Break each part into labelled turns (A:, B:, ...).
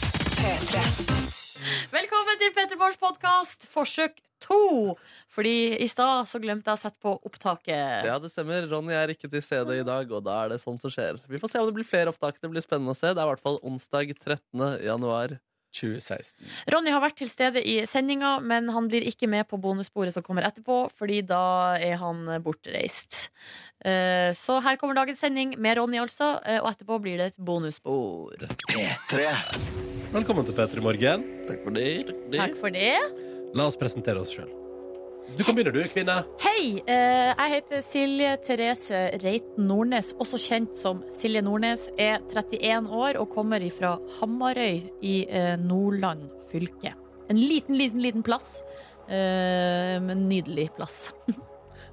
A: P3.
B: Velkommen til Petter Morgens podkast, forsøk to. Fordi i stad så glemte jeg å sette på opptaket.
C: Ja, det stemmer. Ronny er ikke til stede i dag, og da er det sånt som skjer. Vi får se om det blir flere opptak. Det blir spennende å se. Det er i hvert fall onsdag 13. januar.
D: 2016.
B: Ronny har vært til stede i sendinga, men han blir ikke med på bonussporet som kommer etterpå, fordi da er han bortreist. Eh, Så her kommer dagens sending med Ronny, altså, eh, og etterpå blir det et bonusspor.
D: Velkommen til P3 Morgen.
C: Takk for det. Takk for det.
B: Takk for det.
D: La oss presentere oss sjøl. Du kan begynne, du, kvinne.
B: Hei, eh, jeg heter Silje Therese Reiten Nordnes, også kjent som Silje Nordnes, er 31 år og kommer fra Hamarøy i eh, Nordland fylke. En liten, liten, liten plass, eh, men nydelig plass.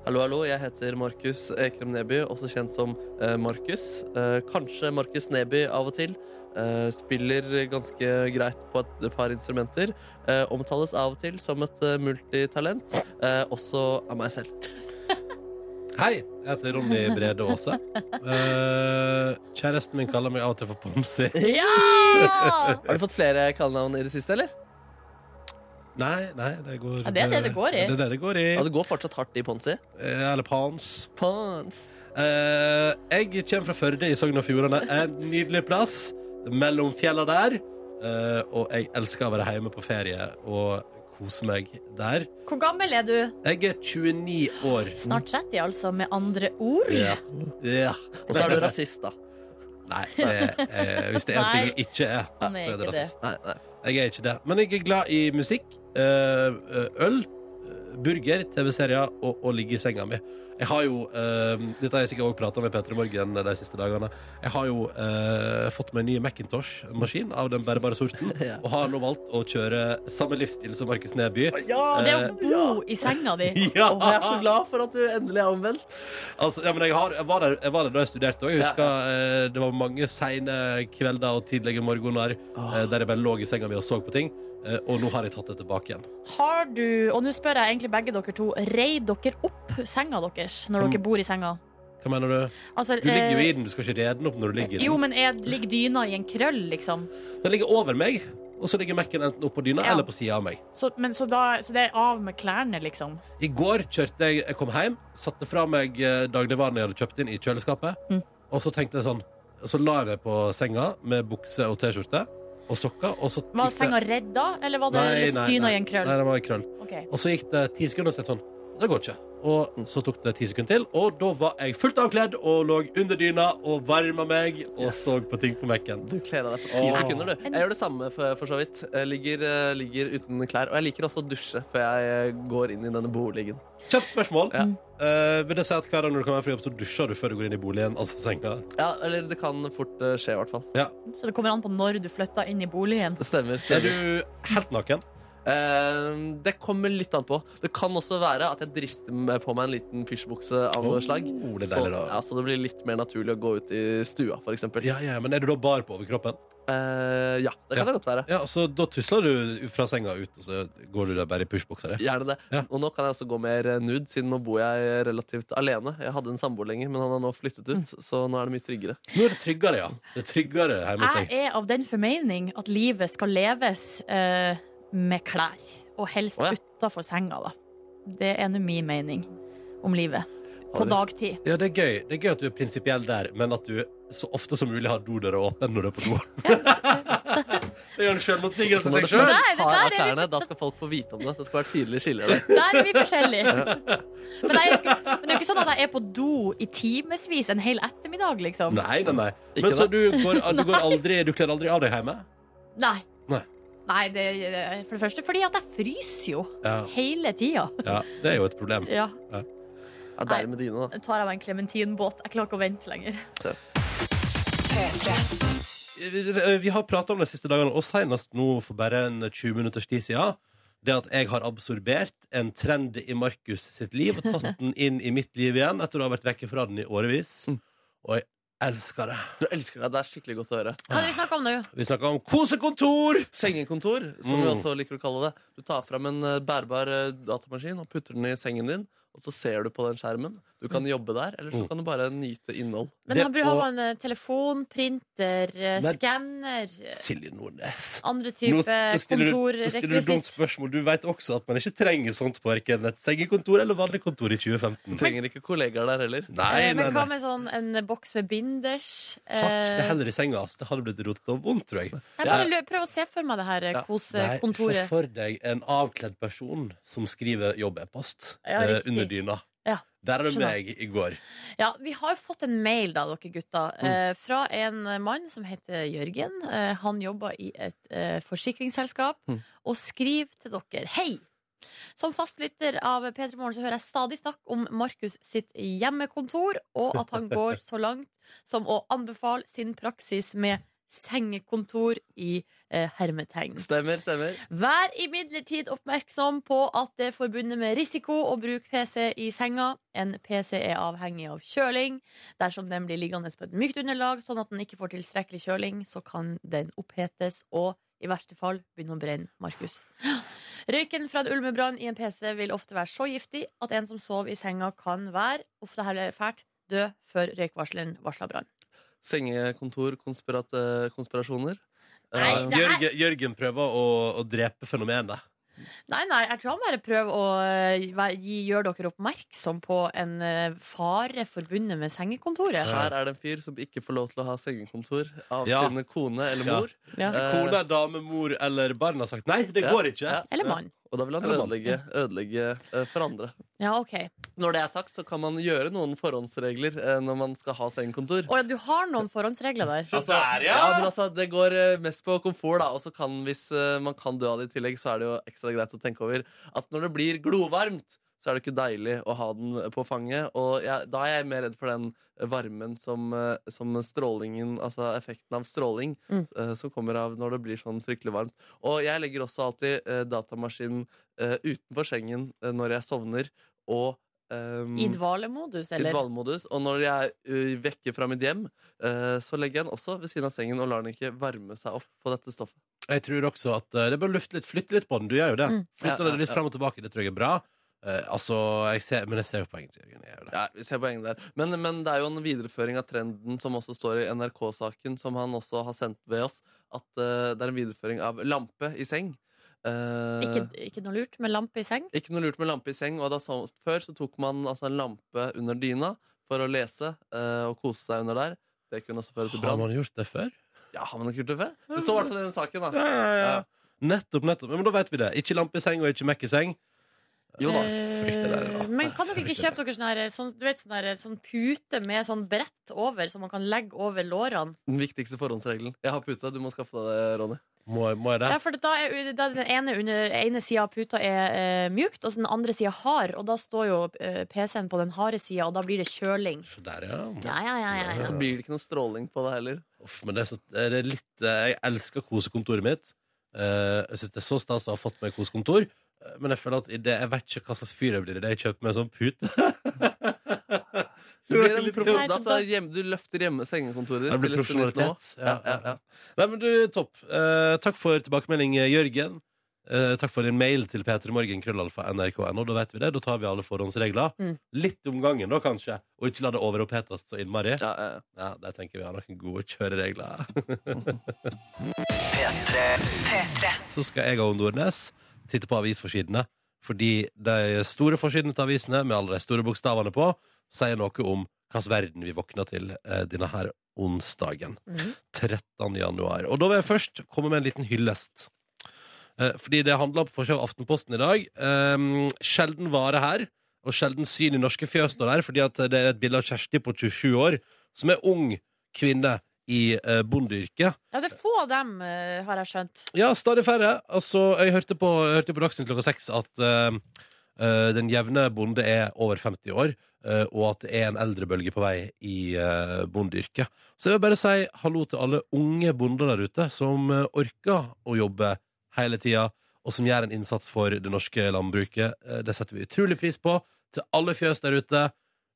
C: Hallo, hallo. Jeg heter Markus Ekrem Neby, også kjent som eh, Markus. Eh, kanskje Markus Neby av og til. Eh, spiller ganske greit på et par instrumenter. Eh, omtales av og til som et eh, multitalent. Eh, også av meg selv.
D: Hei, jeg heter Ronny Brede Aase. Eh, kjæresten min kaller meg av og til for Pomsi.
B: Ja!
C: Har du fått flere kallenavn i det siste, eller?
D: Nei, nei, det går
B: Ja, det er det det går i.
D: Det er det det går i.
C: Ja, det går fortsatt hardt i Ponsi.
D: Eh, Eller Pans.
C: Pons.
D: Eh, jeg kommer fra Førde i Sogn og Fjordane. En nydelig plass mellom fjella der. Eh, og jeg elsker å være hjemme på ferie og kose meg der.
B: Hvor gammel er du?
D: Jeg er 29 år.
B: Snart 30, altså, med andre ord.
D: Mm. Ja. ja.
C: Og så er du rasist, da.
D: Nei, det er, eh, hvis det er en ting jeg ikke er,
B: Han er
D: så er det
B: ikke det.
D: rasist.
C: Nei, nei.
D: Jeg er ikke det. Men jeg er glad i musikk, eh, øl, eh, burger, TV-serier og å ligge i senga mi. Jeg har jo eh, Dette har jeg sikkert også prata med Petter i Morgen de siste dagene. Jeg har jo eh, fått meg en ny Macintosh-maskin av den bærbare sorten,
C: Ja.
D: og har nå valgt å kjøre samme livsstil som Markus Neby.
B: Og Det å
D: Eh,
B: bo i senga di.
D: ja.
C: Å, jeg er så glad for at du endelig er omvendt.
D: Altså, ja, men jeg, har, jeg, var der, jeg var der da jeg studerte òg. Jeg
C: Ja.
D: husker eh, det var mange seine kvelder og tidlige morgener eh, der jeg bare lå i senga mi og så på ting. Eh, og nå har jeg tatt det tilbake igjen.
B: Har du, og nå spør jeg egentlig begge dere to, reid dere opp senga deres
D: Mm.
B: når dere bor i senga?
D: Hva mener du?
B: Altså,
D: Du ligger jo
B: eh,
D: i den, du skal ikke rede den opp når du ligger i den.
B: Jo, men er, ligger dyna i en krøll, liksom?
D: Den ligger over meg, og så ligger Mac-en enten oppå dyna
B: Ja.
D: eller på sida av meg.
B: Så, men, så, da, så det er av med klærne, liksom?
D: I går kjørte jeg, jeg kom hjem, satte fra meg eh, dagligvarene jeg hadde kjøpt inn i kjøleskapet,
B: Mm.
D: og så tenkte jeg sånn Så la jeg meg på senga med bukse og T-skjorte og sokker, og så
B: Var
D: gikk det-
B: senga redda, eller var det
D: Nei, nei,
B: dyna
D: nei.
B: i en krøll?
D: Nei, det var en krøll.
B: Ok.
D: Og så gikk det ti sekunder, og så tenkte jeg sånn Det går ikke. Og så tok det ti sekunder til, og da var jeg fullt avkledd og lå under dyna og varma meg og
C: Yes.
D: så på ting på Mac-en.
C: Du kler av deg på ti
D: Åh.
C: sekunder, du. Jeg gjør det samme for, for så vidt. Jeg ligger, eh, ligger uten klær. Og jeg liker også å dusje før jeg eh, går inn i denne boligen.
D: Kjapt spørsmål.
C: Ja.
D: Eh, vil det si at hver dag når du kommer hjem fra jobb, så dusjer du før du går inn i boligen? Altså senga?
C: Ja, eller det kan fort eh, skje, i hvert fall.
B: Så det kommer an på når du flytta inn i boligen.
C: Det stemmer.
D: Er
C: stemmer.
D: du helt naken?
C: Eh, det kommer litt an på. Det kan også være at jeg drister meg på meg en liten pysjbukse av noe
D: Oh,
C: slag.
D: det er
C: så,
D: deilig da.
C: ja, så det blir litt mer naturlig å gå ut i stua, for eksempel.
D: Ja, ja, men er du da bar på overkroppen?
C: Eh, ja det kan det godt være.
D: Ja, så da tusler du fra senga ut, og så går du der bare i pushbuksa di.
C: Gjerne det.
D: Ja.
C: Og nå kan jeg også gå mer eh, nude, siden nå bor jeg eh, relativt alene. Jeg hadde en samboer lenger, men han har nå flyttet ut, så nå er det mye tryggere.
D: Mm. Nå er det tryggere, ja. Det er tryggere hjemme hos
B: Jeg
D: deg.
B: er av den formening at livet skal leves eh, med klær, og helst
C: Å, ja.
B: utafor senga, da. Det er nå min mening om livet. På
C: Aldri.
B: dagtid.
D: Ja, det er gøy. Det er gøy at du er prinsipiell der, men at du så ofte som mulig har dodøra åpen når du er på do. det gjør en sjølmotsigelse
C: Så
D: til
C: når det
D: seg sjøl.
B: Nei, det
C: først
B: der
C: har
B: er
C: av
B: vi-
C: klærne, da skal folk få vite om det. Det skal være tydelig skille der.
B: Der er vi forskjellige. Men, jeg, men det er jo ikke sånn at jeg er på do i timevis en hel ettermiddag, liksom.
D: Nei, nei, nei.
C: Ikke
D: Men så
C: det.
D: du går, du går aldri Du kler aldri av deg hjemme?
B: Nei.
D: Nei.
B: Nei, det, det- for det første fordi at jeg fryser jo
D: Ja.
B: hele tida.
D: ja. Det er jo et problem.
B: Ja.
C: Ja, deilig med dyne, da.
B: Nå tar jeg meg en klementinbåt. Jeg klarer ikke å vente lenger.
A: P3.
D: Eh, Vi har pratet om det de siste dagene, og senest nå for bare en 20 minutters tid siden. Det at jeg har absorbert en trend i Markus sitt liv og tatt den inn i mitt liv igjen etter å ha vært vekke fra den i årevis.
C: Mm.
D: Og jeg elsker det.
C: Du elsker deg. Det er skikkelig godt å høre.
B: Hva er det vi snakker om nå?
D: Vi snakker om kosekontor!
C: Sengekontor, som vi
D: Mm.
C: også liker å kalle det. Du tar fram en eh, bærbar eh, datamaskin og putter den i sengen din. og så ser du på den skjermen. Du kan jobbe der, eller så
D: Mm.
C: kan du bare nyte innhold.
B: Men
D: Det-
B: her har
D: og-
B: man eh, telefon, printer,
D: Men-
B: eh, skanner eh,
D: Silje Nordnes.
B: Andre
D: Nå,
B: type
D: nå stiller du, nå stiller du dumt
B: kontorrekvisitt.
D: spørsmål. Du vet også at man ikke trenger sånt på verken et sengekontor eller vanlig kontor i 2015.
C: Du trenger ikke kollegaer der heller.
D: Nei, nei,
B: Eh, Men
D: nei.
B: hva med sånn en boks med binders?
D: Hasj, det
B: Eh,
D: heller i senga. ass. Det hadde blitt rotet og vondt, tror jeg.
B: Jeg bare lø- prøver å se for meg det her eh,
C: Ja.
D: Nei, se
B: kosekontoret.
D: for deg en avkledd person som skriver jobbepost
B: Ja,
D: eh,
B: riktig.
D: under dyna.
B: Ja,
D: Der er det
B: skjønner.
D: meg i går.
B: Ja, vi har fått en mail da, dere gutter,
D: Mm.
B: eh, fra en mann som heter Jørgen. Eh, Han jobber i et eh, forsikringsselskap
C: Mm.
B: og skriver til dere Hei! Som fastlytter av P3 Morgen så hører jeg stadig snakk om Markus sitt hjemmekontor, og at han går så langt som å anbefale sin praksis med sengekontor i eh, hermetegn.
C: Stemmer, stemmer.
B: Vær imidlertid oppmerksom på at det er forbundet med risiko å bruke PC i senga. En PC er avhengig av kjøling. Dersom den blir liggende på et mykt underlag, sånn at den ikke får tilstrekkelig kjøling, så kan den opphetes og i verste fall begynne å brenne. Markus. Røyken fra en ulmebrann i en PC vil ofte være så giftig at en som sover i senga, kan være ofte her er det fælt, dø før røykvarsleren varsler brann.
C: Sengekontor, konspirat eh, konspirasjoner.
B: Nei,
C: Eh,
B: det er-
D: Jørgen, Jørgen prøver å, å drepe fenomenet.
B: Nei, nei, jeg tror han bare prøver å eh, væ- gi, gjøre dere oppmerksom på en eh, fare forbundet med sengekontoret.
C: her er det en fyr som ikke får lov til å ha sengekontor av
D: Ja.
C: sin kone eller
D: Ja.
C: mor.
B: Ja.
C: Eh,
D: Kone, dame, mor eller barn har sagt nei, det
C: Ja,
D: går ikke.
C: ja.
B: Eller mann.
C: Og da vil han
D: Eller mann.
C: ødelegge, ødelegge eh, for andre.
B: Ja, ok.
C: Når det er sagt, så kan man gjøre noen forhåndsregler eh, når man skal ha sengekontor.
B: Å ja, du har noen forhåndsregler der.
C: Altså,
D: der,
C: ja,
D: ja!
C: men altså, det går eh, mest på komfort, da. Og så kan, hvis eh, man kan dø av det i tillegg, så er det jo ekstra greit å tenke over at når det blir glovarmt, så er det ikke deilig å ha den på fanget. Og jeg, da er jeg mer redd for den varmen som, eh, som strålingen, altså effekten av stråling,
B: Mm.
C: eh, som kommer av når det blir sånn fryktelig varmt. Og jeg legger også alltid eh, datamaskinen eh, utenfor sengen eh, når jeg sovner, og ehm,
B: I dvalemodus,
C: i
B: eller?
C: dvalemodus. Og når jeg er ø, vekke fra mitt hjem, eh, så legger jeg den også ved siden av sengen og lar den ikke varme seg opp på dette stoffet.
D: Jeg tror også at eh, det er bare å lufte litt, flytte litt på den. Du gjør jo det.
B: Mm.
D: Flytte
C: Ja, ja,
D: den litt
C: ja.
D: frem og tilbake, det tror jeg er bra. Eh, altså, jeg ser, men jeg ser jo poenget til Jørgen. Jeg gjør det.
C: Ja, vi ser poenget der. Men, men det er jo en videreføring av trenden som også står i NRK-saken, som han også har sendt ved oss, at eh, det er en videreføring av lampe i seng. Eh,
B: Ikke, ikke noe lurt med lampe i seng?
C: ikke noe lurt med lampe i seng. Og da, så, før så tok man altså, en lampe under dyna for å lese eh, og kose seg under der. Det kunne også føre til
D: Har
C: brann.
D: man gjort det før?
C: Ja, har man ikke gjort det før? Det står i hvert fall i den saken, da.
D: Ja, ja, ja.
C: Ja.
D: Nettopp, nettopp. Men da vet vi det. Ikke lampe i seng og ikke Mac i seng.
C: Jo da.
D: fryktelig deilig, da.
B: Eh, Men kan dere ikke
D: Fryktelig
B: kjøpe dere sånn her, sånn, du vet, sånn her, sånn pute med sånn brett over, som man kan legge over lårene?
C: Den viktigste forhåndsregelen. Jeg har puta, du må skaffe deg det, Ronny.
D: Må, må jeg det?
B: Ja, for da er da er den ene, under- ene sida av puta er eh, mjukt, og så den andre sida hard, og da står jo eh, PC-en på den harde sida, og da blir det kjøling.
D: Så der, ja.
B: Ja, ja, ja, ja, ja.
C: Så blir det ikke noe stråling på det heller.
D: Uff, men det er, så, det er litt eh, Jeg elsker kosekontoret mitt. Eh, jeg syns det er så stas å ha fått meg kosekontor. eh, Men jeg føler at i det, jeg vet ikke hva slags fyr jeg blir i det jeg kjøper meg en sånn pute.
C: Du, blir en
D: Litt
C: proff-
B: Nei, så
C: altså,
B: da-
C: hjem, du løfter hjemme sengekontoret
D: Jeg
C: ditt
D: blir
C: til et nytt nivå.
D: profesjonalitet.
C: Ja, ja, ja.
D: Nei, men du, topp. Eh, takk for tilbakemelding, eh, Jørgen. Eh, takk for din mail til p3morgen.krøllalfa.nrk.no. Da vet vi det. Da tar vi alle forhåndsregler.
B: Mm.
D: Litt om gangen, da, kanskje. Og ikke la det overopphetes så innmari.
C: Ja, ja, ja.
D: Ja, der tenker vi har noen gode kjøreregler. Så skal jeg og Nordnes titte på avisforsidene. Fordi de store forsidene til avisene, med alle de store bokstavene på, sier noe om hvilken verden vi våkner til eh, denne her onsdagen.
B: Mhm.
D: 13. januar. Og da vil jeg først komme med en liten hyllest. Eh, fordi det handler på forsiden av Aftenposten i dag. Eh, sjelden vare her, og sjelden syn i norske fjøs står der, fordi at det er et bilde av Kjersti på 27 år, som er ung kvinne i eh, bondeyrket.
B: Ja, det er få av dem, eh, har jeg skjønt.
D: Ja, stadig færre. Altså, jeg hørte på, jeg hørte på Dagsnytt klokka seks at eh, eh, den jevne bonde er over 50 år, eh, og at det er en eldrebølge på vei i uh, bondeyrket. Så jeg vil bare si hallo til alle unge bonder der ute som eh, orker å jobbe hele tida, og som gjør en innsats for det norske landbruket. Eh, det setter vi utrolig pris på. Til alle fjøs der ute.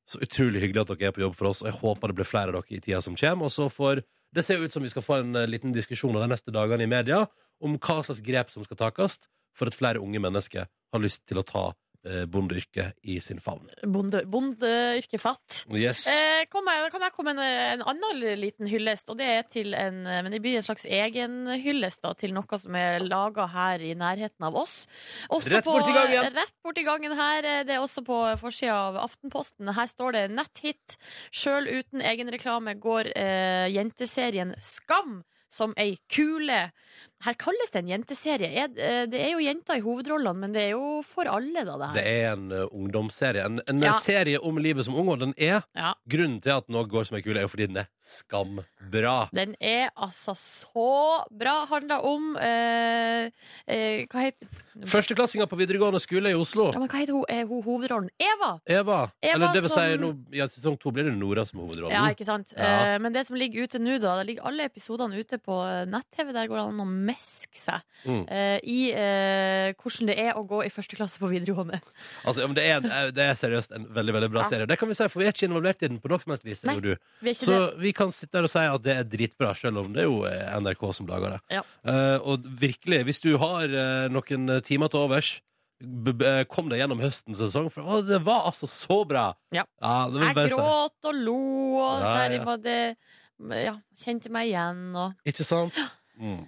D: Så utrolig hyggelig at dere er på jobb for oss, og jeg håper det blir flere av dere i tida som kommer. Og så får det ser jo ut som vi skal få en eh, liten diskusjon av de neste dagene i media om hva slags grep som skal takes for at flere unge mennesker har lyst til å ta eh, bondeyrket i sin favn.
B: Bonde- Bondeyrket fatt.
D: Yes.
B: Eh, kom jeg, da kan jeg komme med en, en annen liten hyllest, og det er til en eh, Men det blir en slags egen hyllest da, til noe som er laga her i nærheten av oss. Også
D: Rett
B: på-
D: bort i gangen.
B: Rett bort i gangen her. eh, Det er også på forsida av Aftenposten. Her står det 'Netthit'. Sjøl uten egenreklame går eh, jenteserien Skam som ei kule. Her kalles det en jenteserie. Er, eh, det er jo jenter i hovedrollene, men det er jo for alle, da, det her.
D: Det er en eh, ungdomsserie. En, en
B: Ja.
D: serie om livet som ung, og den er
B: Ja.
D: Grunnen til at den også går som en kule, er jo fordi den er skambra.
B: Den er altså så bra. Handler om eh, eh, Hva heter
D: Førsteklassinga på videregående skole i Oslo.
B: ja, men hva heter hun, er hun hovedrollen? Eva!
D: Eva.
B: Eva
D: Eller det vil si,
B: som-
D: nå, ja, i sesong to blir det Nora som er hovedrollen.
B: Ja, ikke sant?
D: Ja.
B: Eh, men det som ligger ute nå, da Det ligger alle episodene ute på eh, nett-TV. Der går det an å meske seg
D: Mm.
B: eh, i eh, hvordan det er å gå i første klasse på videregående.
D: Altså, ja, men det, er en, eh, det er seriøst en veldig veldig bra
B: Ja.
D: serie. Det kan vi si, for vi er ikke involvert i den på noe som helst vis.
B: Nei,
D: jo du.
B: Vi er ikke
D: Så
B: det.
D: vi kan sitte her og si at det er dritbra, selv om det er jo eh, NRK som lager det.
B: Ja.
D: Eh, og virkelig, hvis du har eh, noen timer til overs, b b kom deg gjennom høstens sesong. For å, det var altså så bra!
B: Ja.
D: det vil
B: Jeg
D: bare si.
B: gråt og lo og
D: Ja,
B: så her,
D: ja.
B: var det ja, Kjente meg igjen og
D: Ikke sant? Mm.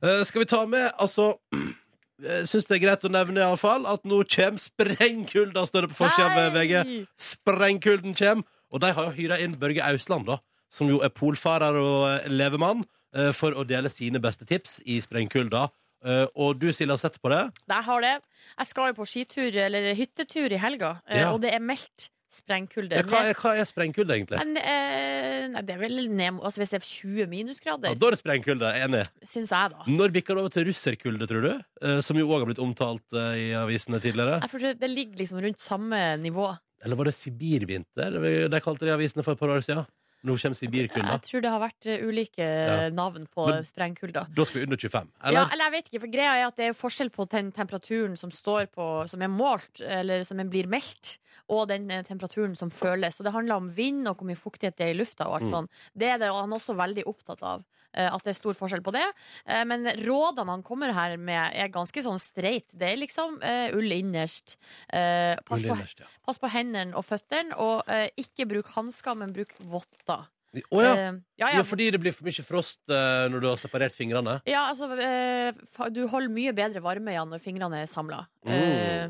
D: Eh, skal vi ta med, altså Jeg syns det er greit å nevne i alle fall at nå kommer sprengkulda, står det på forsida av VG.
B: Nei!
D: Sprengkulden kommer. Og de har jo hyra inn Børge Ausland, da, som jo er polfarer og eh, levemann, eh, for å dele sine beste tips i sprengkulda. Eh, og du, Silje, har sett på det?
B: Jeg har det. Jeg skal jo på skitur eller hyttetur i helga, eh,
D: Ja.
B: og det er meldt sprengkulde.
D: Ja, hva, er, hva er sprengkulde, egentlig?
B: Men, eh, nei, det er vel ned, altså Hvis det er 20
D: Ja,
B: minusgrader,
D: da er det sprengkulde. Enig.
B: syns jeg, da.
D: Når bikker det over til russerkulde, tror du? Eh, som jo òg har blitt omtalt eh, i avisene tidligere.
B: Jeg tror Det ligger liksom rundt samme nivå.
D: Eller var det Sibirvinter? De kalte det i avisene for et par år siden. Nå kommer Sibirkulda.
B: Jeg tror det har vært eh, ulike
D: Ja.
B: navn på
D: Men-
B: sprengkulda.
D: Da skal vi under 25.
B: Ja,
D: Eller?
B: eller jeg vet ikke, for greia er at det er jo forskjell på den temperaturen som står på Som er målt, eller som er- blir meldt, og den eh, temperaturen som føles. Og det handler om vind og hvor mye fuktighet det er i lufta. Og alt
D: Mm.
B: sånn. Det er det han også veldig opptatt av. eh, At det er stor forskjell på det. Eh, Men rådene han kommer her med, er ganske sånn streit. Det er liksom eh, ull innerst. eh, Pass på,
D: Ullinderst, ja.
B: pass på hendene og føttene, og eh, ikke bruk hansker, men bruk votter.
D: Å ja.
B: Eh, ja,
D: ja, fordi det blir for mye frost eh, når du har separert fingrene.
B: ja, altså eh, fa- Du holder mye bedre varme igjen når fingrene er samla.
D: Mm.
B: Eh,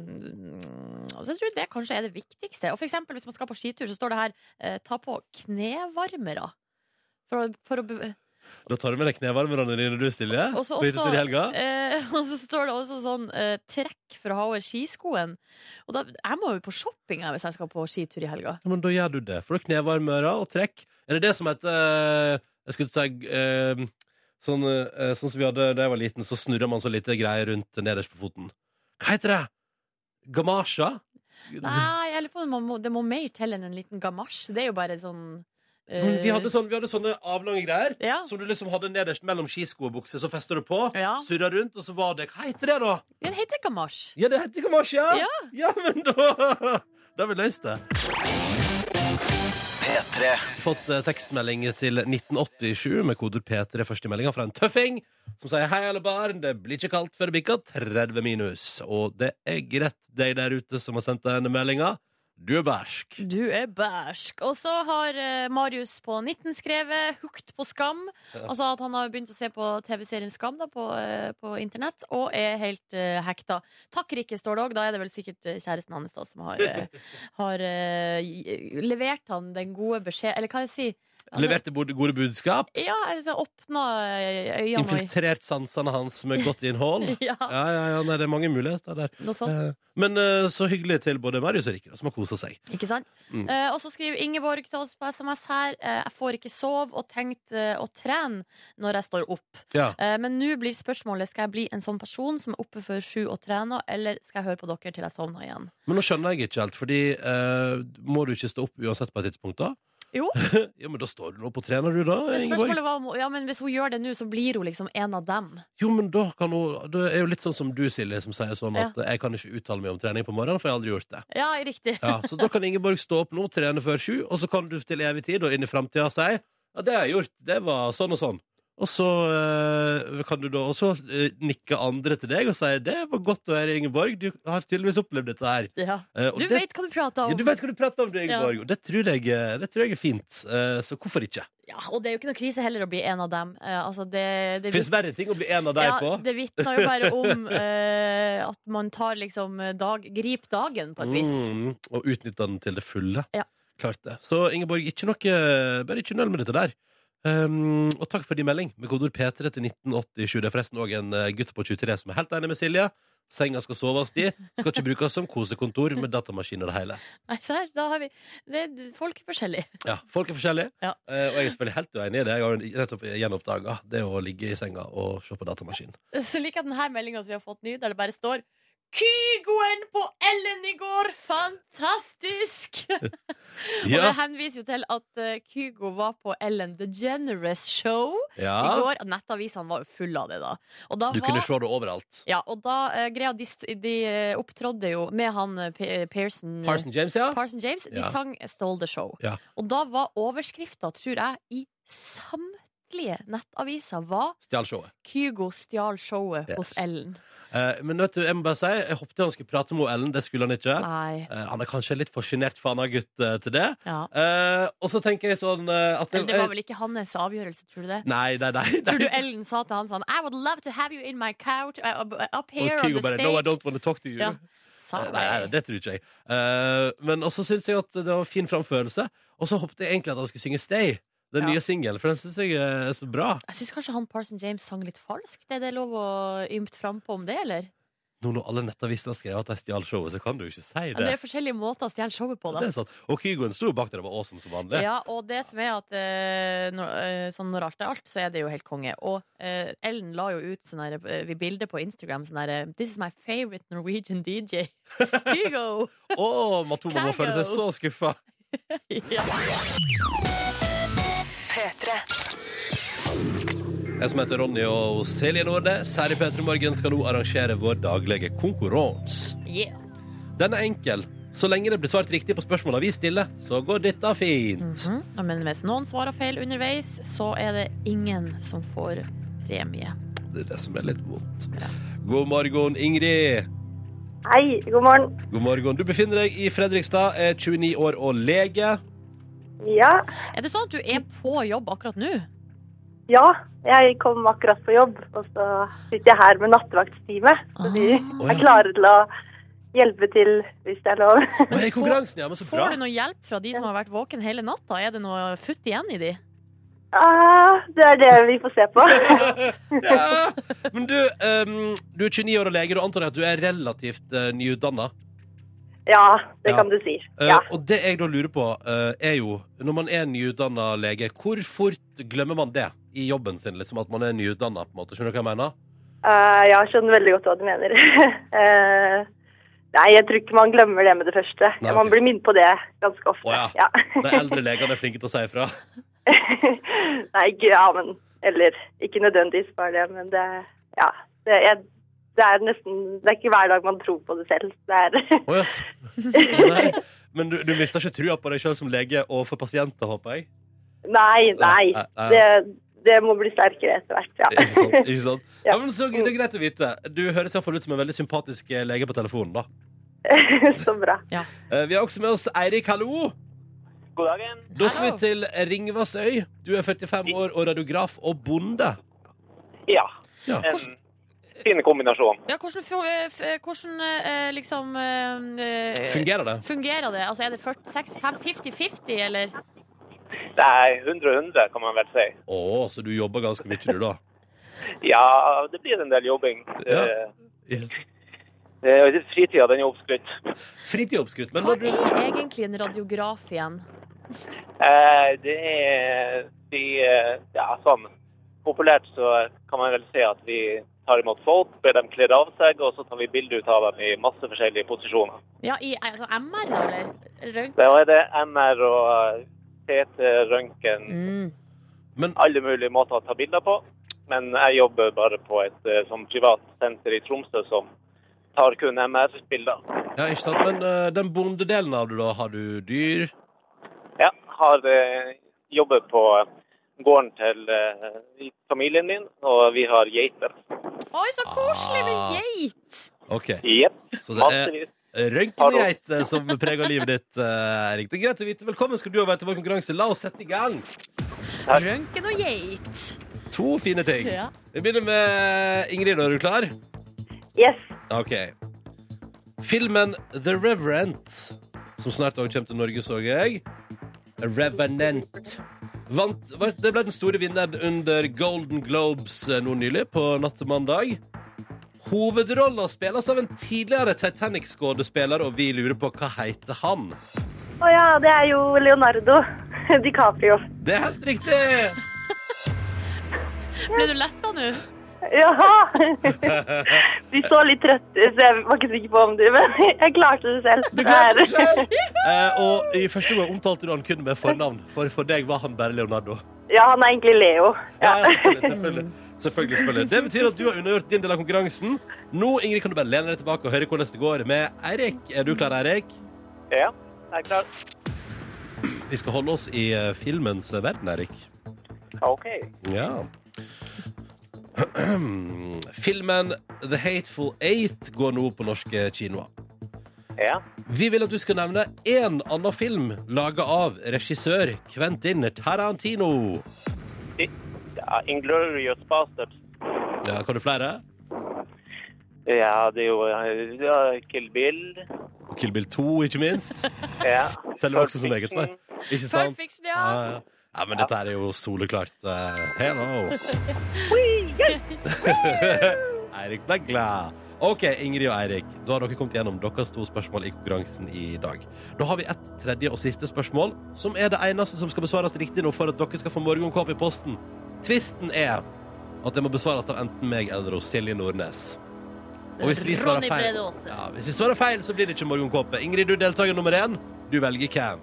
B: så jeg tror det kanskje er det viktigste. Og for eksempel, hvis man skal på skitur, så står det her eh, ta på knevarmere. For, å- for å be
D: Da tar du med deg knevarmerne dine, du, Silje.
B: Også-
D: på hyttetur i helga.
B: eh, Og så står det også sånn eh, trekk for å ha over skiskoen. Og da, jeg må jo på shopping jeg, hvis jeg skal på skitur i helga.
D: Ja, men da gjør du det. Får du knevarmere og trekk. Er det det som heter eh, Jeg skulle si eh, sånn, eh, sånn som vi hadde da jeg var liten, så snurra man så lite greier rundt nederst på foten. Hva heter det? Gamasja?
B: Nei, jeg lurer på om man må, det må mer til enn en liten gamasj. Det er jo bare sånn
D: Men Vi hadde,
B: sånn
D: sånn, vi hadde sånne avlange greier
B: ja.
D: som du liksom hadde nederst mellom skisko og bukse. Så fester du på,
B: Ja.
D: surra rundt, og så var det Hva heter det, da?
B: Den heter gamasj.
D: Ja, det heter gamasje, ja!
B: Ja.
D: men da Da har vi løst det. Fått eh, tekstmelding til 1987 med koder P3 første meldinga fra en tøffing som sier hei, alle barn, det blir ikke kaldt før det bikker 30 minus. Og det er greit, deg der ute som har sendt denne meldinga. Du er bæsj.
B: Du er bæsj. Og så har eh, Marius på 19 skrevet 'Hooked på Skam'.
D: Ja.
B: Altså at han har begynt å se på TV-serien Skam da, på, eh, på internett, og er helt eh, hekta. Takk, Rikke, står det òg. Da er det vel sikkert eh, kjæresten hans da, som har, eh, har eh, gi- levert han den gode beskjed Eller hva jeg sier Han har-
D: Leverte bod- gode budskap.
B: Ja, altså, åpna eh, øynene og
D: Infiltrert sansene hans med godt innhold.
B: ja,
D: Ja, ja, ja, nei, det er mange muligheter der.
B: noe sånt.
D: Eh, Men eh, så hyggelig til både Marius og Rikke, da, som har kosa seg.
B: Ikke sant?
D: Mm.
B: Eh, og så skriver Ingeborg til oss på SMS her eh, Jeg får ikke sove og tenkt eh, å trene når jeg står opp.
D: Ja.
B: Eh, men nå blir spørsmålet Skal jeg bli en sånn person som er oppe før sju og trener, eller skal jeg høre på dere til jeg sovner igjen?
D: Men nå skjønner jeg ikke helt, fordi eh, må du ikke stå opp uansett på et tidspunkt da?
B: Jo.
D: ja, men da står du nå opp og trener du da,
B: Men
D: Ingeborg.
B: spørsmålet var om, ja, men Hvis hun gjør det nå, så blir hun liksom en av dem.
D: Jo, men da kan hun, det er jo litt sånn som du, Silje, som sier sånn at jeg kan ikke uttale meg om trening på morgenen, for jeg har aldri gjort det.
B: Ja, riktig.
D: Ja, så da kan Ingeborg stå opp nå, trene før sju, og så kan du til evig tid og inn i fremtiden si, ja, det har jeg gjort, det var sånn og sånn. Og så eh, kan du da også eh, nikke andre til deg og si 'Det var godt å høre, Ingeborg. Du har tydeligvis opplevd dette her'.
B: Ja.
D: Eh, og
A: Du
D: det,
A: vet hva du prater om!
D: ja, du vet hva du prater om, du, Ingeborg. Og det tror, jeg, eh, det tror jeg er fint. Eh, så hvorfor ikke?
B: ja, Og det er jo ikke noe krise heller å bli en av dem. Eh, altså, det, det
D: Det fins verre ting å bli en av deg
B: ja,
D: på.
B: Det vitner jo bare om eh, at man tar liksom dag, Grip dagen, på et vis.
D: Mm, og utnytte den til det fulle.
B: Ja.
D: Klart det. Så Ingeborg, ikke noe, bare ikke nøl med dette der. Um, og takk for din melding med kodord P3 til 1987. Det er forresten òg en eh, gutt på 23 som er helt enig med Silje. Senga skal soves i. Skal ikke brukes som kosekontor med datamaskin og det hele.
B: Nei, se her, da har vi det, er- Folk er forskjellige.
D: Ja, Folk er forskjellige,
B: Ja.
D: Eh, og jeg er selvfølgelig helt uenig i det. Jeg har jo nettopp gjenoppdaga det å ligge i senga og se på datamaskin.
B: Så liker jeg denne meldinga som vi har fått ny, der det bare står Kygoen på Ellen i går! Fantastisk! Og det
D: Ja,
B: henviser jo til at eh, Kygo var på Ellen DeGeneres show i
D: ja.
B: går. Nettavisene var jo fulle av det, da. Og da
D: Du
B: var,
D: kunne se det overalt.
B: ja, og da eh, greia, de, s- de eh, opptrådte jo med han eh, Pe- Pearson eh,
D: Parson James, ja.
B: Parson James. De
D: Ja.
B: sang Stole the Show.
D: Ja.
B: Og da var overskrifta, tror jeg, i samtlige nettaviser var
D: Stjal showet.
B: Kygo stjal showet
D: Yes.
B: hos Ellen.
D: Eh, men vet du, jeg må bare si Jeg håpet han skulle prate med Ellen. Det skulle han ikke.
B: Nei.
D: Eh, han er kanskje litt for sjenert for han har gutt eh, til det.
B: Ja.
D: Eh, og så tenker jeg sånn eh, at
B: Eller det var vel ikke hans avgjørelse, tror du det?
D: Nei, nei, nei. nei.
B: Tror du Ellen sa til han sånn I would love to have you in my couch uh, uh, Up
D: Og
B: here on
D: Kygo
B: the
D: bare,
B: stage
D: No, I don't want to talk to you.
B: Ja.
D: Eh,
B: Sorry.
D: Nei, nei, det tror ikke jeg. Eh, men også syns jeg at det var fin framførelse. Og så håpet jeg egentlig at han skulle synge Stay, den
B: Ja.
D: nye singelen, for den syns jeg er så bra.
B: Jeg syns kanskje han Parson James sang litt falskt. Er det lov å ymte frampå om det, eller?
D: Nå når alle nettavisene har skrevet at de stjal showet, så kan du jo ikke si
B: Ja,
D: det.
B: det er forskjellige måter å stjele showet på, da.
D: det er sant. Og Kygoen sto jo bak der og var awesome som vanlig.
B: Ja, og det som er at eh, når, eh, sånn når alt er alt, så er det jo helt konge. Og eh, Ellen la jo ut sånn her, eh, vi bilder på Instagram sånn herre This is my favorite Norwegian DJ. Kygo!
D: Å, Matoma må føle seg så
B: Kygo.
D: skuffa.
B: ja.
D: Jeg som heter Ronny og Silje Nordnes her i P3 Morgen skal nå arrangere vår daglige konkurranse.
B: yeah.
D: Den er enkel. Så lenge det blir svart riktig på spørsmåla vi stiller, så går dette fint.
B: Mhm. Men hvis noen svarer feil underveis, så er det ingen som får premie.
D: Det er det som er litt vondt.
B: Ja.
D: God morgen, Ingrid.
E: Hei, god morgen.
D: God morgen. Du befinner deg i Fredrikstad, er 29 år og lege.
E: Ja,
B: Er det sånn at du er på jobb akkurat nå?
E: ja, jeg kom akkurat på jobb, og så sitter jeg her med nattevaktstime. Så de
B: Ah.
D: Å,
E: er
D: ja.
E: klare til å hjelpe til, hvis det er lov.
D: Og jeg er i konkurransen, ja, men så bra.
B: Får du noe hjelp fra de som har vært våken hele natta? Er det noe futt igjen i de?
E: Ah, det er det vi får se på.
D: Ja. Men du, ehm, du er 29 år og lege, og antar jeg at du er relativt uh, nyutdanna.
E: Ja, det
D: Ja.
E: kan du si.
D: Eh,
E: Ja.
D: Og det jeg da lurer på, eh, er jo Når man er nyutdanna lege, hvor fort glemmer man det i jobben sin? Liksom At man er nyutdanna, på en måte. Skjønner du hva jeg mener?
E: Eh, jeg skjønner veldig godt hva du mener. Eh, nei, jeg tror ikke man glemmer det med det første.
D: Nei, ok.
E: Man blir minnet på det ganske ofte.
D: Å, ja.
E: ja.
D: De eldre legene er flinke til å si ifra.
E: Nei, ikke, ja, men Eller ikke nødvendigvis bare det, men det Ja. Det er, det er nesten Det er ikke hver dag man tror på det selv. Det er
D: Å, yes. Nei. Men du, du mister ikke trua på deg sjøl som lege og for pasienter, håper jeg?
E: Nei, nei.
D: Nei, nei, nei.
E: Det, det må bli sterkere etter hvert, ja.
D: Ikke sant? Sånn, Ikke sant?
E: Ja.
D: Ja, men så Det er greit å vite. Du høres i hvert fall ut som en veldig sympatisk eh, lege på telefonen. da
E: Så bra.
D: Eh, Vi har også med oss Eirik, hallo.
F: God dagen.
D: Da skal
B: Hallo.
D: vi til Ringvassøy. Du er 45 år og radiograf og bonde.
F: Ja.
D: Ja.
F: En fin kombinasjon.
B: Ja, hvordan, fu- eh, f- eh, hvordan eh, liksom eh,
D: Fungerer det?
B: Fungerer det? Altså, er det 50-50, eller?
F: Det er 100-100, kan man vel si.
D: Å, så du jobber ganske mye, du, da?
F: Ja, det blir en del jobbing.
D: Ja.
F: Eh, eh, Fritida, den er oppskrytt.
D: Fritid er oppskrytt, men
B: Hva
D: når du
B: er egentlig en radiograf igjen?
F: Eh, Det er vi eh, Ja, sånn populært så kan man vel si at vi tar imot folk, ber dem kle av seg, og så tar vi bilde ut av dem i masse forskjellige posisjoner.
B: Ja, i altså, MR, da, eller? Røntgen?
F: Da er det MR og eh, CT, røntgen
B: Mm.
D: Men
F: alle mulige måter å ta bilder på. Men jeg jobber bare på et eh, sånn privat senter i Tromsø som tar kun MR-bilder.
D: Ja, ikke sant? Men eh, den bondedelen av det, da? Har du dyr?
F: Ja, har eh, jobber på gården til eh, i familien min, og vi har geiter.
B: Oi, så
D: Ah.
B: koselig med geit!
D: OK.
F: Jepp,
D: Så det er
F: massevis.
D: Røntgengeit eh, som preger livet ditt, eh, Erik. Det er greit å vite. Velkommen skal du være til vår konkurranse. La oss sette i gang.
F: Takk.
B: Røntgen og geit.
D: To fine ting.
B: Ja.
D: Vi begynner med Ingrid. Er du klar?
E: Yes.
D: OK. Filmen The Reverent, som snart også kommer til Norge, så jeg. Revenant. Vant, var- det ble den store vinneren under Golden Globes eh, nå nylig, på natt til mandag. Hovedrollen spilles av en tidligere Titanic-skuespiller, og vi lurer på hva heter han?
E: Å ja, det er jo Leonardo DiCaprio.
D: Det er helt riktig!
B: Ble du letta nå?
E: Jaha! De så litt trøtte, så jeg var ikke sikker på om du Men jeg klarte det selv.
D: Du klarte det
E: Det er-
D: selv! Eh, og i første gang omtalte du han kun med fornavn, for for deg var han bare Leonardo.
E: Ja, han er egentlig Leo.
D: Ja, selvfølgelig, selvfølgelig, selvfølgelig, selvfølgelig. Det betyr at du har undergjort din del av konkurransen. Nå Ingrid, kan du bare lene deg tilbake og høre hvordan det går med Eirik. Er du klar, Eirik?
F: Ja, jeg er klar.
D: Vi skal holde oss i eh, filmens verden, Eirik.
F: OK.
D: Ja. Filmen The Hateful Eight går nå på norske kinoer.
F: Ja.
D: Vi vil at du skal nevne én annen film laga av regissør Quentin Tarantino.
F: ja Inglorious Bastards.
D: Ja, kan du flere?
F: Ja, det er jo eh, ja, Kill Bill.
D: Og Kill Bill 2, ikke minst.
F: Ja.
D: Teller også som eget svar. Ikke sant?
B: Pulp Fiction, ja.
D: Ja, ja. ja, men dette her er jo soleklart. eh, hello!
E: Eh,
D: Eirik ble glad. OK, Ingrid og Eirik, da har dere kommet gjennom deres to spørsmål i konkurransen i dag. Da har vi et tredje og siste spørsmål, som er det eneste som skal besvares riktig nå for at dere skal få morgenkåpe i posten. Tvisten er at det må besvares av enten meg eller hos Silje Nordnes. Og hvis vi svarer
B: Ronny
D: feil,
B: Brede Aase.
D: ja, hvis vi svarer feil så blir det ikke morgenkåpe. Ingrid, du er deltaker nummer én. Du velger hvem.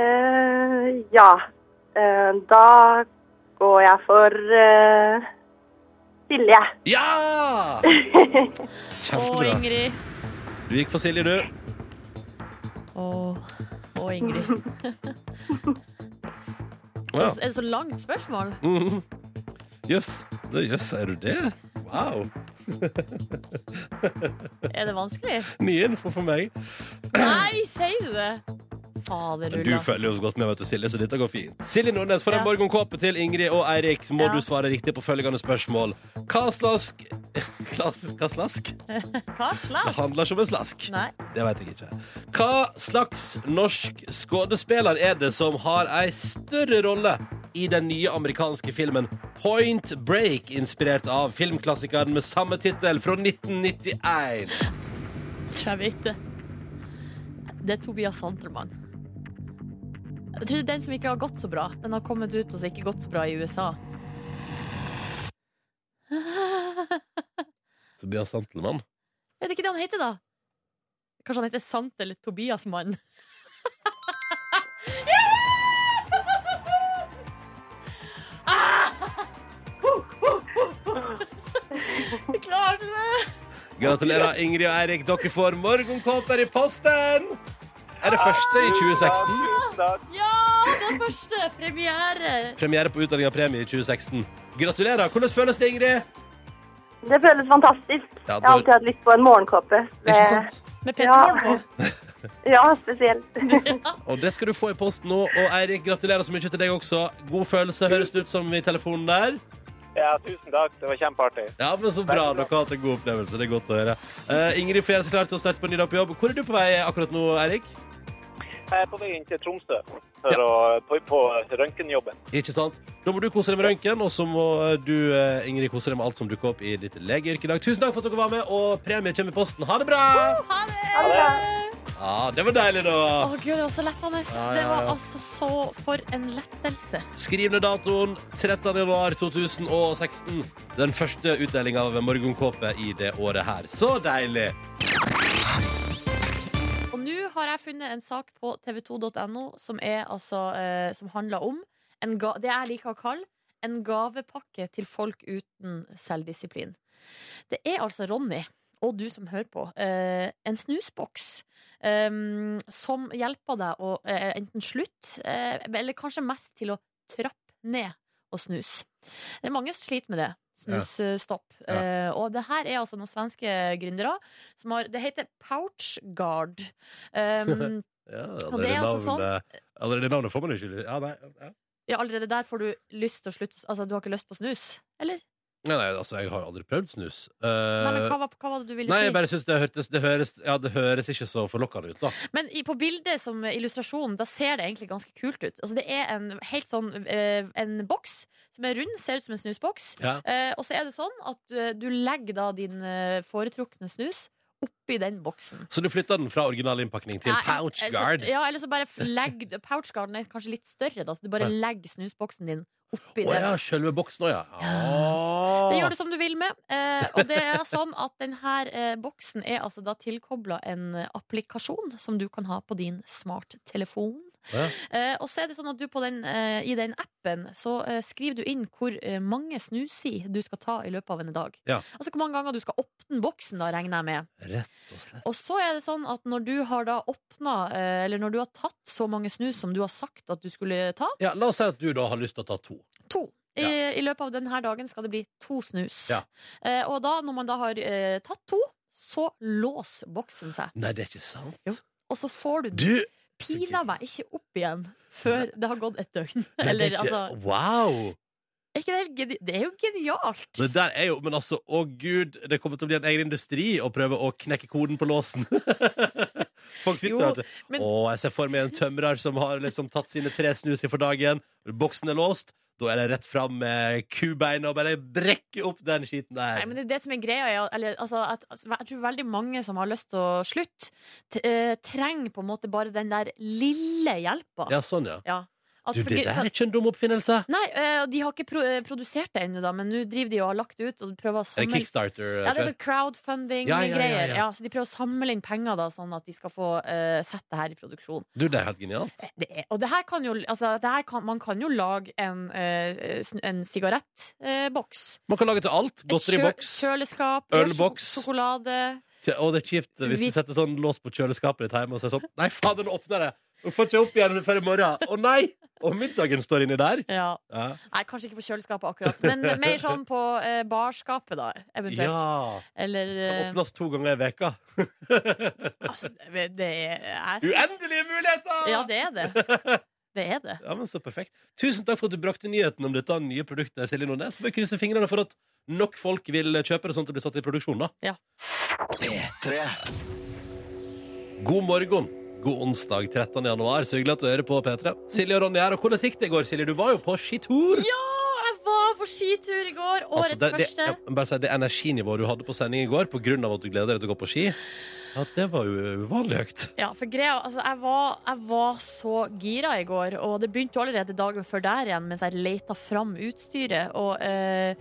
E: Eh, ja. Eh, da går jeg for eh, Silje.
D: Ja!
B: Og
D: Kjempebra.
B: Ingrid.
D: Du gikk for Silje, du.
B: Og, og Ingrid.
D: Å, ja.
B: Er det så langt spørsmål?
D: Mhm. Jøss. Da Jøss, er du det? Wow.
B: Er det vanskelig?
D: Nye info for meg.
B: Nei, sier du det? Fader,
D: Du
B: Ulla.
D: følger jo så godt med, vet du, Silje, så dette går fint. Silje Nordnes, for en
B: Ja.
D: morgenkåpe til Ingrid og Eirik, så må
B: Ja.
D: du svare riktig på følgende spørsmål. Hva slask Hva hva slask?
B: Hva
D: Det
B: slags?
D: handler ikke om en slask.
B: Nei.
D: Det vet jeg ikke. Hva slags norsk skuespiller er det som har ei større rolle i den nye amerikanske filmen Point Break, inspirert av filmklassikeren med samme tittel fra 1991?
B: tror jeg vet det. Det er Tobias Santelmann. Jeg tror det er den som ikke har gått så bra. Den har kommet ut og så ikke gått så bra i USA.
D: Tobias Santelmann.
B: Er det ikke det han heter, da? Kanskje han heter Sant eller Tobias Mann? Ja! Ah! Ho, ho, ho, ho. Jeg klarte det!
D: Gratulerer, Ingrid og Eirik. Dere får morgenkåper i posten! Er det første i 2016?
F: Tusen takk.
B: Ja, den første! Premiere!
D: Premiere på utdeling av premie i 2016. Gratulerer. Hvordan føles det, Ingrid?
E: Det føles fantastisk.
D: Ja,
E: Jeg
D: du-
E: har alltid hatt lyst på en morgenkåpe.
D: Ikke sant?
B: Med Petter
E: Ja.
B: Morn på.
E: Ja, spesielt.
D: Og det skal du få i posten nå. Og Eirik, gratulerer så mye til deg også. God følelse, høres det ut som i telefonen der.
F: Ja, tusen takk. Det var kjempeartig.
D: Ja, men Så bra. Dere har hatt en god opplevelse. Det er godt å høre. Eh, Ingrid får gjøre seg klar til å starte på en ny dag på jobb. Hvor er du på vei akkurat nå, Eirik?
F: Jeg er på vei inn til Tromsø for å, på, på røntgenjobben.
D: Ikke sant? Da må du kose deg med røntgen, og så må du eh, Ingrid, kose deg med alt som dukker opp i ditt legeyrke i dag. Tusen takk for at dere var med, og premie kommer i posten. Ha det bra!
B: Ha det!
D: Ja, det var deilig,
B: Å
D: da.
B: gud, det var så lettende.
D: ja,
B: Det var
D: ja.
B: altså så For en lettelse.
D: Skriv ned datoen 13. januar 2016. Den første utdelinga av morgenkåpe i det året her. Så deilig!
B: Og nå har jeg funnet en sak på tv2.no som, er altså, eh, som handler om en ga det jeg liker å kalle en gavepakke til folk uten selvdisiplin. Det er altså Ronny, og du som hører på, eh, en snusboks. eh, som hjelper deg å eh, enten slutte, eh, eller kanskje mest til å trapp ned og snus. Det er mange som sliter med det. Snusstopp. Eh, og det her er altså noen svenske gründere som har Det heter pouch guard. Um,
D: Ja,
B: Og det er altså
D: navnet- Allerede navnet får man jo ikke ja, nei, ja.
B: ja, allerede der får du lyst til å slutte Altså, du har ikke lyst på snus, eller?
D: Nei, nei, altså, jeg har jo aldri prøvd snus. Eh,
B: Nei, men hva, var- hva var det du ville
D: nei,
B: si?
D: jeg bare syns det, hørtes- det, høres- ja, det høres ikke så forlokkende ut, da.
B: Men i, på bildet som illustrasjon, da ser det egentlig ganske kult ut. Altså, det er en helt sånn eh, En boks som er rund, ser ut som en snusboks.
D: Ja.
B: Eh, og så er det sånn at eh, du legger da din eh, foretrukne snus oppi den boksen.
D: Så du flytta den fra original innpakning til
B: Nei,
D: pouch
B: altså,
D: guard.
B: Ja, eller så bare f- legg Pouchguarden er kanskje litt større, da, så du bare legger snusboksen din oppi
D: Å
B: den.
D: ja, sjølve boksen òg, ja.
B: Det gjør
D: Ah.
B: du som du vil med. Eh, og det er sånn at denne eh, boksen er altså da tilkobla en eh, applikasjon som du kan ha på din smarttelefon.
D: Ja.
B: Eh, og så er det sånn at du på den, eh, i den appen så eh, skriver du inn hvor eh, mange snusi du skal ta i løpet av en dag.
D: Ja.
B: Altså hvor mange ganger du skal åpne boksen, da, regner jeg med.
D: Rett og slett.
B: Og så er det sånn at når du har da åpna, eh, eller når du har tatt så mange snus som du har sagt at du skulle ta,
D: Ja, la oss si at du da har lyst til å ta to.
B: to. I,
D: Ja.
B: I løpet av denne dagen skal det bli to snus.
D: Ja.
B: Eh, og da, når man da har eh, tatt to, så låser boksen seg.
D: Nei, det er ikke sant.
B: Jo. Og så får du, den
D: Mm. Du
B: pina meg ikke opp igjen før det har gått et døgn.
D: Nei, det
B: Eller,
D: er ikke,
B: altså,
D: Wow!
B: er ikke det, helt geni det er jo genialt!
D: Det der er jo, men altså, å gud, det kommer til å bli en egen industri å prøve å knekke koden på låsen. Folk sitter
B: Jo,
D: der og sier,
B: men-
D: å, jeg ser for meg en tømrer som har liksom tatt sine tre snus i for dagen, boksen er låst, da er det rett fram med kubeinet og bare brekke opp den skiten der.
B: Nei, men det, er det som er greia er, at- eller, altså, at, altså, Jeg tror veldig mange som har lyst til å slutte, t- eh, trenger på en måte bare den der lille hjelpa.
D: Ja, sånn, ja.
B: At
D: Du,
B: for-
D: det der er ikke en dum oppfinnelse.
B: Nei, eh, og de har ikke pro eh, produsert det ennå, da, men nå driver de og har lagt det ut og prøver
D: Er
B: å
D: det
B: samle
D: Kickstarter?
B: ja, det er
D: tror jeg?
B: sånn crowdfunding-greier.
D: Ja,
B: Ja,
D: ja, ja, ja.
B: så de prøver å samle inn penger, da, sånn at de skal få eh, sett det her i produksjon.
D: Du, det er helt genialt.
B: Det er, og det her kan jo altså, det her kan, Man kan jo lage en, eh, sn- en sigarettboks. eh,
D: Man kan lage til alt.
B: Et kjø-
D: Godteriboks.
B: kjøleskap.
D: Ølboks.
B: sjok- Sjokolade.
D: Kjø- Og det er kjipt hvis
B: Vi-
D: du setter sånn lås på kjøleskapet ditt hjemme og så er det sånn Nei, faen, den åpner det! Og får ikke opp igjen før i morgen. Å nei! Og middagen står inni der.
B: Ja.
D: Ja.
B: Nei, kanskje ikke på kjøleskapet akkurat, men mer sånn på eh, barskapet, da, eventuelt.
D: ja.
B: Eller
D: Det
B: eh,
D: åpnes to ganger i veka
B: Altså, det det er jeg synes-
D: Uendelige muligheter!
B: Ja, det er det. Det er det.
D: Ja, men så perfekt. Tusen takk for at du brakte nyheten om dette nye produktet. Silje Nordnes. Så får vi krysse fingrene for at nok folk vil kjøpe det, sånn at det blir satt i produksjon. da.
B: Ja.
D: God morgen. God onsdag 13. januar. Så hyggelig at du hører på P3. Silje og Ronny her. Og hvordan gikk det i går, Silje? Du var jo på skitur.
B: Ja, jeg var på skitur i går. Årets
D: Altså, det, det,
B: første.
D: jeg må bare si, det energinivået du hadde på sending i går på grunn av at du gleder deg til å gå på ski, ja, det var jo uvanlig høyt.
B: Ja, for greia, altså, jeg, var, jeg var så gira i går, og det begynte jo allerede dagen før der igjen mens jeg leita fram utstyret. Og, eh,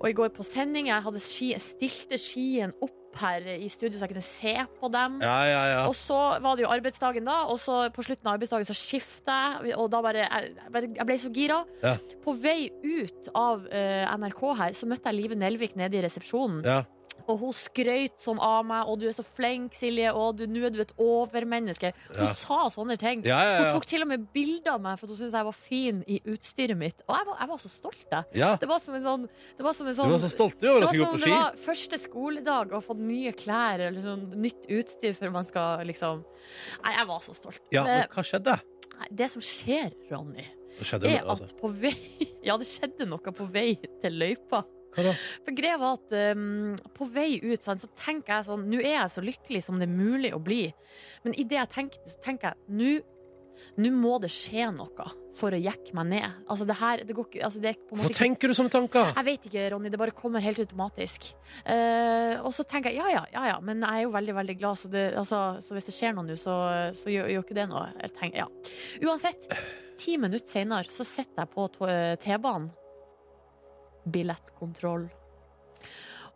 B: og i går på sending jeg hadde ski, jeg stilte skien opp her i studio så jeg kunne se på dem.
D: Ja, ja, ja.
B: Og så var det jo arbeidsdagen da, og så på slutten av arbeidsdagen så skifta jeg, og da bare Jeg, jeg bare- jeg ble så gira.
D: Ja.
B: På vei ut av eh, NRK her, så møtte jeg Live Nelvik nede i resepsjonen.
D: ja.
B: Og hun skrøyt som av meg, og du er så flink, Silje, og du, nå er du et overmenneske. Hun
D: Ja.
B: sa sånne ting.
D: Ja, ja,
B: Hun
D: ja.
B: tok til og med bilder av meg for at hun syntes jeg var fin i utstyret mitt. Og jeg var, jeg var så stolt, jeg.
D: ja.
B: Det var som en sånn Det var som en
D: Du
B: sånn
D: var så stolt du over at
B: det var
D: du skulle gå
B: som om
D: på
B: det
D: ski.
B: var første skoledag og fått nye klær eller sånn nytt utstyr før man skal liksom Nei, jeg var så stolt.
D: Ja, men
B: Men,
D: hva skjedde?
B: nei, det som skjer, Ronny,
D: Det skjedde
B: er
D: jo-
B: at på vei Ja, det skjedde noe på vei til løypa.
D: Hva da?
B: For greia var at um, på vei ut sant, så tenker jeg sånn Nå er jeg så lykkelig som det er mulig å bli. Men i det jeg tenker, så tenker jeg nå nå må det skje noe for å jekke meg ned. Altså, det her det går ikke altså, Det er på en måte
D: Hvorfor
B: ikke
D: tenker du sånne tanker?
B: jeg vet ikke, Ronny. Det bare kommer helt automatisk. Eh, og så tenker jeg ja, ja, ja, ja, men jeg er jo veldig veldig glad, så, det, altså, så hvis det skjer noe nå, så, så gjør, gjør ikke det noe. Jeg tenker, ja. Uansett, ti minutter senere så sitter jeg på to- eh, T-banen. Billettkontroll.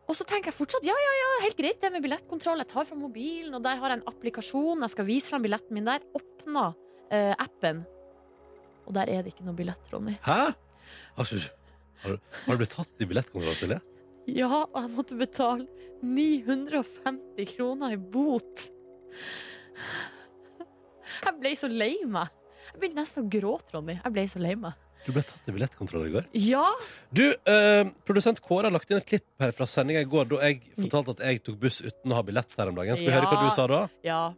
B: Og så tenker jeg fortsatt ja, ja, ja, helt greit det med billettkontroll. Jeg tar fram mobilen, og der har jeg en applikasjon. Jeg skal vise fram billetten min der. Åpner eh, appen, og der er det ikke noe billett, Ronny.
D: Hæ? Har du- Har du- har du blitt tatt i billettkontroll, Silje?
B: Ja, og jeg måtte betale 950 kroner i bot. Jeg ble så lei meg. Jeg begynte nesten å gråte, Ronny. Jeg ble så lei meg.
D: Du ble tatt i billettkontroll i går.
B: Ja,
D: Du, eh, produsent Kåre har lagt inn et klipp her fra sendinga i går da jeg fortalte at jeg tok buss uten å ha billett her om dagen. Skal vi
B: Ja.
D: høre hva du sa da?
B: ja.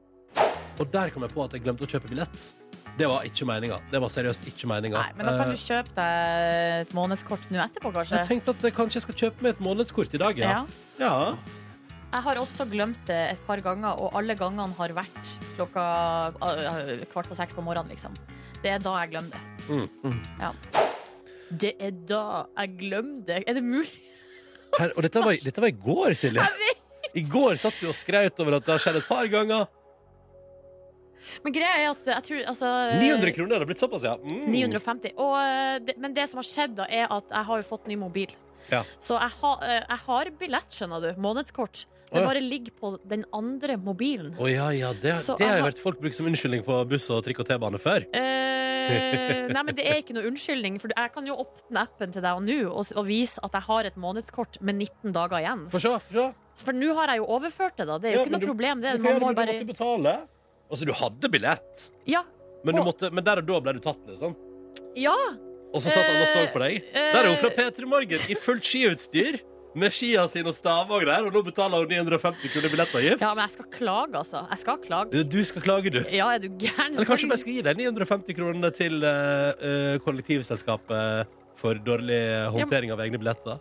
D: Og der kom jeg på at jeg glemte å kjøpe billett. Det var ikke meninga. Det var seriøst ikke meninga.
B: Nei, men da kan
D: Eh,
B: du kjøpe deg et månedskort nå etterpå, kanskje.
D: jeg tenkte at jeg kanskje skal kjøpe meg et månedskort i dag, ja.
B: Ja.
D: ja.
B: Jeg har også glemt det et par ganger, og alle gangene har vært klokka øh, kvart på seks på morgenen, liksom. Det er da jeg glemmer det.
D: Mm,
B: Ja. Det er da jeg glemmer det. Er det mulig?
D: Her, og dette var, dette var i går, Silje.
B: Jeg vet.
D: I går satt du og skraut over at det har skjedd et par ganger.
B: Men greia er at jeg tror altså,
D: 900 kroner det har blitt såpass, ja. Mm.
B: 950. Og, eh, det, men det som har skjedd, da, er at jeg har jo fått ny mobil.
D: Ja.
B: Så jeg, ha, eh, jeg har billett, skjønner du. Månedskort.
D: Å,
B: Det
D: ja.
B: bare ligger på den andre mobilen.
D: Å ja, ja. Det,
B: Så
D: det har
B: jeg
D: jeg
B: har-
D: hørt folk bruke som unnskyldning på buss og trikk og T-bane før.
B: Eh, nei, men det er ikke noe unnskyldning. For jeg kan jo åpne appen til deg nå og, s- og vise at jeg har et månedskort med 19 dager igjen.
D: Få se, få se.
B: Så For nå har jeg jo overført det, da. Det er jo
D: Ja,
B: ikke
D: men
B: noe
D: du-
B: problem. Det.
D: Du
B: Man
D: kan
B: må
D: gjøre det,
B: bare
D: men du måtte betale. Altså, du hadde billett,
B: Ja.
D: men, du
B: Å.
D: måtte, men der og da ble du tatt, liksom.
B: Ja!
D: Og så satt han og så på deg.
B: Eh,
D: Der er hun fra P3 Morgen i fullt skiutstyr. Med skia sine og staver og greier, og nå betaler hun 950 kroner billettavgift.
B: Ja, men jeg skal klage, altså. Jeg skal klage.
D: Du skal klage, du.
B: Ja, er du gæren?
D: Eller kanskje jeg bare skal gi deg 950 kronene til eh, eh, kollektivselskapet for dårlig håndtering av egne billetter.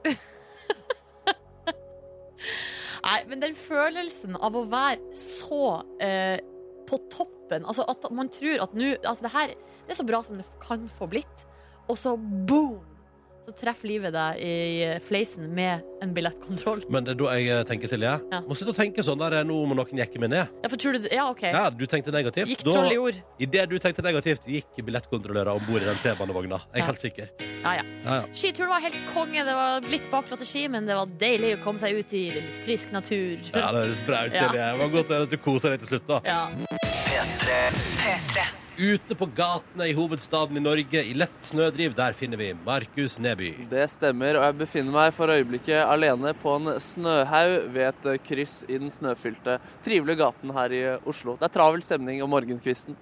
B: Nei, men den følelsen av å være så eh, på toppen Altså at man tror at nå Altså det her det er så bra som det kan få blitt, og så boom! Så treffer livet deg i eh, fleisen med en billettkontroll.
D: Men det er da jeg eh, tenker, Silje,
B: Ja.
D: må slutte å tenke sånn der eh, nå må noen jekke meg ned.
B: Ja, for tror du det- Ja, OK.
D: Ja, du tenkte negativt.
B: Gikk
D: Da-
B: troll i ord.
D: I det du tenkte negativt, gikk billettkontrollører om bord i den T-banevogna. Jeg
B: Ja.
D: er helt sikker.
B: Ja, ja.
D: Ja, ja.
B: Skituren var helt konge. Det var litt bakglatt ski, men det var deilig å komme seg ut i frisk natur.
D: Ja, det høres bra ut, Silje. Det var godt å høre at du koser deg til slutt, da.
B: Ja.
D: Ute på gatene i hovedstaden i Norge i lett snødriv, der finner vi Markus Neby.
C: Det stemmer, og jeg befinner meg for øyeblikket alene på en snøhaug ved et eh, kryss i den snøfylte, trivelige gaten her i eh, Oslo. Det er travel stemning om morgenkvisten.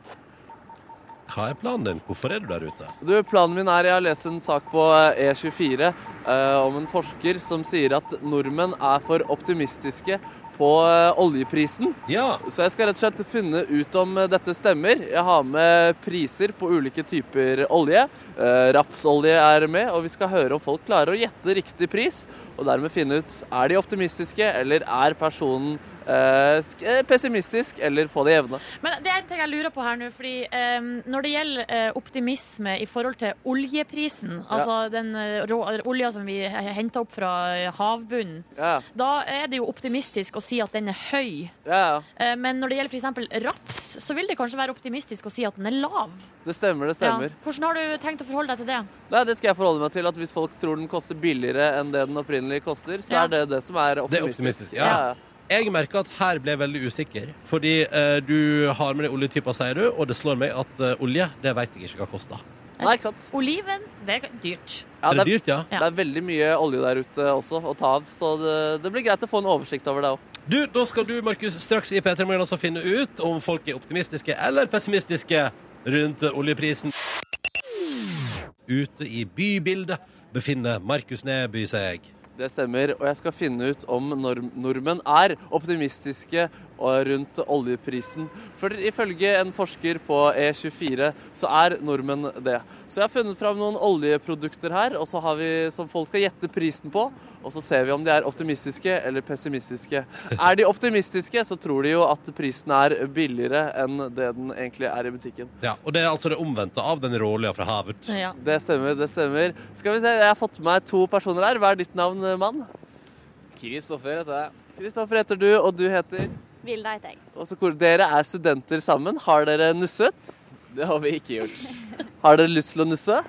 D: Hva er planen din? Hvorfor er du der ute?
C: Du, planen min er jeg har lest en sak på eh, E24 eh, om en forsker som sier at nordmenn er for optimistiske på eh, oljeprisen.
D: Ja,
C: Så jeg skal rett og slett finne ut om eh, dette stemmer. Jeg har med priser på ulike typer olje. Eh, Rapsolje er med, og vi skal høre om folk klarer å gjette riktig pris. Og dermed finne ut er de optimistiske, eller er personen eh, sk- eh, pessimistisk eller på det jevne.
B: Men det er en ting jeg lurer på her nå, fordi eh, når det gjelder eh, optimisme i forhold til oljeprisen, altså den eh, rå, olja som vi henter opp fra eh, havbunnen,
C: Ja,
B: da er det jo optimistisk å si at den er høy.
C: ja, ja.
B: Eh, men når det gjelder f.eks. raps, så vil det kanskje være optimistisk å si at den er lav.
C: Det stemmer, det stemmer.
B: Ja. Hvordan har du tenkt å forholde deg til det?
C: Nei, det skal jeg forholde meg til. At hvis folk tror den koster billigere enn det den opprinnelig koster, så
B: Ja.
C: er det det som er
D: Det er
C: optimistisk.
D: optimistisk, ja. Jeg merker at her ble jeg veldig usikker. Fordi eh, du har med deg oljetyper, sier du, og det slår meg at eh, olje, det veit jeg ikke hva koster.
C: Nei, ikke sant.
B: Oliven, det er dyrt.
C: Ja,
D: det er dyrt, ja.
B: Ja.
C: Det er veldig mye olje der ute også å ta av, så det, det blir greit å få en oversikt over det òg.
D: Du, da skal du, Markus, straks i P3 Morgen altså finne ut om folk er optimistiske eller pessimistiske rundt oljeprisen. Ute i bybildet befinner Markus Neby seg.
C: Det stemmer, og jeg skal finne ut om nor nordmenn er optimistiske og rundt oljeprisen. For ifølge en forsker på E24 så er nordmenn det. Så jeg har funnet fram noen oljeprodukter her, og så har vi, som folk skal gjette prisen på. Og så ser vi om de er optimistiske eller pessimistiske. Er de optimistiske, så tror de jo at prisen er billigere enn det den egentlig er i butikken.
D: Ja, og det er altså det omvendte av den råolja fra havet.
B: Ja.
C: Det stemmer, det stemmer. Skal vi se, jeg har fått med meg to personer her. Hva er ditt navn, mann?
G: Kristoffer heter jeg.
C: Kristoffer heter du, og du heter
H: Vilda heter jeg.
C: Og så hvor Dere er studenter sammen. Har dere nusset?
G: Det har vi ikke gjort.
C: Har dere lyst til å nusse?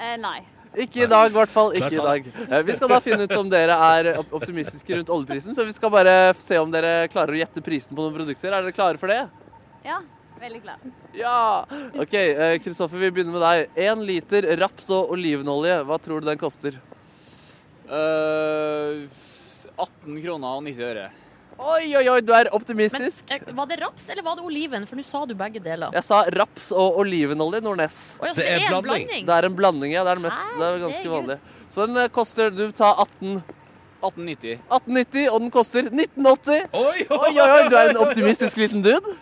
H: Eh, nei.
C: Ikke i dag, i hvert fall. Ikke
D: Klart
C: i
D: han.
C: dag. Eh, Vi skal da finne ut om dere er op- optimistiske rundt oljeprisen, så vi skal bare f- se om dere klarer å gjette prisen på noen produkter. Er dere klare for det?
H: Ja, veldig klar.
C: Ja! OK, eh, Kristoffer, vi begynner med deg. Én liter raps- og olivenolje, hva tror du den koster?
G: Eh, 18 kroner og 90 øre.
C: Oi, oi, oi, du er optimistisk.
B: Men, eh, var det raps eller var det oliven? For nå sa du begge deler.
C: Jeg sa raps og olivenolje, Nordnes.
B: Oi, altså,
D: Det
B: det,
D: er
B: er en
D: blanding.
B: blanding.
C: Det er en blanding, ja. Det er, den mest, det er ganske
B: Herregud.
C: vanlig. Så den eh, koster Du tar 18
I: 1890.
C: 1890, og den koster 1980.
D: Oi,
C: Oi, oi, oi, du er en optimistisk liten dude.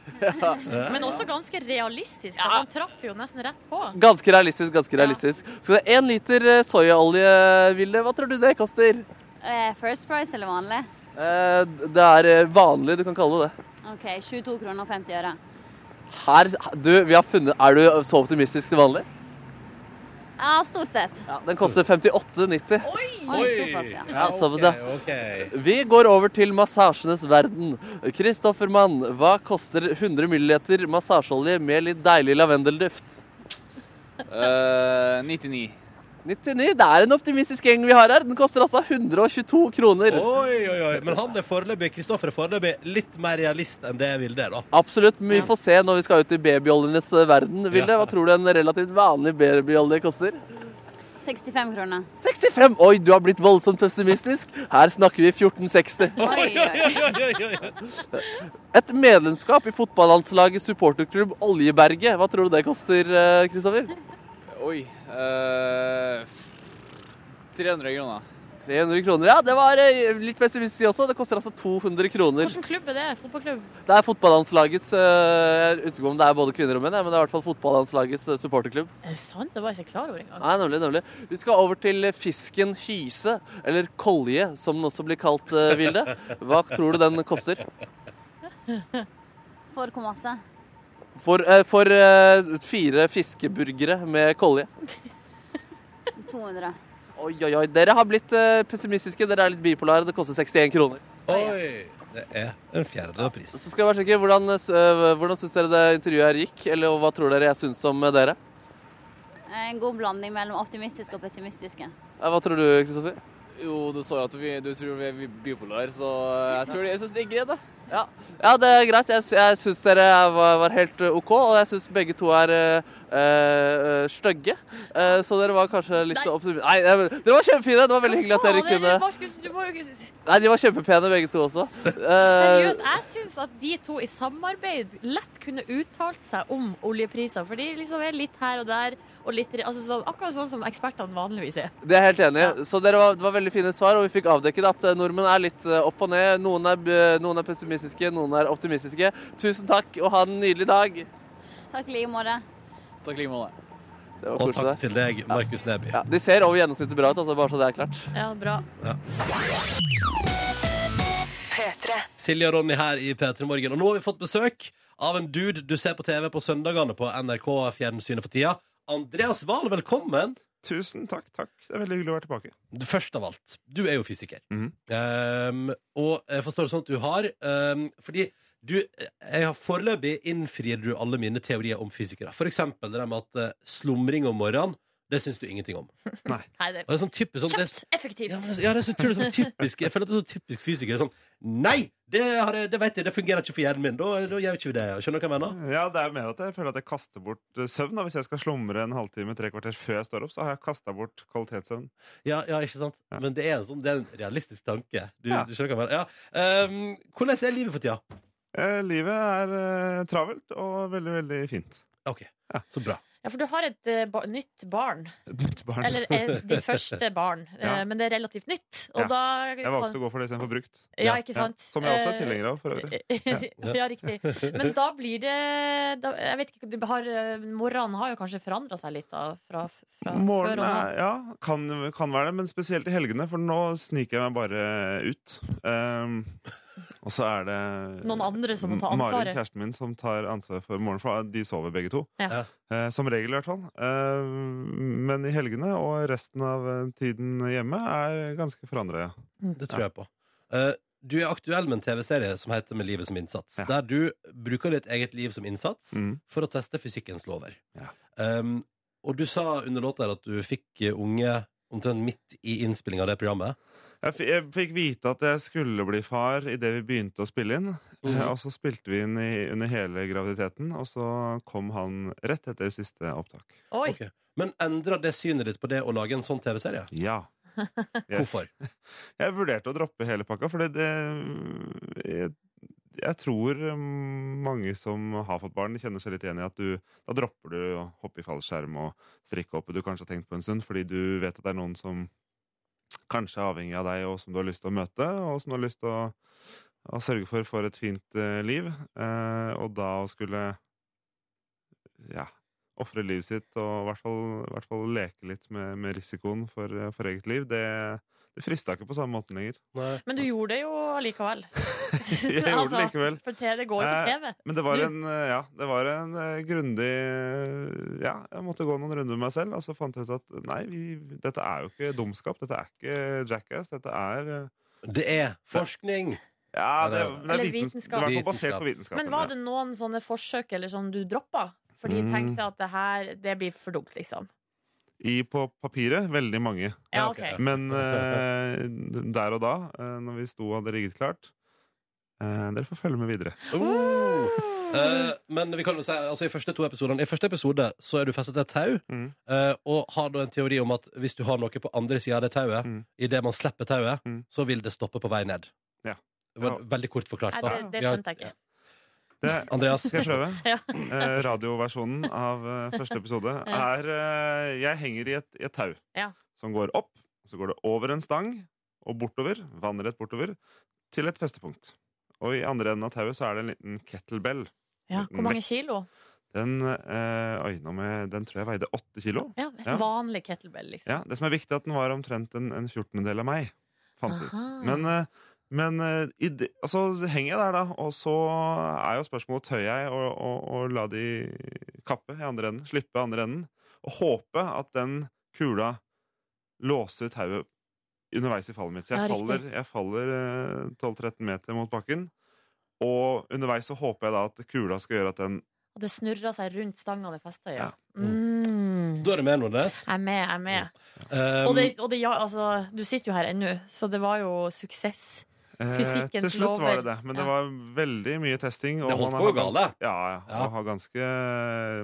B: Men også ganske realistisk.
C: Ja.
B: for Han traff jo nesten rett på.
C: Ganske realistisk, ganske realistisk. Så det er én liter eh, soyaolje, Ville. Hva tror du det koster?
H: Eh, First price eller vanlig?
C: Eh, Det er eh, vanlig, du kan kalle det det.
H: OK, 22 kroner og 50 øre.
C: Her, du, vi har funnet Er du så optimistisk til vanlig?
H: Ja, stort sett.
C: Ja, Den koster 58,90.
H: Oi, såpass, ja.
C: Ja, såpass, ja.
D: OK. ok.
C: Vi går over til massasjenes verden. Kristoffer Mann, hva koster 100 ml massasjeolje med litt deilig lavendelduft?
I: Eh, 99.
C: 99, Det er en optimistisk gjeng vi har her. Den koster altså 122 kroner.
D: Oi, oi, oi. Men han er foreløpig Kristoffer er foreløpig litt mer realist enn det Vilde er, da.
C: Absolutt. men Vi får se når vi skal ut i babyoljenes eh, verden. Vilde,
D: Ja.
C: hva tror du en relativt vanlig babyolje koster?
H: 65 kroner.
C: 65! Oi, du har blitt voldsomt pessimistisk. Her snakker vi 1460.
H: Oi, oi.
C: Et medlemskap i fotballandslaget supporterklubb Oljeberget. Hva tror du det koster, eh, Kristoffer?
I: Oi. eh, 300 kroner.
C: 300 kroner. Ja, det var eh, litt pessimistisk også. Det koster altså 200 kroner.
B: Hvilken klubb er det? Fotballklubb?
C: Det er fotballandslagets eh, Jeg vet ikke om det er både kvinner og menn, ja, men det er i hvert fall fotballandslagets eh, supporterklubb.
B: Er det sant? Det var jeg ikke klar over engang.
C: Nei, nemlig, nemlig. Vi skal over til eh, fisken hyse, eller kolje, som den også blir kalt, eh, Vilde. Hva tror du den koster?
H: For hvor masse?
C: For, eh, for eh, fire fiskeburgere med kolje.
H: 200.
C: Oi, oi, oi. Dere har blitt eh, pessimistiske. Dere er litt bipolare. Det koster 61 kroner.
D: Oi. Det er en fjerdedel av prisen.
C: Så skal jeg bare sjekke hvordan, uh, hvordan syns dere det intervjuet her gikk? Eller hva tror dere jeg syns om eh, dere?
H: En god blanding mellom optimistisk og pessimistiske.
C: Eh, Hva tror du, Kristoffer?
I: Jo, du så jo at vi, du tror vi er bipolar, så eh, jeg tror det, jeg synes det er greit, da.
C: Ja. ja, det er greit. Jeg, sy- jeg syns dere er- var, var helt eh, OK, og jeg syns begge to er eh, eh, stygge. Eh, så dere var kanskje litt
B: Nei.
C: optimistiske Nei, eh, dere var kjempefine! Det var veldig hyggelig at dere kunne
B: Markus, du må jo ikke
C: Nei, de var kjempepene begge to også. Eh,
B: Seriøst, jeg syns at de to i samarbeid lett kunne uttalt seg om oljepriser. For de liksom er litt her og der, og litt altså, sånn, Akkurat sånn som ekspertene vanligvis er.
C: Det er jeg helt enig. i. Så dere var, det var veldig fine svar, og vi fikk avdekket at eh, nordmenn er litt eh, opp og ned. Noen er, b- noen er pessimistiske, noen er optimistiske. Tusen takk, og ha en nydelig dag.
H: Takk i like måte.
I: Takk like måte.
C: Det var
D: Og
C: koselig.
D: takk til deg, Markus Neby.
C: Ja, de ser over gjennomsnittet bra ut, altså, bare så det er klart.
B: Ja, bra.
D: Silje og Ronny her i P3 Morgen. Og nå har vi fått besøk av en dude du ser på TV på søndagene på NRK Fjernsynet for tida. Andreas Wahl, velkommen.
J: Tusen takk, takk. Det er veldig hyggelig å være tilbake.
D: Først av alt, du er jo fysiker.
J: Mhm.
D: Um, og jeg forstår det sånn at du har um, Fordi du jeg har Foreløpig innfrir du alle mine teorier om fysikere. For eksempel det der med at eh, slumring om morgenen, det syns du ingenting om. Og
B: Nei, det
D: det er sånn typisk sånn, det,
B: Kjapt,
D: Ja, men
B: effektivt.
D: det- ja, det er så utrolig sånn typisk Jeg føler at det er så typisk fysikere. Sånn, nei, det, har jeg, det vet jeg, det fungerer ikke for hjernen min. Da, da gjør vi ikke det. Skjønner du hva jeg mener?
J: Ja, det er mer at jeg føler at jeg kaster bort eh, søvn. Da. Hvis jeg skal slumre en halvtime, tre kvarter før jeg står opp, så har jeg kasta bort kvalitetssøvn.
D: Ja, ja, ikke sant? Men det er en, sånn, det er en realistisk tanke. Du,
J: Ja.
D: du skjønner hva jeg mener. Ja. Ehm, hvordan er livet for tida?
J: Eh, livet er eh, travelt og veldig, veldig fint.
D: Ok, så bra.
B: Ja, for du har et eh, ba nytt barn.
J: Et nytt barn.
B: Eller eh, ditt første barn.
J: Ja.
B: Eh, men det er relativt nytt. Og
J: Ja.
B: da
J: Jeg valgte å gå for det istedenfor brukt.
B: Ja, ikke sant?
J: Som jeg også er
B: Eh,
J: tilhenger av, for øvrig.
B: ja. riktig. Men da blir det da, Jeg vet ikke, du har, Morgenen har jo kanskje forandra seg litt da, fra, fra før
J: Morgen
B: og nå.
J: er, ja, kan, kan være det, men spesielt i helgene, for nå sniker jeg meg bare ut. Eh, og så er det
B: Noen andre som må ta
J: Mari,
B: ansvaret.
J: kjæresten min, som tar ansvaret for morgenen, for de sover begge to.
B: Ja.
J: Eh, som regel, i hvert fall. Eh, men i helgene og resten av eh, tiden hjemme er ganske forandra, ja.
D: Det tror jeg på. Eh, du er aktuell med en TV-serie som heter Med livet som innsats.
J: Ja.
D: Der du bruker ditt eget liv som innsats
J: Mm.
D: for å teste fysikkens lover.
J: Ja.
D: Ehm, og du sa under låta her at du fikk eh, unge omtrent midt i innspillinga av det programmet.
J: Jeg, f jeg fikk vite at jeg skulle bli far idet vi begynte å spille inn.
D: Mhm.
J: Eh, Og så spilte vi inn i, under hele graviditeten, og så kom han rett etter siste opptak.
B: Oi!
D: Ok. Men endra det synet ditt på det å lage en sånn TV-serie?
J: Ja. Jeg,
D: Hvorfor?
J: jeg vurderte å droppe hele pakka, for det, det jeg, jeg tror mm, mange som har fått barn, kjenner seg litt igjen i at du Da dropper du å hoppe i fallskjerm og strikke opp du kanskje har tenkt på en stund, fordi du vet at det er noen som kanskje er avhengig av deg, og som du har lyst til å møte, og som du har lyst til å, å sørge for for et fint eh, liv. Eh, og da å skulle ja, ofre livet sitt og i hvert fall, i hvert fall leke litt med, med risikoen for, eh, for eget liv, det, det frista ikke på samme måten lenger.
D: Nei.
B: Men du gjorde det jo allikevel. Altså,
J: Jeg gjorde det likevel.
B: For te- det går jo på
J: Eh,
B: TV.
J: Men det var
B: Du-
J: en, eh, ja, det var en eh, grundig eh, Ja, jeg måtte gå noen runder med meg selv, og så fant jeg ut at nei, vi, dette er jo ikke dumskap. Dette er ikke jackass. Dette er eh,
D: Det er forskning!
J: Ja, det, men det
B: Eller
J: er vitens,
B: vitenskap.
J: Det var i hvert fall basert på vitenskap.
B: Men var det noen sånne forsøk eller sånn du droppa? Fordi
J: Mm.
B: de tenkte at det her, det blir for dumt, liksom.
J: I, på papiret veldig mange.
B: Ja,
D: Ja,
B: OK.
D: ok.
J: Men eh, der og da, eh, når vi sto og hadde rigget klart eh, Dere får følge med videre.
D: Oh. Eh, men vi kan jo si, altså i første to episoderne I første episode så er du festet til et tau,
J: Mm.
D: eh, og har da en teori om at hvis du har noe på andre sida av det tauet,
J: Mm.
D: I idet man slipper tauet,
J: Mm.
D: så vil det stoppe på vei ned.
J: Ja.
D: Det var Veldig kort forklart.
B: Nei,
D: da.
B: det, det skjønte jeg ikke.
J: Det,
D: Andreas,
J: Eh, skal jeg prøve?
B: Ja.
J: Eh, radioversjonen av eh, første episode er eh, Jeg henger i et, i et tau
B: Ja.
J: som går opp, så går det over en stang og bortover, vannrett bortover, til et festepunkt. Og i andre enden av tauet så er det en liten kettlebell.
B: Ja, hvor mange kilo?
J: Den, eh, oi, nå må jeg- den tror jeg veide åtte kilo.
B: Ja,
J: Ja.
B: Vanlig kettlebell, liksom.
J: Ja, det som er viktig, er at den var omtrent en, en fjortendedel av meg. Fant ut.
B: Aha.
J: Men, eh, men eh, i det- altså, henger jeg der, da, og så er jo spørsmålet tør jeg å, å, å la de kappe i andre enden, slippe andre enden, og håpe at den kula låser tauet underveis i fallet mitt. Så jeg
B: Ja, riktig.
J: faller, jeg faller eh, 12-13 meter mot bakken, og underveis så håper jeg da at kula skal gjøre at den
B: Og det snurra seg rundt stanga det festa i. Ja.
J: Ja.
B: Mm.
D: Da er det med, Nordnes.
B: Jeg er med, jeg er med.
D: Um,
B: Og, det, og det, ja, altså, du sitter jo her ennå, så det var jo suksess.
J: Eh, Til
B: Fysikkens
J: slutt var
B: lover.
J: det det, men
B: Ja.
J: det var veldig mye testing.
D: Det holdt
J: man
D: på
J: har
D: å gå
J: gans-
D: galt,
J: Ja, ja.
D: Ja.
J: Man, har ganske,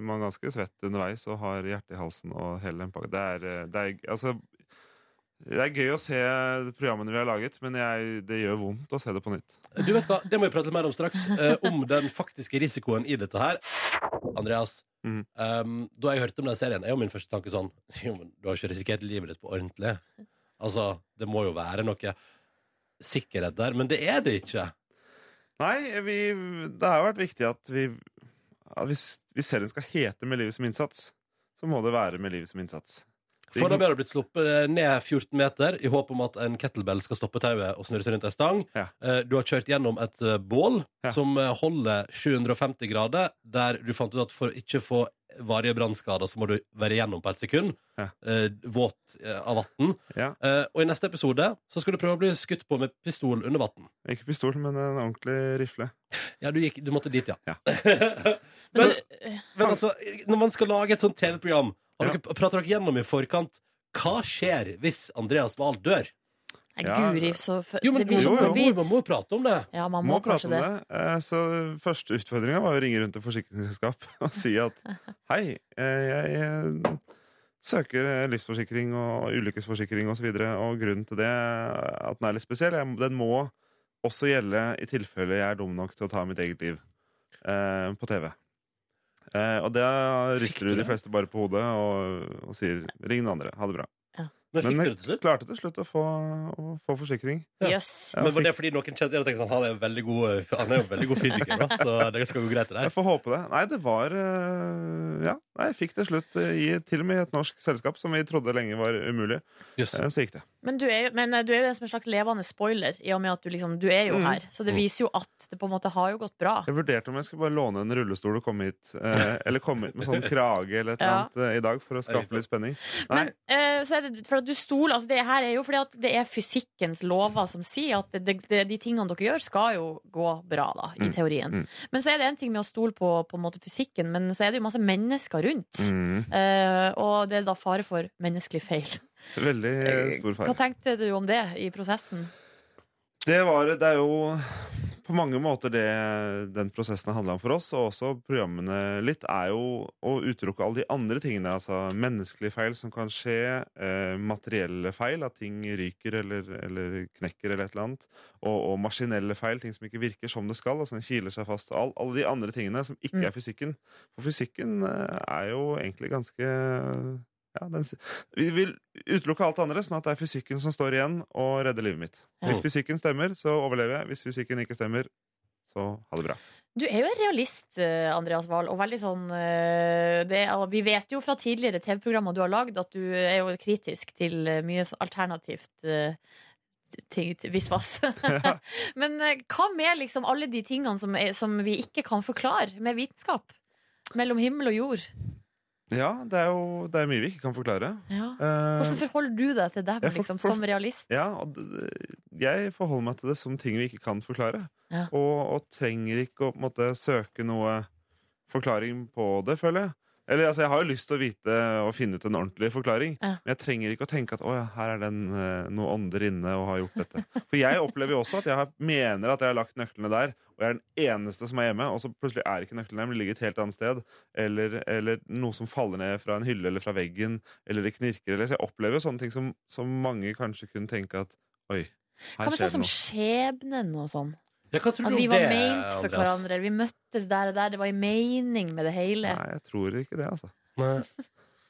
J: man er ganske svett underveis og har hjerte i halsen og hele den pakka. Det er, eh, det er, altså, det er gøy å se programmene vi har laget, men jeg, det gjør vondt å se det på nytt.
D: Du vet hva, Det må vi prate litt mer om straks. eh, om den faktiske risikoen i dette her. Andreas,
J: Mhm.
D: ehm, da jeg hørte om den serien, er jo min første tanke sånn Jo, men du har ikke risikert livet ditt på ordentlig. Altså, det må jo være noe sikkerhet der. Men det er det ikke.
J: Nei, vi, det har jo vært viktig at vi at Hvis, hvis serien skal hete Med livet som innsats, så må det være Med livet som innsats.
D: For da ble du blitt sluppet eh, ned 14 meter i håp om at en kettlebell skal stoppe tauet og snurre seg rundt ei stang.
J: Ja.
D: Eh, Du har kjørt gjennom et eh, bål
J: Ja.
D: som eh, holder 750 grader, der du fant ut at for å ikke få varige brannskader, så må du være igjennom på ett sekund.
J: Ja.
D: eh, Våt eh, av vann.
J: Ja.
D: Eh, Og i neste episode så skal du prøve å bli skutt på med pistol under vann.
J: Ikke pistol, men en ordentlig rifle.
D: Ja, du, gikk, du måtte dit, ja.
J: Ja.
B: Men,
D: men, men altså, når man skal lage et sånt TV-program, har
J: Ja.
D: dere- prater dere gjennom i forkant hva skjer hvis Andreas Wahl dør?
B: Nei,
J: Ja.
B: guri, så f-
D: Jo, men
B: Det blir
J: jo,
B: så
J: jo,
B: morbid.
D: Man må jo prate om det.
B: Ja, man
J: må
B: må,
J: prate
B: kanskje
J: om
B: det.
J: det. Eh, Så første utfordringa var å ringe rundt til forsikringsselskap og si at hei, eh, jeg eh, søker eh, livsforsikring og ulykkesforsikring osv., og, så videre, og grunnen til det er at den er litt spesiell, jeg, den må også gjelde i tilfelle jeg er dum nok til å ta mitt eget liv eh, på TV. Eh, og det
D: du
J: rister jo de
D: det?
J: fleste bare på hodet og, og sier 'ring noen andre', ha det bra.
D: Men fikk
J: Men
D: du det til slutt?
J: klarte til slutt å få, å få forsikring.
D: Ja.
B: Jøss.
J: Ja,
D: men var det fordi noen kjente deg og tenkte sånn, han er jo veldig god, han er jo veldig god fysiker, da, så det skal gå greit det
J: Jeg
D: der?
J: får håpe det. Nei, det var eh, Ja, nei, jeg fikk det slutt eh, i til og med i et norsk selskap som vi trodde lenge var umulig.
D: Jøss.
J: Eh, Så gikk det.
B: Men, du er, jo- men eh, du er jo en som en slags levende spoiler, i og med at du, liksom, du er jo
J: Mm.
B: her. Så det
D: Mm.
B: viser jo at det på en måte har jo gått bra.
J: Jeg vurderte om jeg skulle bare låne en rullestol og komme hit. eh, Eller komme hit med sånn krage eller et eller
B: Ja.
J: annet eh, i dag for å skape litt spenning. Nei,
B: Men eh, så er det for at du stoler altså Det her er jo fordi at det er fysikkens lover som sier at det, det, de tingene dere gjør, skal jo gå bra, da, i
J: Mm.
B: teorien.
J: Mm.
B: Men så er det en ting med å stole på, på en måte fysikken, men så er det jo masse mennesker rundt.
J: mm,
B: Eh, og det er da fare for menneskelig feil.
J: veldig eh, stor
B: Hva
J: feil.
B: tenkte du om det i prosessen?
J: Det var Det er jo på mange måter det den prosessen har handla om for oss, og også programmene litt, er jo å utelukke alle de andre tingene. Altså menneskelige feil som kan skje, eh, materielle feil, at ting ryker eller, eller knekker eller et eller annet, og, og maskinelle feil, ting som ikke virker som det skal, og som kiler seg fast, og all, alle de andre tingene som ikke
B: Mm.
J: er fysikken. For fysikken eh, er jo egentlig ganske ja, den, s- vi vil utelukke alt andre, sånn at det er fysikken som står igjen og redder livet mitt.
B: Ja.
J: Hvis fysikken stemmer, så overlever jeg. Hvis fysikken ikke stemmer, så ha det bra.
B: Du er jo en realist, eh, Andreas Wahl, og veldig sånn eh, det, er- Vi vet jo fra tidligere TV-programmer du har lagd, at du er jo kritisk til eh, mye sånn alternativt eh, ting til visvas. Men eh, hva med liksom alle de tingene som, er, som vi ikke kan forklare med vitenskap? Mellom himmel og jord.
J: Ja, det er jo det er mye vi ikke kan forklare.
B: Ja.
J: Eh,
B: Hvordan forholder du deg til dem,
J: jeg for-
B: liksom,
J: for-
B: som realist?
J: ja, og d- d- jeg forholder meg til det som ting vi ikke kan forklare.
B: Ja.
J: Og, og trenger ikke å på en måte, søke noe forklaring på det, føler jeg. Eller, altså, jeg har jo lyst til å vite og finne ut en ordentlig forklaring,
B: Ja.
J: men jeg trenger ikke å tenke at å, ja, her er det en, eh, noe ånder inne og har gjort dette. For jeg opplever jo også at jeg har, mener at jeg har lagt nøklene der, og jeg er den eneste som er hjemme, og så plutselig er ikke nøklene der, men de ligger et helt annet sted, eller, eller noe som faller ned fra en hylle eller fra veggen, eller det knirker, eller så jeg opplever jo sånne ting som, som mange kanskje kunne tenke at oi,
B: Hva
J: her skjer
B: med sånn
J: det
B: som
J: noe.
B: skjebnen og sånn?
D: Ja, hva tror
B: At
D: du
B: vi
D: om
B: var
D: det,
B: meint for
D: Andreas?
B: hverandre. Vi møttes der og der. Det var en mening med det hele.
J: Nei, jeg tror ikke det, altså.
D: Nei.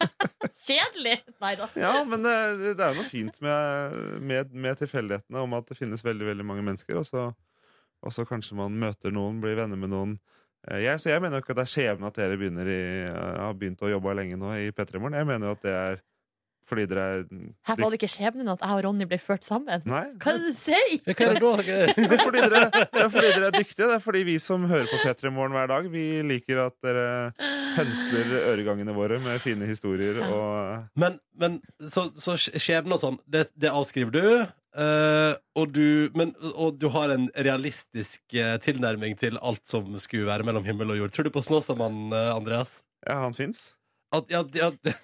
B: Kjedelig! Nei da.
J: Ja, men det, det er jo noe fint med, med, med tilfeldighetene om at det finnes veldig veldig mange mennesker, og så, og så kanskje man møter noen, blir venner med noen. Eh, Jeg, så jeg mener jo ikke at det er skjebne at dere begynner i, eh, har begynt å jobbe lenge nå i P3 Morgen. Jeg mener jo at det er fordi dere er
B: Her var det ikke skjebnen at jeg og Ronny ble ført sammen.
J: Nei.
B: Hva er det du sier?!
D: Ja, Hva er det da?
J: Det er, fordi dere, det er fordi dere er dyktige. Det er fordi vi som hører på P3 Morgen hver dag, vi liker at dere pensler øregangene våre med fine historier og
D: Men, men så, så skj- skjebne og sånn, det, det avskriver du. eh, og, du men, og du har en realistisk eh, tilnærming til alt som skulle være mellom himmel og jord. Tror du på Snåsamannen, eh, Andreas?
J: Ja, han fins.
D: At, ja, det- ja, det,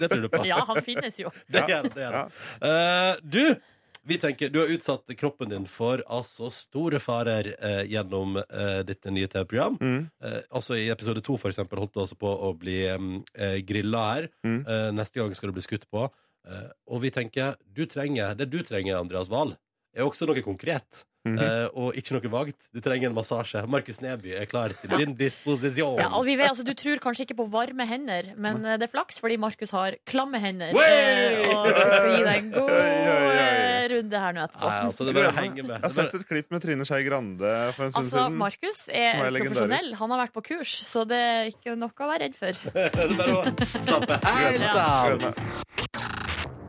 D: det tror du på.
B: Ja, han finnes jo.
D: Det gjør det. det, gjør det. Eh, du, vi tenker, du har utsatt kroppen din for altså store farer eh, gjennom eh, ditt nye TV-program.
J: Mm.
D: Eh, altså I episode to for eksempel, holdt du altså på å bli um, eh, grilla her.
J: Mm.
D: Eh, neste gang skal du bli skutt på. Eh, og vi tenker du trenger, det du trenger, Andreas Wahl, er også noe konkret.
J: Mhm.
D: eh, og ikke noe vagt. Du trenger en massasje. Markus Neby er klar til din disposisjon.
B: Ja, og vi vet, altså, du tror kanskje ikke på varme hender, men eh, det er flaks, fordi Markus har klamme hender.
D: Wey!
B: Eh, Og vi skal gi deg en god
J: Oi, oi, oi.
B: eh, runde her nå etterpå.
D: Nei, altså, det er bare å henge med.
J: Jeg har sett et klipp med Trine Skei Grande for en stund
B: Altså,
J: siden.
B: Markus er
J: Som er legendarisk.
B: profesjonell. Han har vært på kurs, så det er ikke noe å være redd for.
D: Det er bare å slappe helt av.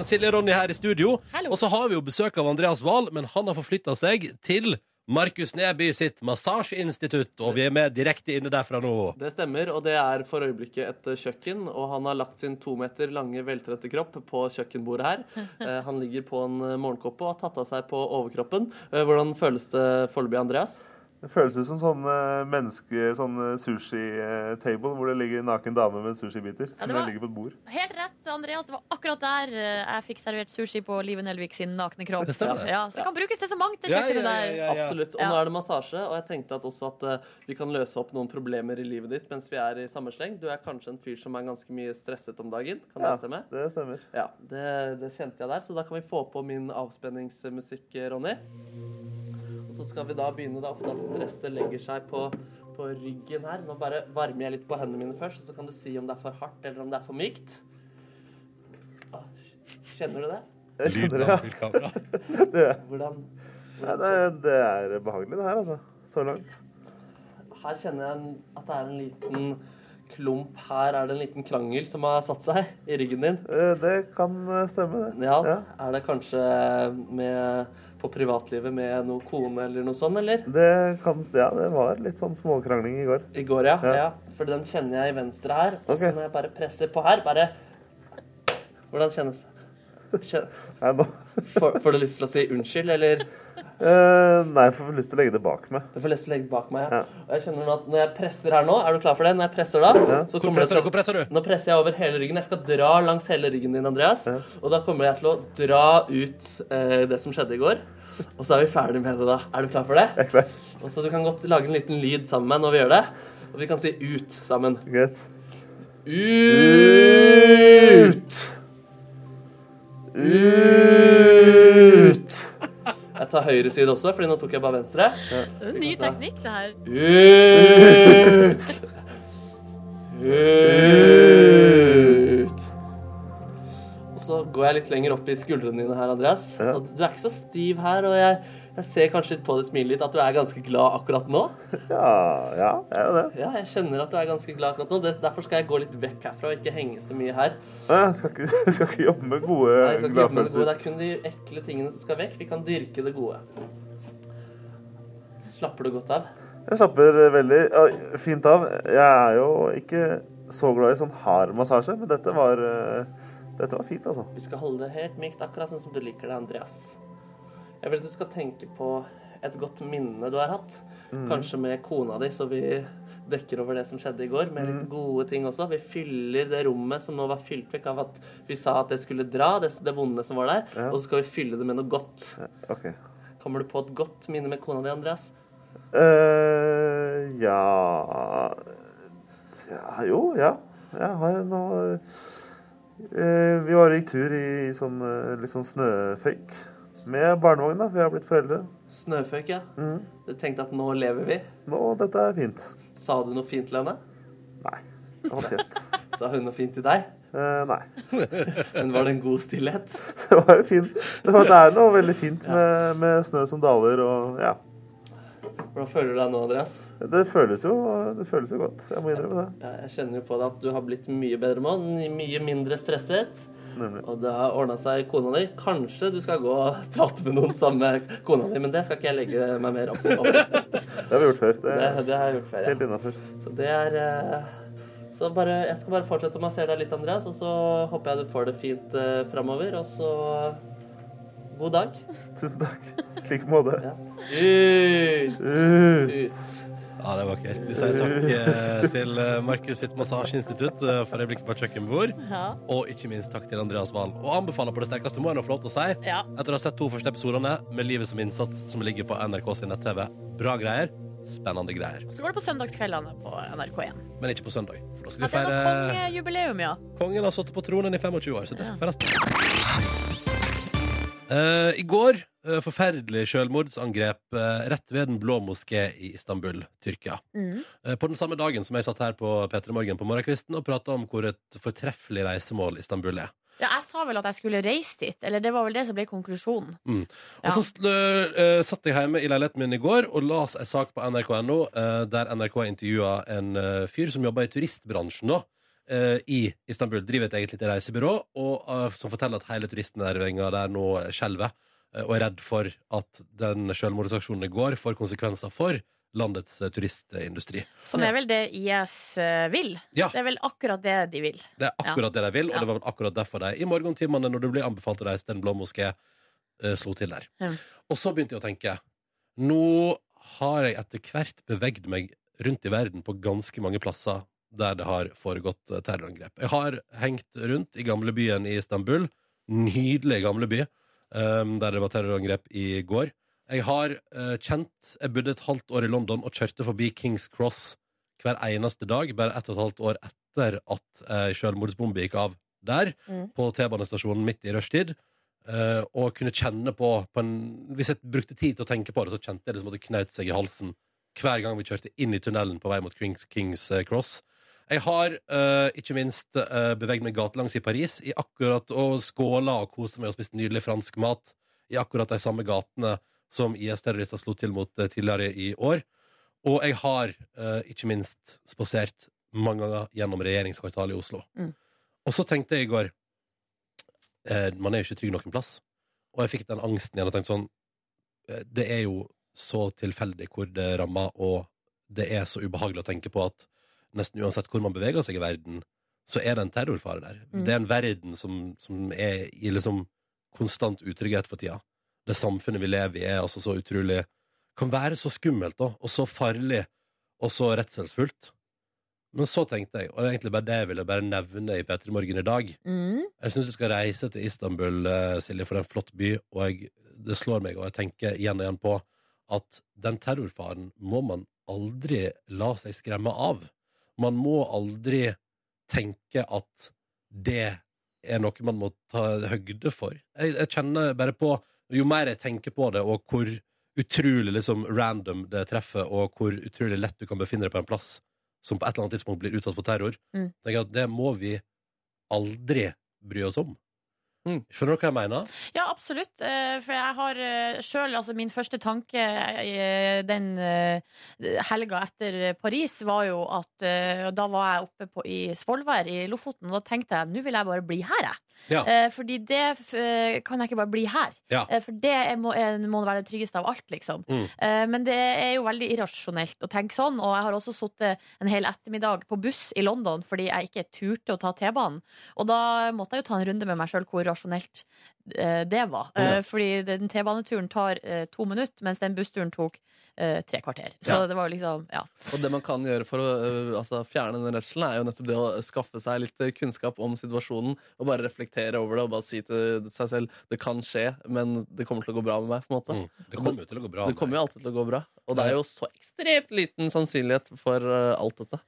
D: Silje og Ronny her i studio.
B: Hallo.
D: Og så har vi jo besøk av Andreas Wahl, men han har forflytta seg til Markus Neby sitt massasjeinstitutt, og vi er med direkte inne derfra nå.
C: Det stemmer, og det er for øyeblikket et eh, kjøkken. Og han har lagt sin to meter lange, veltrette kropp på kjøkkenbordet her. Eh, Han ligger på en eh, morgenkåpe og har tatt av seg på overkroppen. Eh, Hvordan føles det foreløpig, Andreas?
J: Det føles ut som sånn eh, menneske, sånn sushi-table, hvor det ligger en naken dame med sushibiter. Som
B: det var-
J: ligger på et bord.
B: Helt rett, Andreas. Det var akkurat der eh, jeg fikk servert sushi på Live Nelvik sin nakne kropp.
D: Det stemmer.
B: Ja, så det kan brukes til så mangt, det kjøkkenet der.
C: Absolutt. Og
B: Ja.
C: nå er det massasje, og jeg tenkte at også at eh, vi kan løse opp noen problemer i livet ditt mens vi er i samme sleng. Du er kanskje en fyr som er ganske mye stresset om dagen. Kan det stemme?
J: det stemmer.
C: Ja, det, det kjente jeg der. Så da kan vi få på min avspenningsmusikk, eh, Ronny. Og så skal vi da begynne det er ofte at stresset legger seg på, på ryggen her. Nå bare varmer jeg litt på hendene mine først, og så kan du si om det er for hardt eller om det er for mykt. Ah, Kjenner du det?
D: Lyden av bilkamera.
C: Hvordan
J: det, er behagelig, det her, altså. Så langt.
C: Her kjenner jeg en- at det er en liten klump. Her er det en liten krangel som har satt seg i ryggen din.
J: Eh, Det kan stemme,
C: Ja, Er det kanskje med, på privatlivet med noe kone eller noe sånt, eller?
J: Det, var litt sånn småkrangling i går.
C: I går, ja.
J: Ja.
C: ja. For den kjenner jeg i venstre her. Og så
J: Ok.
C: når jeg bare presser på her, bare Hvordan kjennes Kjen... Får, får du lyst til å si unnskyld, eller
A: Eh,
J: nei, jeg får lyst til å legge det bak meg.
C: Du får lyst til å legge det bak meg.
J: Ja.
C: Ja. Og jeg kjenner nå at når jeg presser her nå Er du klar for det? Når jeg presser da, så
D: Hvor
C: kommer det
D: presser du?
C: til
D: Hvor presser du?
C: Nå presser jeg over hele ryggen. Jeg skal dra langs hele ryggen din, Andreas. Og da kommer jeg til å dra ut eh, det som skjedde i går. Og så er vi ferdig med det da. Er du klar for det? Jeg er klar. Og så du kan godt lage en liten lyd sammen med meg når vi gjør det. Og vi kan si ut sammen.
A: Greit.
C: Ut! Ut! Jeg tar høyre side også, fordi nå tok jeg bare venstre.
B: Det er en ny teknikk, det her.
C: Ut! Ut! Og så går jeg litt lenger opp i skuldrene dine her, Andreas.
A: Ja.
C: Og du er ikke så stiv her, og jeg, jeg ser kanskje litt på deg smilet ditt at du er ganske glad akkurat nå.
A: Ja, ja, jeg er jo det.
C: Ja, jeg kjenner at du er ganske glad akkurat nå. Det- Derfor skal jeg gå litt vekk herfra og ikke henge så mye her.
A: Jeg skal ikke, skal ikke jobbe med gode
C: Nei, vi skal ikke jobbe med det gode.
A: gladfølelser.
C: Det er kun de ekle tingene som skal vekk. Vi kan dyrke det gode. Slapper du godt av?
A: Jeg slapper eh, veldig ja, fint av. Jeg er jo ikke så glad i sånn hard massasje, men dette var, eh, dette var fint, altså.
C: Vi skal holde det helt mykt, akkurat sånn som du liker det, Andreas. Jeg vil at du skal tenke på et godt minne du har hatt. Kanskje med kona di, så vi dekker over det som skjedde i går, med litt gode ting også. Vi fyller det rommet som nå var fylt vekk av at vi sa at det skulle dra, det, det vonde som var der, og så skal vi fylle det med noe godt.
A: Ok.
C: Kommer du på et godt minne med kona di, Andreas?
A: eh ja. ja Jo, ja. Jeg har nå eh, Vi var gikk tur i sånn, eh, litt sånn snøføyk med barnevogn. da, Vi har blitt foreldre.
C: Snøføyk, ja. Du tenkte at nå lever vi.
A: Nå, dette er fint.
C: Sa du noe fint til henne?
A: Nei. Hold kjeft.
C: Sa hun noe fint til deg?
A: Eh, nei.
C: Men var det en god stillhet?
A: Det var jo fint. Det, var, det er noe veldig fint med, med snø som daler og ja.
C: Hvordan føler du deg nå, Andreas?
A: Det føles jo, det føles jo godt. Jeg må innrømme det.
C: Ja, Jeg kjenner jo på deg at du har blitt mye bedre mann, mye mindre stresset. Og det har ordna seg kona di. Kanskje du skal gå og prate med noen sammen med kona di, men det skal ikke jeg legge meg mer opp opp i.
A: Det har vi gjort før. Det
C: Det,
A: er
C: det har jeg gjort før.
A: helt
C: Ja.
A: innafor.
C: Så det er eh, Så bare, jeg skal bare fortsette å massere deg litt, Andreas, og så håper jeg du får det fint eh, framover. Og så eh, god dag.
A: Tusen takk. I like måte.
C: Ja. Ut,
A: Uh.
C: ut.
D: Ja, det er vakkert. Vi sier takk eh, til eh, Markus sitt massasjeinstitutt eh, for øyeblikket på kjøkkenbord.
B: Ja.
D: Og ikke minst takk til Andreas Wahl. Og anbefaler på det sterkeste, må jeg nå få lov til å si,
B: Ja.
D: etter å ha sett to første episodene med Livet som innsats, som ligger på NRK sin nett-TV. Bra greier. Spennende greier.
B: Så går det på søndagskveldene på NRK1.
D: Men ikke på søndag, for da skal
B: Ja,
D: vi
B: det er noe
D: feire
B: kongejubileum, ja.
D: Kongen har sittet på tronen i 25 år, så det skal feires. Eh, I går eh, forferdelig selvmordsangrep eh, rett ved Den blå moské i Istanbul, Tyrkia.
B: Mm.
D: Eh, På den samme dagen som jeg satt her på P3 Morgen på morgenkvisten og prata om hvor et fortreffelig reisemål Istanbul er.
B: ja. Jeg sa vel at jeg skulle reise dit, eller det var vel det som ble konklusjonen. Ja.
D: Mm. Og så eh, satt jeg hjemme i leiligheten min i går og las en sak på nrk.no eh, der NRK intervjua en eh, fyr som jobba i turistbransjen da, eh, i Istanbul. Driver et eget lite reisebyrå og, eh, som forteller at hele turistnæringa der nå skjelver. eh, og er redd for at den selvmordsaksjonen i går får konsekvenser for landets eh, turistindustri.
B: Som er vel det IS eh, vil.
D: Ja.
B: Det er vel akkurat det de vil.
D: Det er akkurat det de vil, og
B: Ja.
D: det var vel akkurat derfor de i morgentimene, når det blir anbefalt å reise til Den blå moské, eh, slo til der.
B: Ja.
D: Og så begynte jeg å tenke Nå har jeg etter hvert bevegd meg rundt i verden på ganske mange plasser der det har foregått eh, terrorangrep. Jeg har hengt rundt i gamlebyen i Istanbul. Nydelig gamleby, um, der det var terrorangrep i går. Jeg har eh, kjent Jeg bodde et halvt år i London og kjørte forbi Kings Cross hver eneste dag, bare ett og et halvt år etter at eh, selvmordsbombe gikk av der,
B: Mm.
D: på T-banestasjonen midt i rushtid. eh, og kunne kjenne på, på en, Hvis jeg brukte tid til å tenke på det, så kjente jeg det som at det knaut seg i halsen hver gang vi kjørte inn i tunnelen på vei mot Kings, Kings eh, Cross. Jeg har eh, ikke minst uh, beveget meg gatelangs i Paris i akkurat og skåla og kost meg og spist nydelig fransk mat i akkurat de samme gatene som IS-terrorister slo til mot eh, tidligere i år. Og jeg har eh, ikke minst spasert mange ganger gjennom regjeringskvartalet i Oslo.
B: Mm.
D: Og så tenkte jeg i går eh, Man er jo ikke trygg noen plass. Og jeg fikk den angsten igjen og tenkte sånn eh, Det er jo så tilfeldig hvor det rammer, og det er så ubehagelig å tenke på at nesten uansett hvor man beveger seg i verden, så er det en terrorfare der.
B: Mm.
D: Det er en verden som, som er i liksom konstant utrygghet for tida. Det samfunnet vi lever i, er altså så utrolig kan være så skummelt da, og så farlig og så redselsfullt. Men så tenkte jeg, og det er egentlig bare det jeg ville bare nevne i P3 Morgen i dag
B: Mm.
D: Jeg syns du skal reise til Istanbul, eh, Silje, for det er en flott by, og jeg, det slår meg, og jeg tenker igjen og igjen på at den terrorfaren må man aldri la seg skremme av. Man må aldri tenke at det er noe man må ta høgde for. Jeg, jeg kjenner bare på Jo mer jeg tenker på det, og hvor utrolig liksom, random det treffer, og hvor utrolig lett du kan befinne deg på en plass som på et eller annet tidspunkt blir utsatt for terror,
B: Mm.
D: tenker jeg at det må vi aldri bry oss om.
A: Mm.
D: Skjønner du hva jeg mener?
B: Ja, absolutt. eh, For jeg har eh, sjøl Altså, min første tanke eh, den eh, helga etter Paris var jo at eh, Da var jeg oppe på, i Svolvær i Lofoten, og da tenkte jeg nå vil jeg bare bli her, jeg.
D: Ja.
B: Eh, Fordi det eh, kan jeg ikke bare bli her.
D: Ja.
B: Eh, For det er- må, er- må være det tryggeste av alt, liksom.
D: Mm.
B: Eh, Men det er jo veldig irrasjonelt å tenke sånn, og jeg har også sittet en hel ettermiddag på buss i London fordi jeg ikke turte å ta T-banen. Og da måtte jeg jo ta en runde med meg sjøl hvor rasjonelt eh, det var. Eh, Fordi den T-baneturen tar eh, to minutter, mens den bussturen tok eh, tre kvarter. Så det var jo liksom, ja.
C: Og det man kan gjøre for å øh, altså, fjerne den redselen, er jo nettopp det å skaffe seg litt øh, kunnskap om situasjonen og bare reflektere over det og bare si til seg selv det kan skje, men det kommer til å gå bra med meg. på en måte.
D: Mm. Det kommer jo til å gå bra.
C: Det kommer jo alltid til å gå bra. Og det er jo så ekstremt liten sannsynlighet for øh, alt dette.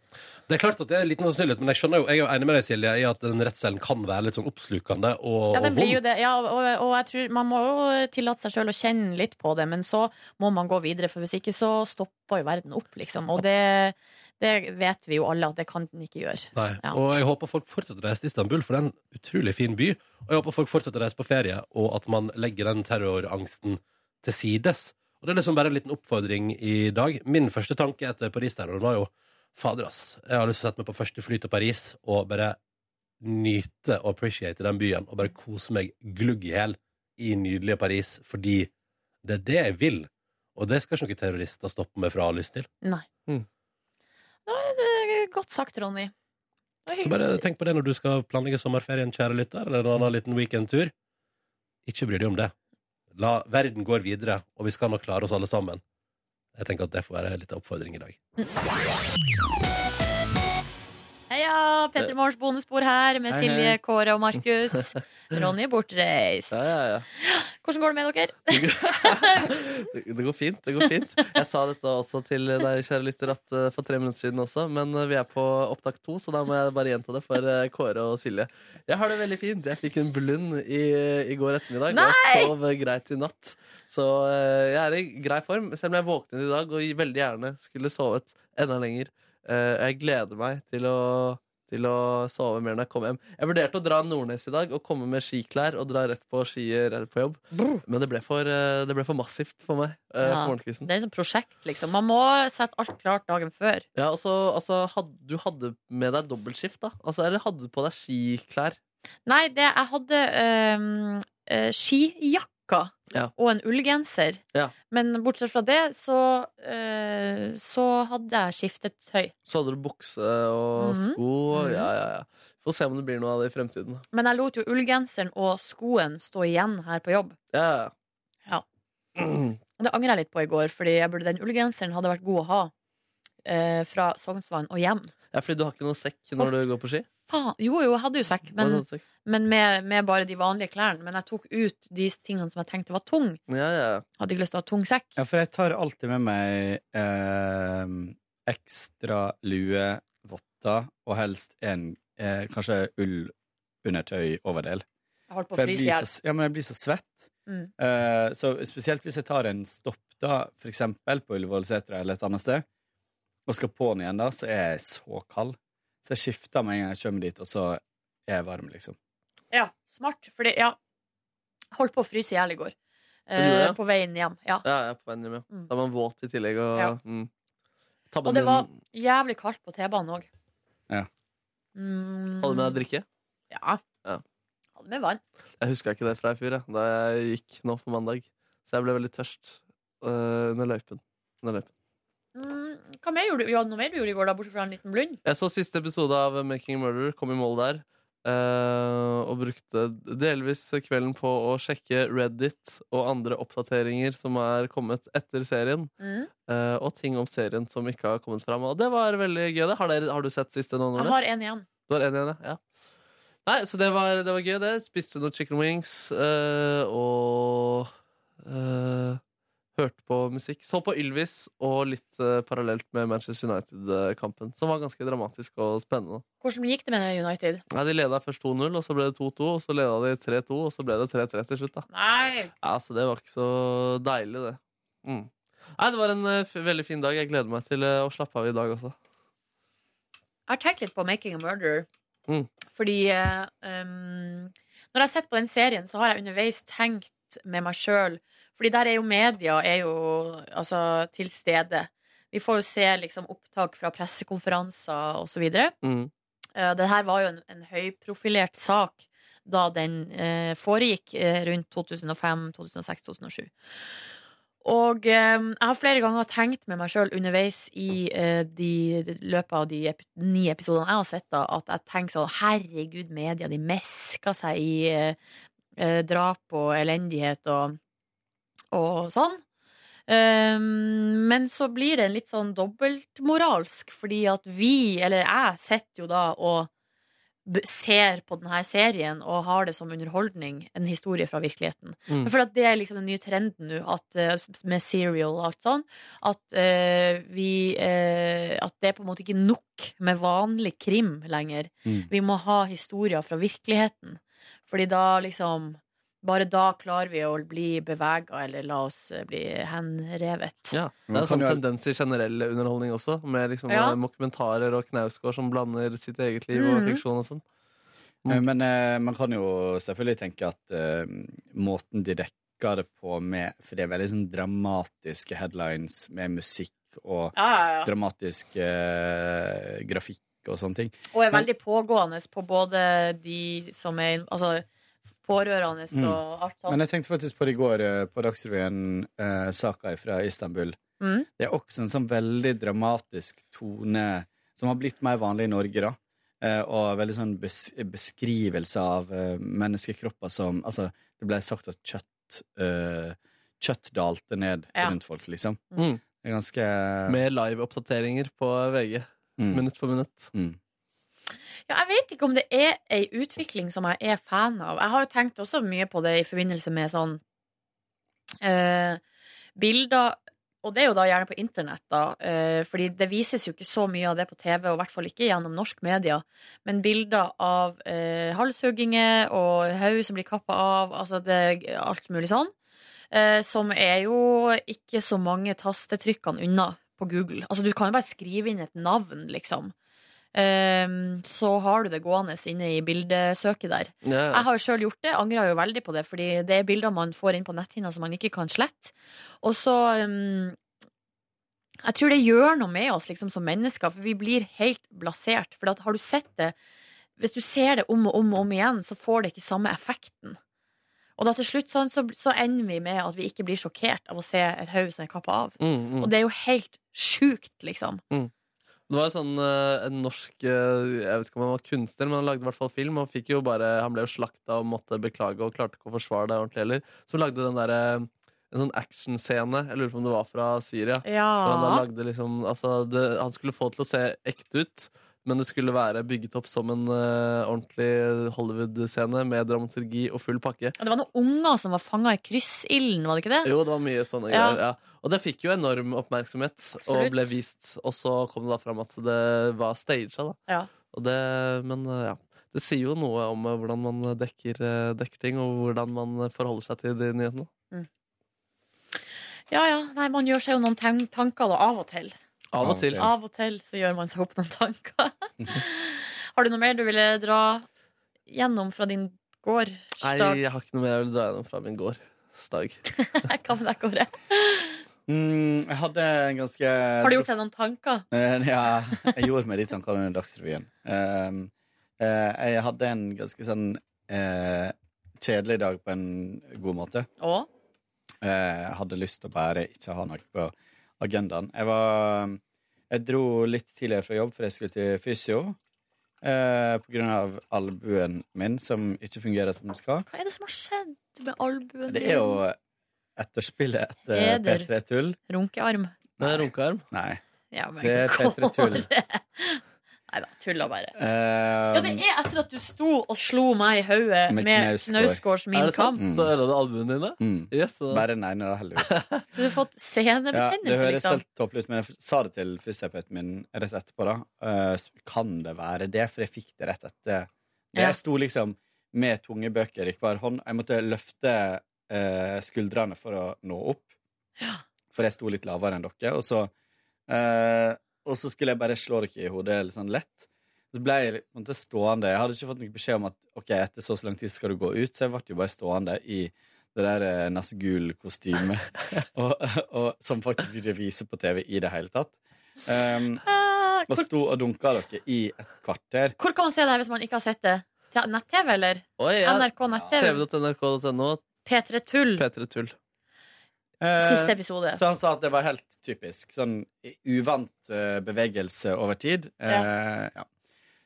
D: Det er klart at det er en liten sannsynlighet, men jeg skjønner jo, jeg er jo enig med deg, Silje, i at den redselen kan være litt sånn oppslukende og,
B: Ja, den
D: og
B: blir jo
D: vond.
B: det. Ja, og, og jeg tror man må jo tillate seg sjøl å kjenne litt på det, men så må man gå videre, for hvis ikke så stopper jo verden opp, liksom. Og det, det vet vi jo alle at det kan den ikke gjøre.
D: Nei.
B: Ja.
D: Og jeg håper folk fortsetter å reise til Istanbul, for det er en utrolig fin by. Og jeg håper folk fortsetter å reise på ferie, og at man legger den terrorangsten til sides. Og det er liksom bare en liten oppfordring i dag. Min første tanke etter Paris-terroren var jo Fader, ass. Jeg har lyst til å sette meg på første fly til Paris og bare nyte og appreciate den byen. Og bare kose meg glugg i hjel i nydelige Paris, fordi det er det jeg vil. Og det skal ikke noen terrorister stoppe meg fra å ha lyst til.
B: Nei.
C: Mm.
B: Det var eh, godt sagt, Ronny. Det
D: Så
B: var hyggelig.
D: bare tenk på det når du skal planlegge sommerferien, kjære lytter, eller en annen liten weekendtur. Ikke bry deg om det. La verden går videre, og vi skal nok klare oss alle sammen. Jeg tenker at det får være litt av oppfordring i dag.
B: Heia, Petter Morgens bonusbord her med
C: Hei,
B: Silje,
C: hei.
B: Kåre og Markus. Ronny er bortreist.
C: Ja, ja, ja.
B: Hvordan går det med dere?
C: det, det går fint. det går fint Jeg sa dette også til deg, kjære lytter, at, eh, for tre minutter siden også, men eh, vi er på opptak to, så da må jeg bare gjenta det for eh, Kåre og Silje. Jeg har det veldig fint. Jeg fikk en blund i, i går ettermiddag, og jeg sov eh, greit i natt. Så eh, jeg er i grei form, selv om jeg våknet i dag og veldig gjerne skulle sovet enda lenger. Eh, Jeg gleder meg til å til å sove mer når jeg kommer hjem. Jeg vurderte å dra Nordnes i dag og komme med skiklær og dra rett på skier rett på jobb. Men det ble for, eh, det ble for massivt for meg eh, på
B: Ja.
C: morgenkvisten.
B: Det er et sånt prosjekt, liksom. Man må sette alt klart dagen før.
C: Ja, og så, altså, had, du hadde med deg dobbeltskift, da? Altså, eller hadde du på deg skiklær?
B: Nei, det, jeg hadde øhm, øh, skijakka
C: Ja.
B: og en ullgenser.
C: Ja.
B: Men bortsett fra det, så, øh, så hadde jeg skiftet tøy.
C: Så hadde du bukse og
B: Mhm.
C: sko.
B: Mhm.
C: Ja, ja, ja. Får se om det blir noe av det i fremtiden.
B: Men jeg lot jo ullgenseren og skoen stå igjen her på jobb.
C: Ja, ja, ja.
B: Ja. Og det angrer jeg litt på i går, fordi jeg burde, den ullgenseren hadde vært god å ha eh, fra Sognsvann og hjem.
C: ja, fordi du har ikke noen sekk når du går på ski?
B: Faen. Jo, jo, jeg hadde jo sekk, men,
C: Hva slags sekk?
B: men med, med bare de vanlige klærne. Men jeg tok ut de tingene som jeg tenkte var tung.
C: Ja, ja, ja.
B: Hadde ikke lyst til å ha tung sekk.
I: Ja, for jeg tar alltid med meg eh, ekstra lue, votter og helst en eh, kanskje ull undertøy overdel.
B: Jeg holdt på å
I: For jeg
B: fryse i
I: blir
B: hjel.
I: så, ja, men jeg blir så svett.
B: Mm.
I: Eh, så spesielt hvis jeg tar en stopp da, for eksempel på Ullevålsetra eller et annet sted, og skal på den igjen da, så er jeg så kald. Så jeg skifter med en gang jeg kommer dit, og så er jeg varm, liksom.
B: Ja, smart. Fordi, ja Jeg Holdt på å fryse i hjel i går.
C: du gjorde
B: Eh,
C: det?
B: på veien hjem. Ja.
C: ja, ja på NM, ja.
B: Mm.
C: Da er man våt i tillegg. Og,
B: Ja.
C: mm. Tabben
B: Og
C: din-
B: det var jævlig kaldt på T-banen òg.
I: Ja.
B: Mm,
C: Hadde du med deg drikke?
B: Ja.
C: Ja.
B: Hadde med vann.
C: Jeg huska ikke det fra i fjor, jeg, da jeg gikk nå på mandag. Så jeg ble veldig tørst øh, under løypen. Under løypen.
B: Mm, hva mer gjorde du? Ja, noe mer du gjorde i går, da, bortsett fra en liten blund?
C: Jeg så siste episode av Making a Murderer, kom i mål der. eh, og brukte delvis kvelden på å sjekke Reddit og andre oppdateringer som er kommet etter serien.
B: Mm.
C: eh, og ting om serien som ikke har kommet fram. Og det var veldig gøy. det Har, dere, har du sett siste nå,
B: Jeg
C: Nordnes?
B: har en igjen.
C: Du har en igjen, ja. ja. Nei, så det var, det var gøy, det. Spiste noen chicken wings eh, og eh, hørte på musikk. Så på Ylvis og litt eh, parallelt med Manchester United-kampen, som var ganske dramatisk og spennende.
B: Hvordan gikk det med United?
C: Nei, De leda først 2-0, og så ble det 2-2, og så leda de 3-2, og så ble det 3-3 til slutt. da
B: Nei!
C: Ja, så det var ikke så deilig, det. Mm. Nei, det var en eh, f veldig fin dag. Jeg gleder meg til eh, å slappe av i dag også.
B: Jeg har tenkt litt på 'Making a Murder'.
C: Mm.
B: Fordi eh, um, Når jeg har sett på den serien, så har jeg underveis tenkt med meg sjøl Fordi der er jo media er jo, altså, til stede. Vi får jo se liksom, opptak fra pressekonferanser osv.
C: Mm.
B: Uh, det her var jo en, en høyprofilert sak da den eh, foregikk eh, rundt 2005, 2006, 2007. Og eh, jeg har flere ganger tenkt med meg sjøl underveis i eh, de, de, løpet av de ep ni episodene jeg har sett, da, at jeg tenker sånn Herregud, media, de mesker seg i eh, eh, drap og elendighet og, og sånn. Um, men så blir det en litt sånn dobbeltmoralsk, fordi at vi, eller jeg, sitter jo da og b- ser på denne serien og har det som underholdning, en historie fra virkeligheten.
C: Mm.
B: Jeg føler at det er liksom den nye trenden nå, at, eh, s- med serial og alt sånn, at eh, vi eh, At det er på en måte ikke nok med vanlig krim lenger.
I: Mm.
B: Vi må ha historier fra virkeligheten. Fordi da liksom Bare da klarer vi å bli bevega, eller la oss eh, bli henrevet.
C: Ja, Det
I: Man
C: er
I: kan
C: sånn
I: jo-
C: tendens i generell underholdning også, med liksom
B: Ja.
C: eh, dokumentarer og Knausgård som blander sitt eget liv og
B: Mhm.
C: fiksjon og sånn.
B: Mm.
I: Eh, Men eh, man kan jo selvfølgelig tenke at eh, måten de dekker det på med For det er veldig sånn dramatiske headlines med musikk og
B: Ja, ja, ja.
I: dramatisk eh, grafikk og sånne ting.
B: Og er veldig pågående på både de som er Altså pårørende
I: Mm.
B: og alt sånt.
I: Men jeg tenkte faktisk på det i går eh, på Dagsrevyen, eh, saka fra Istanbul.
B: Mm.
I: Det er også en sånn veldig dramatisk tone som har blitt mer vanlig i Norge, da. Eh, og veldig sånn bes beskrivelse av eh, menneskekropper som Altså, det ble sagt at kjøtt eh, Kjøtt dalte ned
B: Ja.
I: rundt folk, liksom.
C: Mm.
I: Det er ganske
C: Med live-oppdateringer på VG,
I: mm,
C: minutt for minutt.
I: mm.
B: Ja, jeg vet ikke om det er ei utvikling som jeg er fan av. Jeg har jo tenkt også mye på det i forbindelse med sånn eh, bilder Og det er jo da gjerne på internett, da. Eh, fordi det vises jo ikke så mye av det på TV, og i hvert fall ikke gjennom norsk media. Men bilder av eh, halshugginger og haug som blir kappa av, altså det, alt mulig sånn. Eh, som er jo ikke så mange tastetrykkene unna på Google. Altså du kan jo bare skrive inn et navn, liksom. Ehm, så har du det gående inne i bildesøket der. Jeg har jo sjøl gjort det, angrer jo veldig på det, fordi det er bilder man får inn på netthinna som man ikke kan slette. Og så ehm, Jeg tror det gjør noe med oss liksom, som mennesker, for vi blir helt blasert. For at, har du sett det Hvis du ser det om og om og om igjen, så får det ikke samme effekten. Og da til slutt sånn, så, så ender vi med at vi ikke blir sjokkert av å se et haug som er kappa av.
C: Mm, mm.
B: Og det er jo helt sjukt, liksom.
C: Det var en sånn eh, en norsk eh, Jeg vet ikke om han var kunstner, men han lagde i hvert fall film. Og fikk jo bare, han ble jo slakta og måtte beklage og klarte ikke å forsvare det ordentlig heller. Så lagde den derre en sånn actionscene, jeg lurer på om det var fra Syria. Hvor han da
B: Ja.
C: lagde liksom altså det, Han skulle få til å se ekte ut, men det skulle være bygget opp som en eh, ordentlig Hollywood-scene med dramaturgi og full pakke.
B: Det var noen unger som var fanga i kryssilden, var det ikke det?
C: Jo, det var mye sånne
B: Ja.
C: greier. Ja. Og det fikk jo enorm oppmerksomhet
B: Absolutt.
C: og ble vist. Og så kom det da fram at det var staged. Da.
B: Ja.
C: Og det, men eh, ja. Det sier jo noe om eh, hvordan man dekker, eh, dekker ting, og hvordan man eh, forholder seg til de nyhetene.
B: Ja, ja. Nei, man gjør seg jo noen tan- tanker da, av og til.
C: Av og til.
I: Ja.
B: Av og til så gjør man seg opp noen tanker. Har du noe mer du ville dra gjennom fra din
C: Nei,
B: gårsdag?
C: jeg har ikke noe mer jeg vil dra gjennom fra min gårsdag.
B: Hva med deg, Kåre?
I: Mm, jeg hadde en ganske
B: Har du gjort deg noen tanker?
I: Eh, Ja, jeg gjorde meg sånn, de tankene under Dagsrevyen. Ehm, eh, jeg hadde en ganske sånn eh, kjedelig dag på en god måte.
B: Å?
I: Eh, Jeg hadde lyst til å bare ikke ha noe på agendaen. Jeg var Jeg dro litt tidligere fra jobb, for jeg skulle til fysio. eh, På grunn av albuen min, som ikke fungerer som den skal.
B: Hva er det som har skjedd med albuen?
I: Det er jo eh, etterspillet etter
B: Heder.
I: P3-tull.
B: Runkearm.
C: Nei, runkearm.
I: Nei.
B: Ja, men
I: Det er Petre
B: Kåre. Nei da, tulla bare. Ja, det
I: Eh,
B: er etter at du sto og slo meg i hodet
I: Med
B: Eh, med
I: Knausgård.
B: Knausgårds Min
C: Er det sant?
B: kamp.
I: Mm.
C: Så ødela det albuene dine?
I: mm.
C: Yes, så-
I: Bare den ene, da, heldigvis.
B: Så du har fått
I: Ja,
B: senebetennelse,
I: det høres
B: liksom.
I: helt tåpelig ut, men jeg sa det til fysioterapeuten min rett etterpå. da Eh, s- Kan det være det? For jeg fikk det rett etter. Det
B: Ja.
I: Jeg sto liksom med tunge bøker i hver hånd. Jeg måtte løfte eh, skuldrene for å nå opp. For jeg sto litt lavere enn dere. Og så, eh, og så skulle jeg bare slå dere i hodet litt sånn lett. Så ble jeg på en måte stående. Jeg hadde ikke fått noen beskjed om at ok, etter så og så lang tid skal du gå ut, så jeg ble jo bare stående i det der eh, Nazgul-kostymet og, og, som faktisk ikke viser på TV i det hele tatt. Um,
B: Ah,
I: og
B: Hvor,
I: sto og dunka dere i et kvarter.
B: hvor kan man se det her hvis man ikke har sett det? Te- Nett-TV, eller?
C: Oi, ja.
B: NRK nett-TV?
C: TV.nrk.no.
B: P3 Tull,
C: P3 Tull.
I: Eh,
B: siste episode.
I: så han sa at det var helt typisk. Sånn uvant eh, bevegelse over tid. Eh, ja.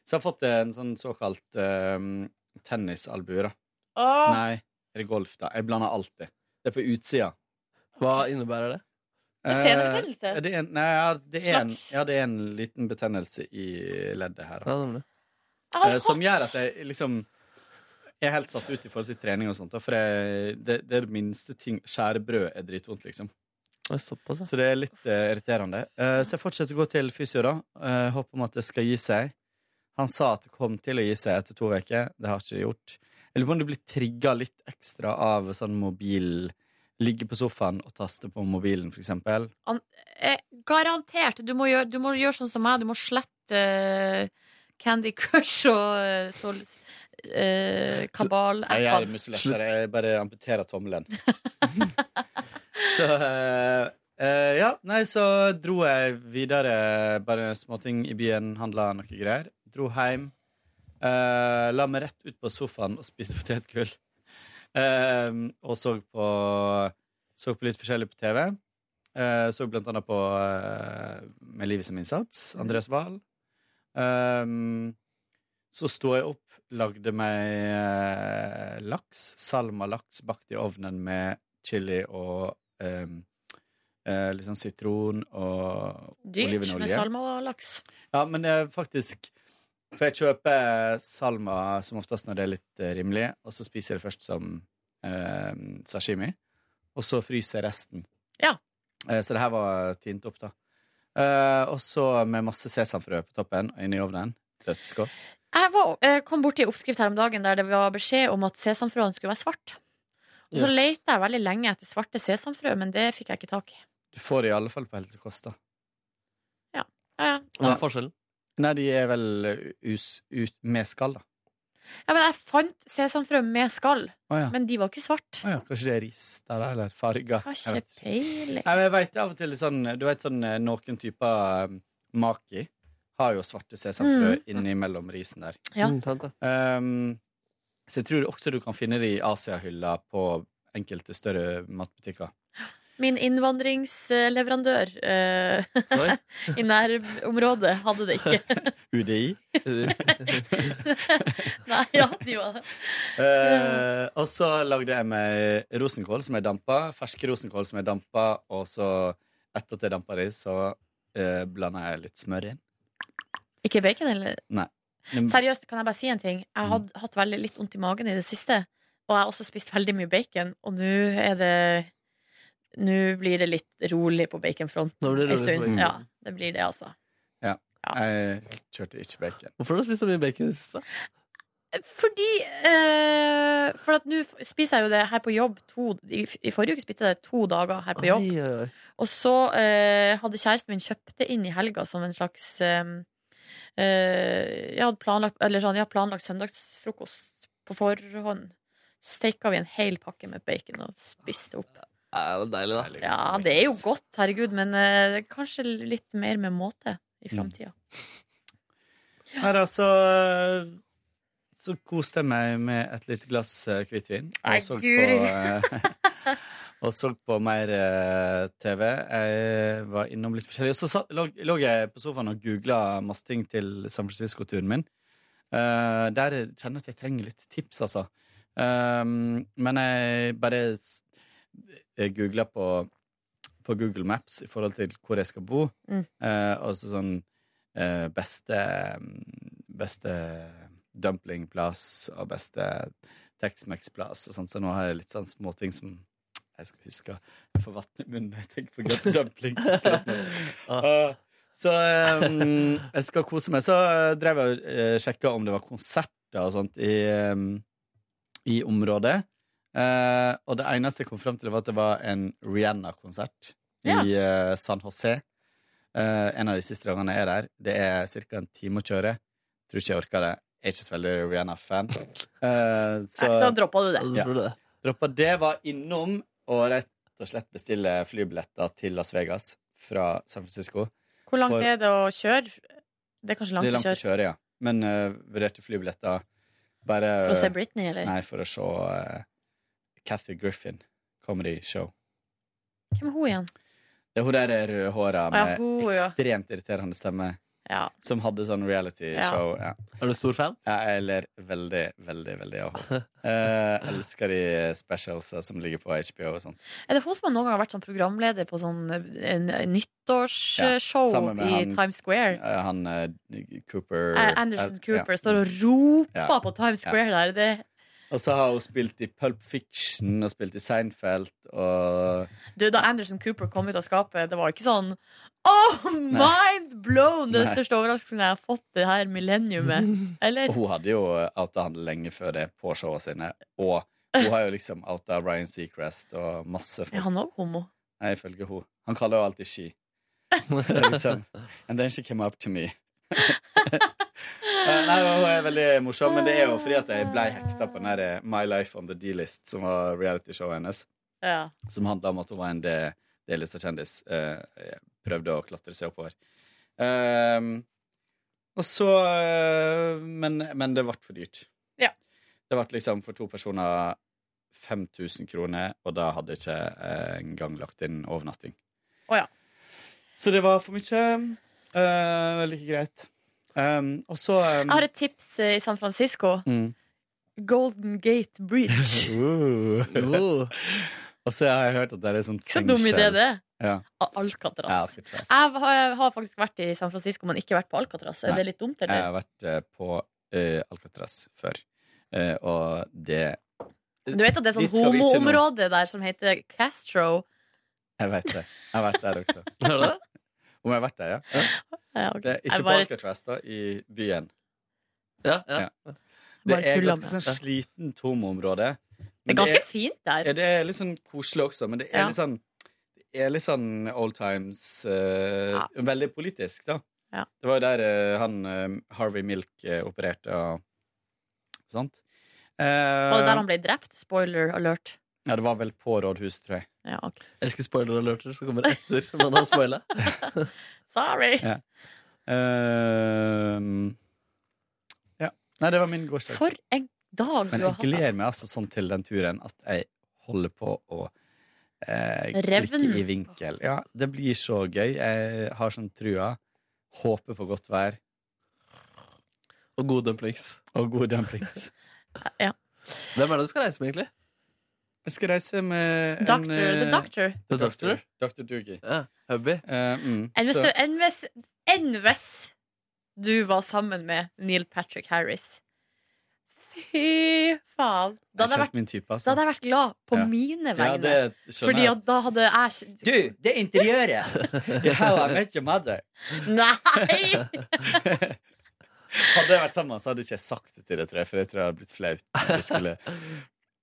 I: Så jeg har fått en sånn såkalt um, tennisalbue, da.
B: Åh,
I: Nei, er det golf, da? Jeg blander alltid. Det er på utsida.
C: Hva innebærer det?
B: En senebetennelse?
I: Eh, det er en, nei, ja, det er en,
B: Slags?
I: ja, det er en liten betennelse i leddet her. Da.
C: Ja, nemlig.
B: jeg har
I: Eh, som
B: hatt-
I: gjør at jeg liksom jeg er helt satt ut i forhold til trening og sånt. da, For jeg, det, det er det minste ting Skjære brød er dritvondt, liksom.
C: Oi, såpass, ja.
I: Så det er litt eh, irriterende. Eh, så jeg fortsetter å gå til fysio, da. Eh, håper om at det skal gi seg. Han sa at det kom til å gi seg etter to uker. Det har ikke det gjort. Jeg lurer på om du blir trigga litt ekstra av sånn mobil Ligge på sofaen og taste på mobilen, for eksempel.
B: eh, garantert. Du må, gjøre, du må gjøre sånn som meg. Du må slette eh, Candy Crush og eh, sol, eh,
I: Jeg gjør det
B: kabal-appene.
I: mye lettere. Jeg bare amputerer tommelen. så eh, eh, Ja, nei, så dro jeg videre, bare småting i byen, handla noe greier. Dro hjem. eh, la meg rett ut på sofaen og spiste potetgull. Eh, og så på, så på litt forskjellig på TV. Eh, så blant annet på eh, Med livet som innsats. Andreas Wahl. Eh, så sto jeg opp, lagde meg eh, laks, salmalaks, bakt i ovnen med chili og eh, eh, litt sånn sitron og
B: Dyrt med
I: olivenolje.
B: salmalaks.
I: Ja, men det er faktisk For jeg kjøper salma som oftest når det er litt eh, rimelig, og så spiser jeg det først som eh, sashimi, og så fryser jeg resten.
B: Ja.
I: Eh, så det her var tint opp, da. Eh, og så med masse sesamfrø på toppen og inni ovnen. Dødsgodt.
B: Jeg var, eh, kom borti en oppskrift her om dagen der det var beskjed om at sesamfrøene skulle være svart. Og så
C: Yes.
B: leita jeg veldig lenge etter svarte sesamfrø, men det fikk jeg ikke tak i.
I: Du får det i alle fall på Helse Kåss, da.
B: Ja, ja.
C: Hva er forskjellen?
I: Nei, de er vel eh, us, ut, med skall, da.
B: ja, men jeg fant sesamfrø med skall,
I: Å ja.
B: men de var ikke svarte.
I: Å ja. Kanskje det er ris der, da, eller farger.
B: Har
I: Jeg
B: ikke
I: vet ikke.
B: peiling.
I: Nei, men jeg vet av og til sånn, Du vet sånn eh, noen typer eh, maki har jo svarte sesamfrø innimellom risen der.
B: Mm. Ja.
C: Mm, sant, ja.
I: Ehm, så jeg tror også du kan finne det i Asiahylla på enkelte større matbutikker.
B: Min innvandringsleverandør eh,
C: Oi.
B: i nærområdet hadde det ikke.
I: UDI.
B: Nei, ja, de var det.
I: Eh, og så lagde jeg meg rosenkål som jeg dampa. Ferske rosenkål som jeg dampa, og så etter at jeg dampa de, så uh, blanda jeg litt smør inn.
B: Ikke bacon, eller?
I: Men-
B: Seriøst, kan jeg bare si en ting? Jeg
C: mm.
B: har hatt veldig litt vondt i magen i det siste, og jeg har også spist veldig mye bacon, og nå er det Nå blir det litt rolig på baconfronten
C: Nå blir det rolig på
B: en stund.
C: baconfronten.
B: Ja, det blir det, altså.
I: Jeg kjørte ikke bacon.
C: Hvorfor har du spist så mye bacon i det siste?
B: Fordi eh, For at nå spiser jeg jo det her på jobb to I, i forrige uke spiste jeg det to dager her på jobb.
C: Oi, oi, oi.
B: Og så eh, hadde kjæresten min kjøpt det inn i helga som en slags eh, eh, jeg, hadde planlagt, eller sånn, jeg hadde planlagt søndagsfrokost på forhånd. Steika vi en hel pakke med bacon og spiste opp.
C: Ja, det er deilig, da.
B: Ja, det er jo godt, herregud, men eh, kanskje litt mer med måte i framtida.
I: Nei da, så Så koste jeg meg med et lite glass eh, hvitvin.
B: Nei,
I: Og så
B: guri.
I: på eh, Og så på mer eh, TV. Jeg var innom litt forskjellig. Og så satt- lå, lå jeg på sofaen og googla masse ting til San Francisco-turen min. Eh, der kjenner jeg at jeg trenger litt tips, altså. Um, men jeg bare s- jeg googla på, på Google Maps i forhold til hvor jeg skal bo.
B: Mm.
I: Eh, og så sånn eh, beste, mm, beste dumplingplass og beste Tex-Mex-plass og sånt, så nå har jeg litt sånn småting som jeg skal huske. Jeg får vann i munnen når jeg tenker på godt dumpling. så klart nå. Ah, Så eh, jeg skal kose meg. Så eh, drev jeg og eh, sjekka om det var konserter og sånt i, eh, i området. Eh, og det eneste jeg kom fram til, var at det var en Rihanna-konsert i eh, San José. Eh, en av de siste dagene jeg er der. Det er ca. en time å kjøre. Tror ikke jeg orker det. Jeg er ikke så veldig Rihanna-fan. Eh,
B: Så, så droppa du det.
I: Ja. Droppa det var innom og rett og slett bestille flybilletter til Las Vegas fra San Francisco.
B: Hvor langt
I: For-
B: er det å kjøre? Det er kanskje langt,
I: det er langt å
B: å kjøre.
I: kjøre, ja. Men eh, vurderte flybilletter bare
B: For å se Britney, eller?
I: Nei, for å se eh, Kathy Griffin comedy show.
B: Hvem er hun igjen?
I: Det er hun der rødhåra
B: Ja,
I: med
B: hun, ja.
I: ekstremt irriterende stemme
B: Ja.
I: som hadde sånn reality-show. Ja.
C: Er du stor fan?
I: Ja, jeg ler veldig, veldig, veldig av henne. Eh, elsker de specials som ligger på HBO og sånn.
B: Er det hun som noen gang har vært sånn programleder på sånn en, en nyttårsshow
I: Ja, sammen med
B: eh, i
I: han-
B: Times Square?
I: Eh, Han eh, Cooper
B: Eh, Anderson
I: eh,
B: Cooper
I: ja.
B: står og roper
I: Ja.
B: på Times Square der. Det,
I: Og så har hun spilt i Pulp Fiction og spilt i Seinfeld og
B: du, da Anderson Cooper kom ut av skapet, det var ikke sånn Oh, mind blown! Det
I: Nei.
B: er den største overraskelsen jeg har fått det her millenniumet. Eller?
I: Og hun hadde jo eh, outa han lenge før det på showene sine. Og hun har jo liksom outa Ryan Seacrest og masse
B: Er
I: folk.
B: han òg homo?
I: Nei, ifølge hun. Han kaller jo alltid She. Det er liksom, And then she came up to me. Eh, Nei, men Hun er veldig morsom, men det er jo fordi at jeg ble hekta på den der eh, My Life on the D-list, som var realityshowet hennes.
B: Ja.
I: som handla om at hun var en D- D-lista kjendis. eh, prøvde å klatre seg oppover. Ehm, og så eh, men, men det ble for dyrt.
B: Ja.
I: Det ble liksom for to personer 5000 kroner, og da hadde jeg ikke eh, engang lagt inn overnatting.
B: Å ja.
I: Så det var for mye. eh, Veldig ikke greit. Ehm, og så eh,
B: Jeg har et tips eh, i San Francisco.
I: Mm.
B: Golden Gate Bridge.
I: Uh. Og så har jeg hørt at det er sånn
B: Ikke så dum idé, det.
I: Ja.
B: Al-
I: Ja,
B: Alcatraz.
I: Alcatraz.
B: Jeg har, jeg har faktisk vært i San Francisco, men ikke vært på Alcatraz. Er
I: Nei.
B: det litt dumt,
I: Jeg
B: eller?
I: har vært eh, på eh, Alcatraz før, Eh, og det
B: Du vet at det er sånn
I: Dit skal vi ikke nå.
B: homoområde der som heter Castro?
I: Jeg vet det. Jeg har vært der også.
C: Hører du det?
I: Om jeg har vært der, ja.
B: Ja, ok.
I: Det er
B: Jeg
I: ikke på
B: bare-
I: Alcatraz, da, i byen.
C: Ja, ja.
I: Ja. Det
B: Bare
I: er
B: tulla
I: ganske
B: med.
I: sånn slitent homoområde.
B: Det
I: Men
B: er ganske fint
I: er- ja,
B: der.
I: det er litt sånn koselig også, men det er
B: Ja.
I: litt sånn det er litt sånn old times eh,
B: Ja.
I: Veldig politisk, da.
B: Ja.
I: Det var jo der eh, han eh, Harvey Milk eh, opererte og sånt. Eh,
B: Og der han ble drept. Spoiler alert.
I: Ja, det var vel på rådhuset, tror jeg.
B: Ja, ok.
C: Jeg elsker spoiler-alerter som kommer etter man har spoila.
B: Sorry!
I: Ja. Ehm, ja. Nei, det var min gårsdag.
B: For en dag
I: Men
B: du har
I: jeg
B: hatt.
I: gleder
B: altså.
I: meg altså sånn til den turen at jeg holder på å eh,
B: Revn.
I: klikke i vinkel. Ja, det blir så gøy. Jeg har sånn trua. Håper på godt vær
C: Og gode dumplings.
I: og god dumplings.
C: Hvem er det du skal reise med, egentlig?
I: Jeg skal reise med
B: Doctor,
I: eh,
B: the Doctor.
C: The Doctor?
I: Dr. Doogie.
C: Ja, Hubby?
I: Eh, mm.
B: Enn hvis,
I: Så-
B: du- enn hvis, enn hvis du var sammen med Neil Patrick Harris? Fy faen!
I: jeg
B: Da hadde jeg
I: er
B: vært
I: ikke min type, altså.
B: Da hadde jeg vært glad på
I: Ja.
B: mine
I: ja,
B: vegne.
I: det skjønner
B: Fordi
I: jeg.
B: at da hadde jeg
I: Du, det interiøret! I How I Met Your Mother.
B: Nei!
I: Hadde jeg vært sammen, så hadde ikke jeg sagt det til deg, tror jeg, for jeg tror jeg hadde blitt flaut når jeg skulle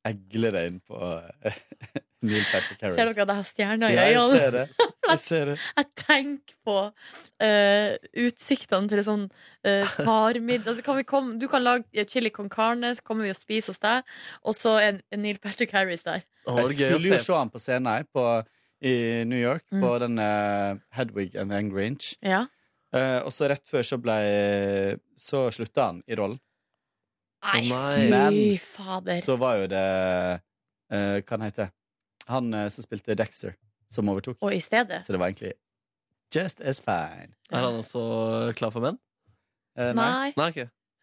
I: egle deg inn på eh, Neil Patrick
B: Ser
I: Harris.
B: dere at jeg har stjerner i
I: Ja, jeg
B: øynene?
I: ser det. Jeg ser det.
B: Jeg tenker på eh, utsiktene til en sånn eh, parmiddag. Altså, kan vi komme, du kan lage eh, chili con carne, så kommer vi og spiser hos deg. Og så er Neil Patrick Harris der.
C: Å, det
I: Jeg
C: var gøy å
I: skulle jo
C: se.
I: se han på scenen her på, i New York,
B: Mm.
I: på den eh, Hedwig and the Grinch.
B: Ja.
I: Eh, og så rett før så ble Så slutta han i rollen.
C: Å,
B: Nei,
C: nei.
B: fy
I: Men-
B: fader.
I: Så var jo det eh, Hva han heter Han eh, som spilte Dexter, som overtok.
B: Og i stedet.
I: Så det var egentlig just as fine.
C: Er han også klar for menn?
I: Eh, nei.
B: Nei.
C: Nei, ok.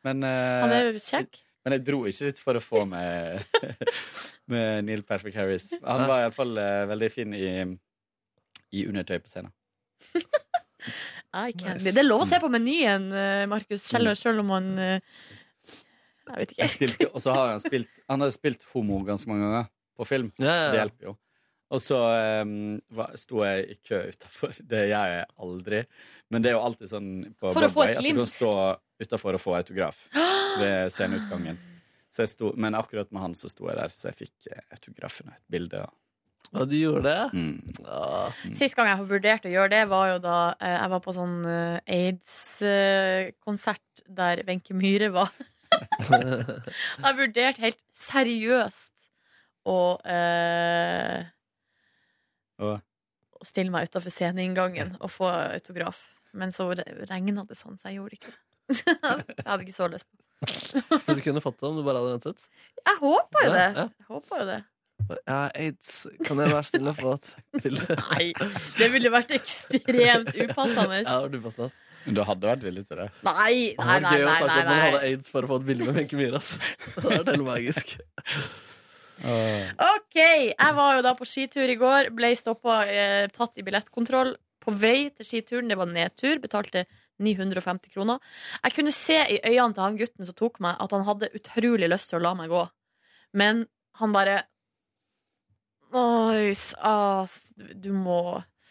I: Men,
B: Han
I: eh,
B: er jo kjekk.
I: men jeg dro ikke dit for å få med, med Neil Patrick Harris. Han eh, var iallfall uh, veldig fin i, i undertøy på scenen.
B: I can't be. Det er lov å se på menyen, eh, Markus, selv, selv om man eh, Jeg vet
I: Jeg
B: ikke.
I: stilte, og så har han spilt Han har jo spilt homo ganske mange ganger på film.
C: Ja,
I: Det
C: ja, ja.
I: hjelper jo. Og så um, sto jeg i kø utafor. Det gjør jeg aldri. Men det er jo alltid sånn på
B: For å få
I: Broadway
B: et
I: at du
B: glimt.
I: kan stå utafor og få autograf ved sceneutgangen. Så jeg sto, men akkurat med han så sto jeg der, så jeg fikk eh, autografen og et bilde. og-
C: Og du gjorde det?
I: Mm.
C: Ja.
B: Sist gang jeg har vurdert å gjøre det, var jo da eh, jeg var på sånn eh, aids-konsert der Wenche Myhre var. jeg vurderte helt seriøst å eh,
I: Og
B: å stille meg utafor sceneinngangen og få autograf. Men så re- regna det sånn, så jeg gjorde ikke det. jeg hadde ikke så lyst.
C: Men du kunne fått det om du bare hadde ventet.
B: Jeg håpa jo
C: Ja,
B: det!
C: ja.
B: Jeg håper jo det.
C: Ja, aids. Kan jeg være snill og få et bilde?
B: Nei, det ville vært ekstremt upassende.
C: Ja, det var dupassende, ass.
I: men du hadde vært villig til det.
B: Nei,
C: Det
B: nei,
C: hadde
B: nei.
C: vært gøy å
B: nei,
C: snakke om man
B: nei,
C: hadde
B: nei.
C: aids for å få et bilde med Wenche Myhre, ass. Det er helt magisk.
B: OK! Jeg var jo da på skitur i går. Ble stoppa, eh, tatt i billettkontroll på vei til skituren. Det var nedtur. Betalte 950 kroner. Jeg kunne se i øynene til han gutten som tok meg, at han hadde utrolig lyst til å la meg gå. Men han bare Oi, ass, du må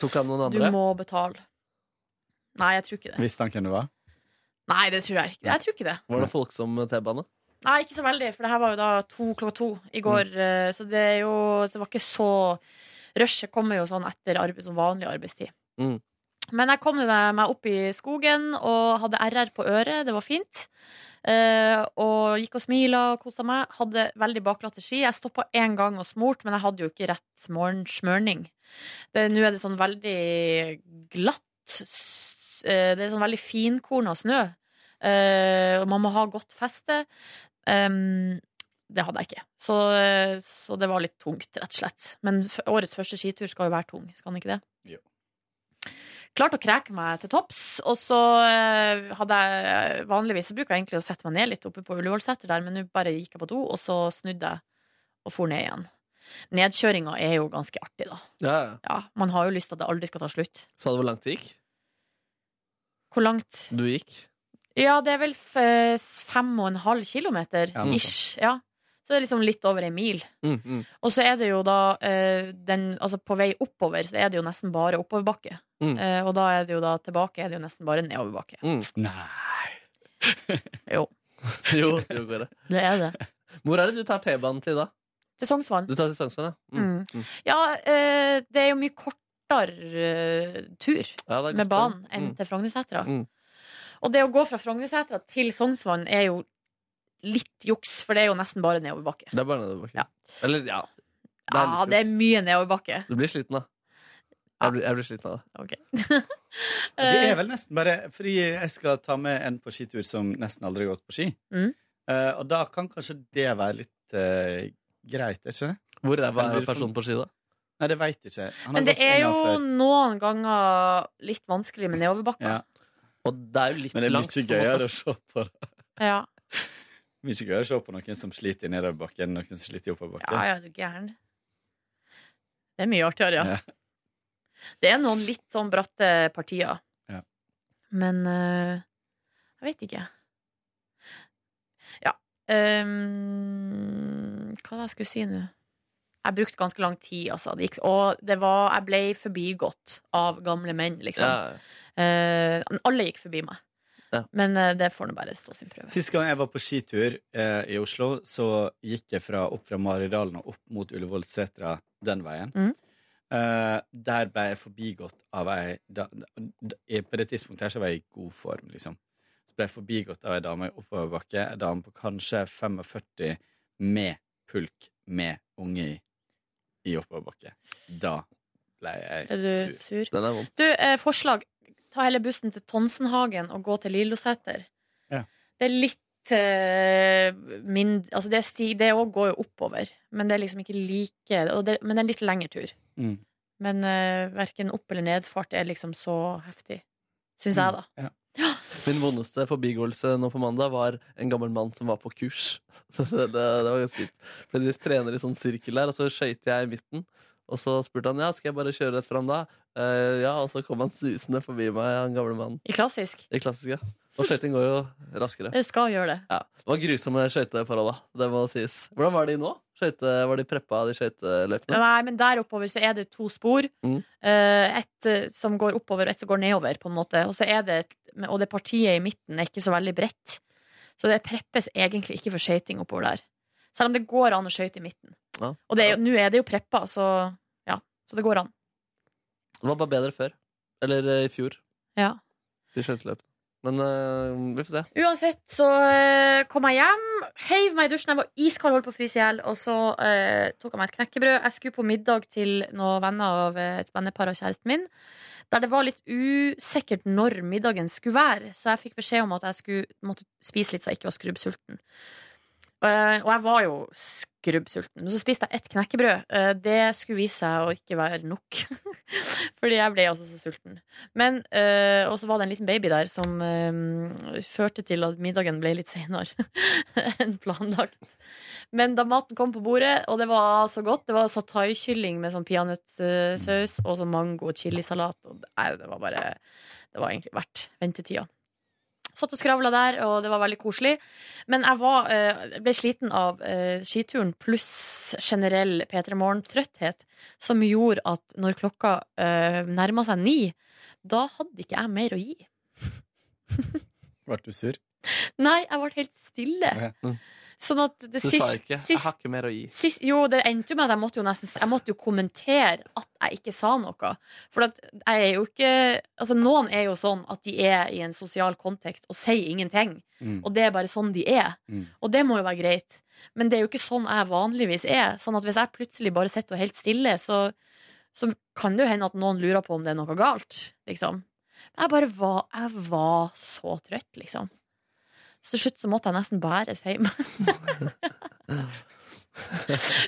C: Tok han noen
B: Du
C: andre?
B: må betale. Nei, jeg tror ikke det.
I: Visste han hvem du var?
B: Nei, det tror jeg ikke. Jeg tror ikke det.
C: Var det folksom T-bane?
B: Nei, ikke så veldig, for det her var jo da to klokka to i går. eh, Så det er jo så Det var ikke så Rushet kommer jo sånn etter arbeid, som vanlig arbeidstid.
C: Mm.
B: Men jeg kom jo da meg opp i skogen og hadde RR på øret. Det var fint. Eh, og gikk og smila og kosa meg. Hadde veldig baklatte ski. Jeg stoppa én gang og smurte, men jeg hadde jo ikke rett morgen smørning. Det- Nå er det sånn veldig glatt s- eh, Det er sånn veldig finkorna snø. Eh, og man må ha godt feste. Ehm, det hadde jeg ikke. Så, eh, så det var litt tungt, rett og slett. Men f- årets første skitur skal jo være tung, skal den ikke det?
I: Jo.
B: Klarte å kreke meg til topps, og så eh, hadde jeg Vanligvis så bruker jeg egentlig å sette meg ned litt oppe på Ullevålseter der, men nå bare gikk jeg på do, og så snudde jeg og for ned igjen. Nedkjøringa er jo ganske artig, da.
C: Ja, ja.
B: Ja, man har jo lyst til at det aldri skal ta slutt.
C: Sa du hvor langt det gikk?
B: Hvor langt
C: Du gikk?
B: Ja, det er vel f fem og en halv kilometer
I: Ja, noe sånt.
B: ish. Ja. Så det er liksom litt over ei mil.
C: Mm, mm.
B: Og så er det jo da eh, den, altså På vei oppover så er det jo nesten bare oppoverbakke.
C: Mm.
B: Eh, og da er det jo da tilbake er det jo nesten bare nedoverbakke.
I: Nei.
B: Jo,
C: Jo, jo, går det.
B: det er det.
C: Hvor er det du tar T-banen til, da?
B: Til Sognsvann.
C: Du tar til Sognsvann, ja? Mm.
B: Mm. Ja, eh, det er jo mye kortere eh, tur
C: ja det er
B: med
C: godt
B: banen
C: poeng.
B: enn
C: Mm.
B: til Frognersetra.
C: Mm.
B: Og det å gå fra Frognersetra til Sognsvann er jo litt juks, for det er jo nesten bare nedoverbakke.
C: Det er bare nedoverbakke.
B: Ja.
C: Eller, ja. Det er
B: Ja,
C: litt
B: det er
C: juks.
B: mye nedoverbakke.
C: Du blir sliten, da.
B: Ja.
C: Jeg blir, jeg blir sliten av det.
B: Ok. Eh,
I: Det er vel nesten bare Fordi jeg skal ta med en på skitur som nesten aldri har gått på ski.
B: Mm.
I: Eh, og da kan kanskje det være litt eh, greit, er ikke det?
C: Hvor ræva
I: Eller
C: er personen på ski, da?
I: Nei, det veit jeg ikke. Han har
B: Men det
I: gått
B: er
I: en
B: jo
I: gang før.
B: noen ganger litt vanskelig med nedoverbakker.
I: ja.
C: Og det er jo litt
I: Men det er
C: langt.
I: mye
C: på en måte.
I: gøyere å se på.
B: Ja.
I: Mye gøyere å se på noen som sliter i nedoverbakken, enn noen som sliter i oppoverbakken.
B: Ja, ja, du er gæren. Det er mye artigere, ja.
I: Ja.
B: Det er noen litt sånn bratte partier.
I: Ja.
B: Men eh, jeg vet ikke. Ja. ehm, hva var det jeg skulle si nå? Jeg brukte ganske lang tid, altså. Det gikk, og det var, jeg ble forbigått av gamle menn, liksom.
C: Ja, ja.
B: Eh, alle gikk forbi meg.
C: Ja.
B: Men eh, det får nå bare stå sin prøve.
I: Sist gang jeg var på skitur eh, i Oslo, så gikk jeg fra, opp fra Maridalen og opp mot Ullevålsetra den veien.
B: Mhm.
I: Eh, der ble jeg forbigått av ei da, da, i- På det tidspunktet her så var jeg i god form, liksom. Så ble jeg forbigått av ei dame i oppoverbakke, ei dame på kanskje 45 med pulk med unge i, i oppoverbakke. Da ble jeg
B: Er du
I: sur.
B: sur?
C: Den er vond.
B: Du, eh, forslag. Ta heller bussen til Tonsenhagen og gå til Lilloseter.
I: Ja.
B: Det er litt eh, mind... Altså, det, er sti, det også går jo oppover, men det er liksom ikke like og det, Men det er en litt lengre tur.
I: Mm.
B: Men eh, verken opp- eller nedfart er liksom så heftig. Syns
I: Mm,
B: jeg, da.
C: Min vondeste forbigåelse nå på mandag var en gammel mann som var på kurs. det, det var ganske fint. Fordi De trener i sånn sirkel der, og så skøyter jeg i midten. Og så spurte han ja, skal jeg bare kjøre rett fram da. Eh, ja, Og så kom han susende forbi meg, han gamle mannen.
B: I klassisk.
C: I klassiske. Og skøyting går jo raskere.
B: Jeg skal gjøre det.
C: Ja, Det var grusomme skøyteforhold, da. Det må sies. Hvordan var de nå? Skøyte, var de preppa, de skøyteløypene?
B: Nei, men der oppover så er det to spor.
C: Mm.
B: Eh, Ett eh, som går oppover, og ett som går nedover, på en måte. Og, så er det, et- og det partiet i midten er ikke så veldig bredt. Så det preppes egentlig ikke for skøyting oppover der. Selv om det går an å skøyte i midten.
C: Ja.
B: Og det er jo- nå er det jo preppa, så ja. Så det går an.
C: Det var bare bedre før. Eller eh, i fjor.
B: Ja.
C: De skøyteløpene. Men eh, vi får se.
B: Uansett så eh, kom jeg hjem, heiv meg i dusjen, jeg var iskald, holdt på å fryse i hjel, og så eh, tok jeg meg et knekkebrød. Jeg skulle på middag til noen venner av eh, et vennepar av kjæresten min, der det var litt usikkert når middagen skulle være, så jeg fikk beskjed om at jeg skulle måtte spise litt så jeg ikke var skrubbsulten. Eh, og jeg var jo skrubbsulten. Men så spiste jeg ett knekkebrød. Eh, det skulle vise seg å ikke være nok. Fordi jeg ble altså så sulten. Men, eh, Og så var det en liten baby der som eh, førte til at middagen ble litt senere enn planlagt. Men da maten kom på bordet, og det var så godt Det var satai-kylling med sånn peanøttsaus og så mango- og chilisalat. Og det- nei, det var bare Det var egentlig verdt ventetida. Satt og skravla der, og det var veldig koselig. Men jeg var, eh, ble sliten av eh, skituren pluss generell P3 Morgen-trøtthet, som gjorde at når klokka eh, nærma seg ni, da hadde ikke jeg mer å gi.
I: Ble du sur?
B: Nei, jeg ble helt stille.
C: Mm.
B: Sånn at det
C: Du
B: sist,
C: sa ikke. Jeg
B: sist,
C: har ikke mer å gi.
B: sist Jo, det endte jo med at jeg måtte jo nesten Jeg måtte jo kommentere at jeg ikke sa noe. For at jeg er jo ikke Altså, noen er jo sånn at de er i en sosial kontekst og sier ingenting.
I: Mm.
B: Og det er bare sånn de er.
I: Mm.
B: Og det må jo være greit. Men det er jo ikke sånn jeg vanligvis er. Sånn at hvis jeg plutselig bare sitter og er helt stille, så, så kan det jo hende at noen lurer på om det er noe galt, liksom. Men jeg bare var Jeg var så trøtt, liksom. Så til slutt så måtte jeg nesten bæres hjem.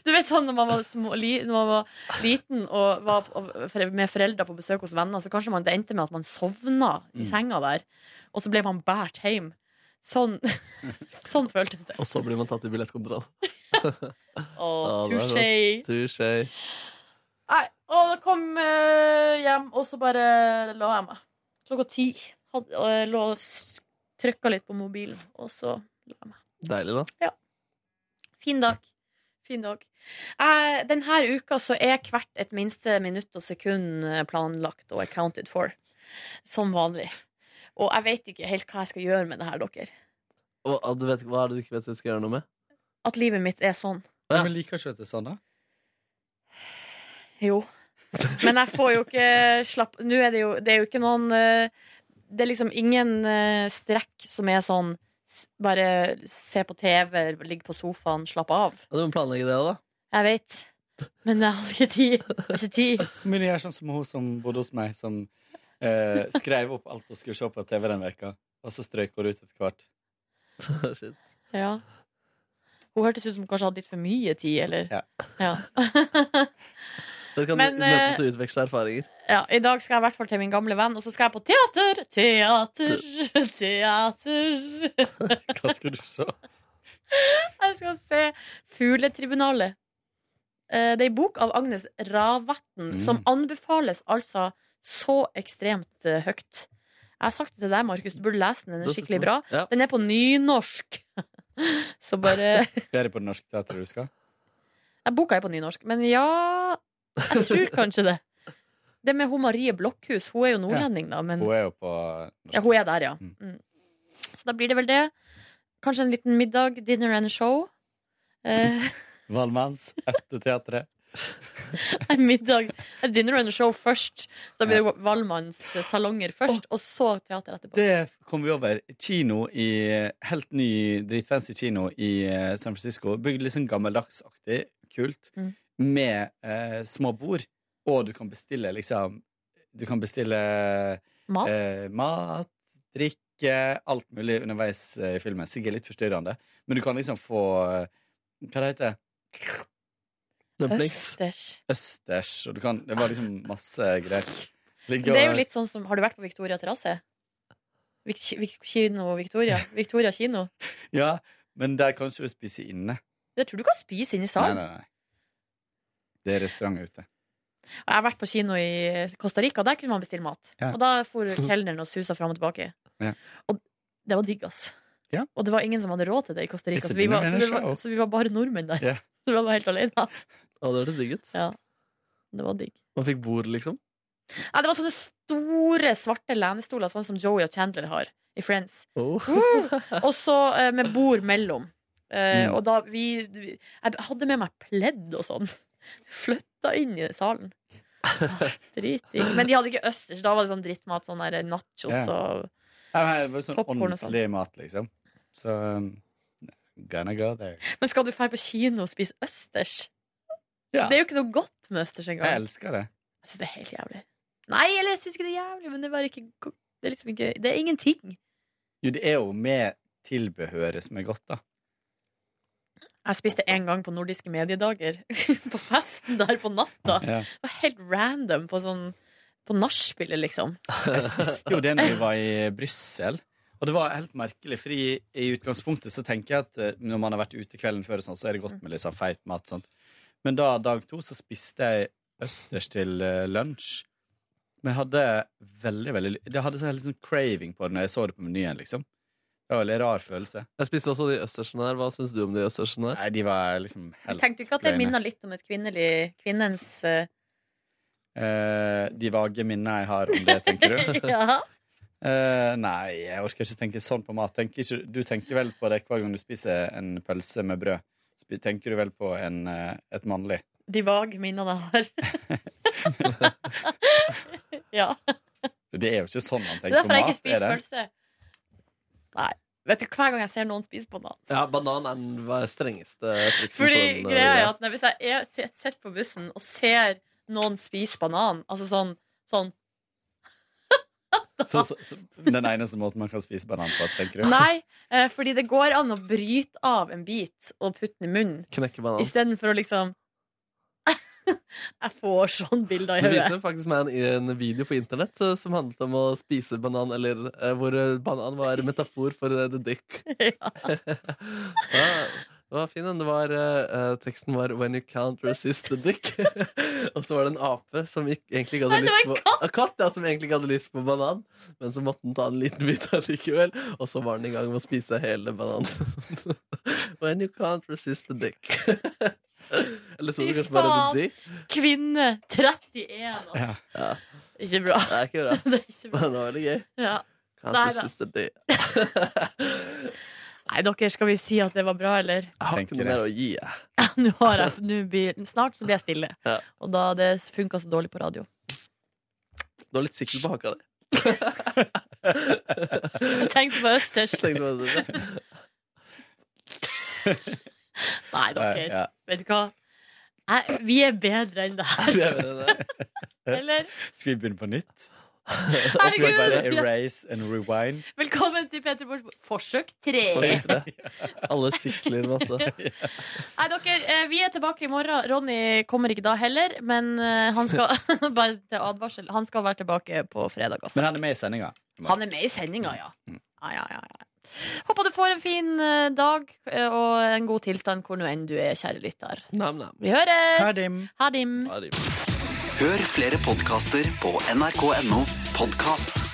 B: du vet sånn når man var, små, li, når man var liten og var på- og fore- med foreldre på besøk hos venner, så kanskje man, det endte med at man sovna i
I: Mm.
B: senga der, og så ble man båret hjem. Sånn, sånn føltes det.
C: Og så blir man tatt i billettkontroll.
B: Å,
C: Ja, det er
B: touché.
C: Touché.
B: Nei, og da kom jeg hjem, og så bare la jeg meg. Klokka ti. Hadde, og jeg lå og s- trykka litt på mobilen, og så la jeg meg.
C: Deilig, da.
B: Fin dag. Fin dag. Eh, denne uka så er hvert et minste minutt og sekund eh, planlagt og accounted for. Som vanlig. Og jeg vet ikke helt hva jeg skal gjøre med det her, dere.
C: Og, og du vet, hva er det du ikke vet du skal gjøre noe med?
B: At livet mitt er sånn.
C: Ja.
I: Men liker ikke at det er sånn, da?
B: Jo. Men jeg får jo ikke slapp Nå er det jo Det er jo ikke noen eh, Det er liksom ingen eh, strekk som er sånn s- bare se på TV, ligge på sofaen, slappe av.
C: Ja, Du må planlegge det, da.
B: Jeg vet. Men jeg har ikke tid. Jeg har ikke tid.
I: Men jeg er sånn som hun som bodde hos meg, som eh, skrev opp alt hun skulle se på TV den veka, og så strøyk hun ut etter hvert.
C: Shit.
B: Ja. Hun hørtes ut som hun kanskje hadde litt for mye tid, eller?
I: Ja.
B: Ja.
C: Dere kan
B: Men, eh,
C: møtes og utveksle erfaringer.
B: ja. I dag skal jeg i hvert fall til min gamle venn, og så skal jeg på teater! Teater, teater.
I: Hva skal du se?
B: Jeg skal se Fugletribunalet. Eh, Det er en bok av Agnes Ravatn
I: Mm.
B: som anbefales altså så ekstremt eh, høyt. Jeg har sagt det til deg, Markus, du burde lese den. Den
C: Det
B: er
C: synes jeg.
B: skikkelig bra.
C: Ja.
B: Den er på nynorsk. Så bare
I: Det er det på det norske teatret du skal?
B: Nei, Boka er på nynorsk, men ja Jeg tror kanskje det. Det med hun Marie Blokhus, hun er jo nordlending, da, men
I: Hun er jo på norsk.
B: ja, hun er der, ja.
I: Mm.
B: Mm. Så da blir det vel det. Kanskje en liten middag, dinner and show. Eh,
I: Valmanns etter teatret.
B: en middag en Dinner and show først. Så da blir det Valmanns eh, salonger først, og så teater etterpå.
I: Det kom vi over. Kino i Helt ny, dritfancy kino i eh, San Francisco. Bygd litt sånn gammeldagsaktig, kult,
B: Mm.
I: med eh, små bord. Og du kan bestille liksom Du kan bestille
B: Mat.
I: eh, mat, drikke, alt mulig underveis eh, i filmen. Sikkert litt forstyrrende, men du kan liksom få eh, Hva det heter det?
C: Dumplings.
B: Østers.
I: Østers, og du kan Det var liksom masse greier. Ligge
B: Det er jo
I: og-
B: litt sånn som Har du vært på Victoria terrasse? Vik- Vik- Kino Victoria. Victoria kino.
I: Ja, men der kan du ikke spise inne.
B: Jeg tror du kan spise inne i
I: Nei,
B: salen.
I: nei, nei. Det er restaurant ute.
B: Jeg har vært på kino i Costa Rica, der kunne man bestille mat.
I: Ja.
B: Og da for kelneren og susa fram og tilbake.
I: Ja.
B: Og det var digg, ass.
I: Ja.
B: Og det var ingen som hadde råd til det i Costa Rica,
I: It's a
B: så vi, var, så,
I: dinner
B: vi
I: and a
B: var,
I: show.
B: så vi var bare nordmenn der.
I: Ja.
B: Så vi var helt alene.
C: Å, det hørtes digg ut.
B: Det var digg.
C: Man fikk bord, liksom.
B: Nei, det var sånne store svarte lenestoler, sånn som Joey og Chandler har i Friends.
C: Oh.
B: Og så eh, med bord mellom. Eh,
I: Mm.
B: Og da vi vi- Jeg hadde med meg pledd og sånn. Flytta inn i salen. Ah, Dritdigg. Men de hadde ikke østers. Da var det sånn drittmat. Sånn der nachos
I: Ja.
B: og
I: Ja, men her var det sånn
B: Popcorn og sånn.
I: ordentlig mat, liksom. Så um, gonna go there.
B: Men skal du dra på kino og spise østers?
I: Ja,
B: Det er jo ikke noe godt med østers engang.
I: jeg
B: Jeg
I: elsker det.
B: syns det er helt jævlig. Nei, eller jeg syns ikke det er jævlig, men det er bare ikke go- Det er liksom ikke Det er ingenting.
I: Jo, det er jo med tilbehøret som er godt, da.
B: Jeg spiste en gang på nordiske mediedager. på festen der på natta.
I: Ja.
B: Det var helt random på sånn På nachspielet, liksom.
I: Jeg spiste jo det når vi var i Brussel. Og det var helt merkelig, fordi i utgangspunktet så tenker jeg at eh, når man har vært ute kvelden før, og sånn, så er det godt med litt sånn feit mat. og Sånt. Men da, dag to, så spiste jeg østers til eh, lunsj. Men jeg hadde veldig, veldig ly- Jeg hadde så helt sånn craving på det når jeg så det på menyen, liksom. Det var en veldig rar følelse.
C: Jeg spiste også de østersene her. Hva syns du om de østersene her?
I: Nei, de var liksom helt
B: Tenkte du ikke at det
I: plaine.
B: minner litt om et kvinnelig kvinnens eh,
I: Eh, De vage minnene jeg har om det, tenker du?
B: Ja.
I: Eh, nei, jeg orker ikke tenke sånn på mat. Tenker ikke, du tenker vel på det hver gang du spiser en pølse med brød. Spi- Tenker du vel på en, eh, et mannlig?
B: De vage minnene jeg har. ja.
I: Det er jo ikke sånn han
B: Det
I: tenker på
B: er derfor jeg
I: mat.
B: ikke
I: Er
B: spiser
I: det?
B: pølse. Nei. Vet du, Hver gang jeg ser noen spise banan
C: Ja, banan er den hva- strengeste frukten.
B: Fordi
C: på den, eh,
B: greia er
C: lista.
B: at nei, Hvis jeg er- sit- sitter på bussen og ser noen spise banan, altså sånn, sånn
I: Så, så, så, den eneste måten man kan spise banan på, tenker du?
B: Nei, eh, fordi det går an å bryte av en bit og putte den i munnen.
C: Knekke banan.
B: Istedenfor å liksom Jeg får sånn bilder i
C: Det
B: hodet.
C: viser faktisk meg en, en video på internett eh, som handlet om å spise banan, eller eh, hvor eh, banan var metafor for eh, the dick.
B: Ja.
C: ja, det var fin den. Det var, eh, eh, teksten var 'When you can't resist the dick'. Og så var det en ape som ikk- egentlig ikke
B: Nei,
C: hadde
B: det
C: lyst
B: var
C: på
B: en
C: En katt, ja, som egentlig ikke hadde lyst på banan, men så måtte den ta en liten bit allikevel. Og så var den i gang med å spise hele bananen. 'When you can't resist the dick'. Eller så
B: Fy
C: det kanskje bare
B: faen.
C: 'the dick'.
B: Kvinne 31, altså.
C: Ja.
B: Ikke bra.
C: Det er ikke bra.
B: Det er ikke bra.
C: Men det var veldig gøy.
B: Ja.
C: Can't
B: Nei da.
C: resist the dick.
B: Nei, dere, skal vi si at det var bra, eller?
C: Jeg har ikke
I: Tenker
C: noe
I: det.
C: mer å gi, jeg.
B: Nå har jeg, nå blir, snart så blir jeg stille.
C: Ja.
B: Og da det funka så dårlig på radio.
C: Du var litt sikker på haka di.
B: Jeg tenkte på østers.
C: Tenkte på det.
B: Nei, dere.
I: Ja.
B: Vet du hva? Nei, vi er bedre enn det her,
C: Det er vel det.
B: eller?
I: Eh, Skal vi begynne på nytt? Skal vi bare
B: Herregud! Ja.
I: erase and rewind?
B: Velkommen til Peter Borgs forsøk
C: Folk
B: tre.
C: likte det. Alle sikler masse.
B: Nei, dere, eh, vi er tilbake i morgen. Ronny kommer ikke da heller, men eh, han skal Bare til advarsel. Han skal være tilbake på fredag også.
I: Men han er med i Mm. sendinga.
B: Han er med i sendinga, ja. Ja, ja, ja, ja. Håper du får en fin eh, dag eh, og en god tilstand hvor nå enn du er, kjære lytter.
C: Nam, nam.
B: Vi høres!
I: Ha det.
B: Ha det.
C: Ha det.
D: Hør flere podkaster på nrk.no podkast.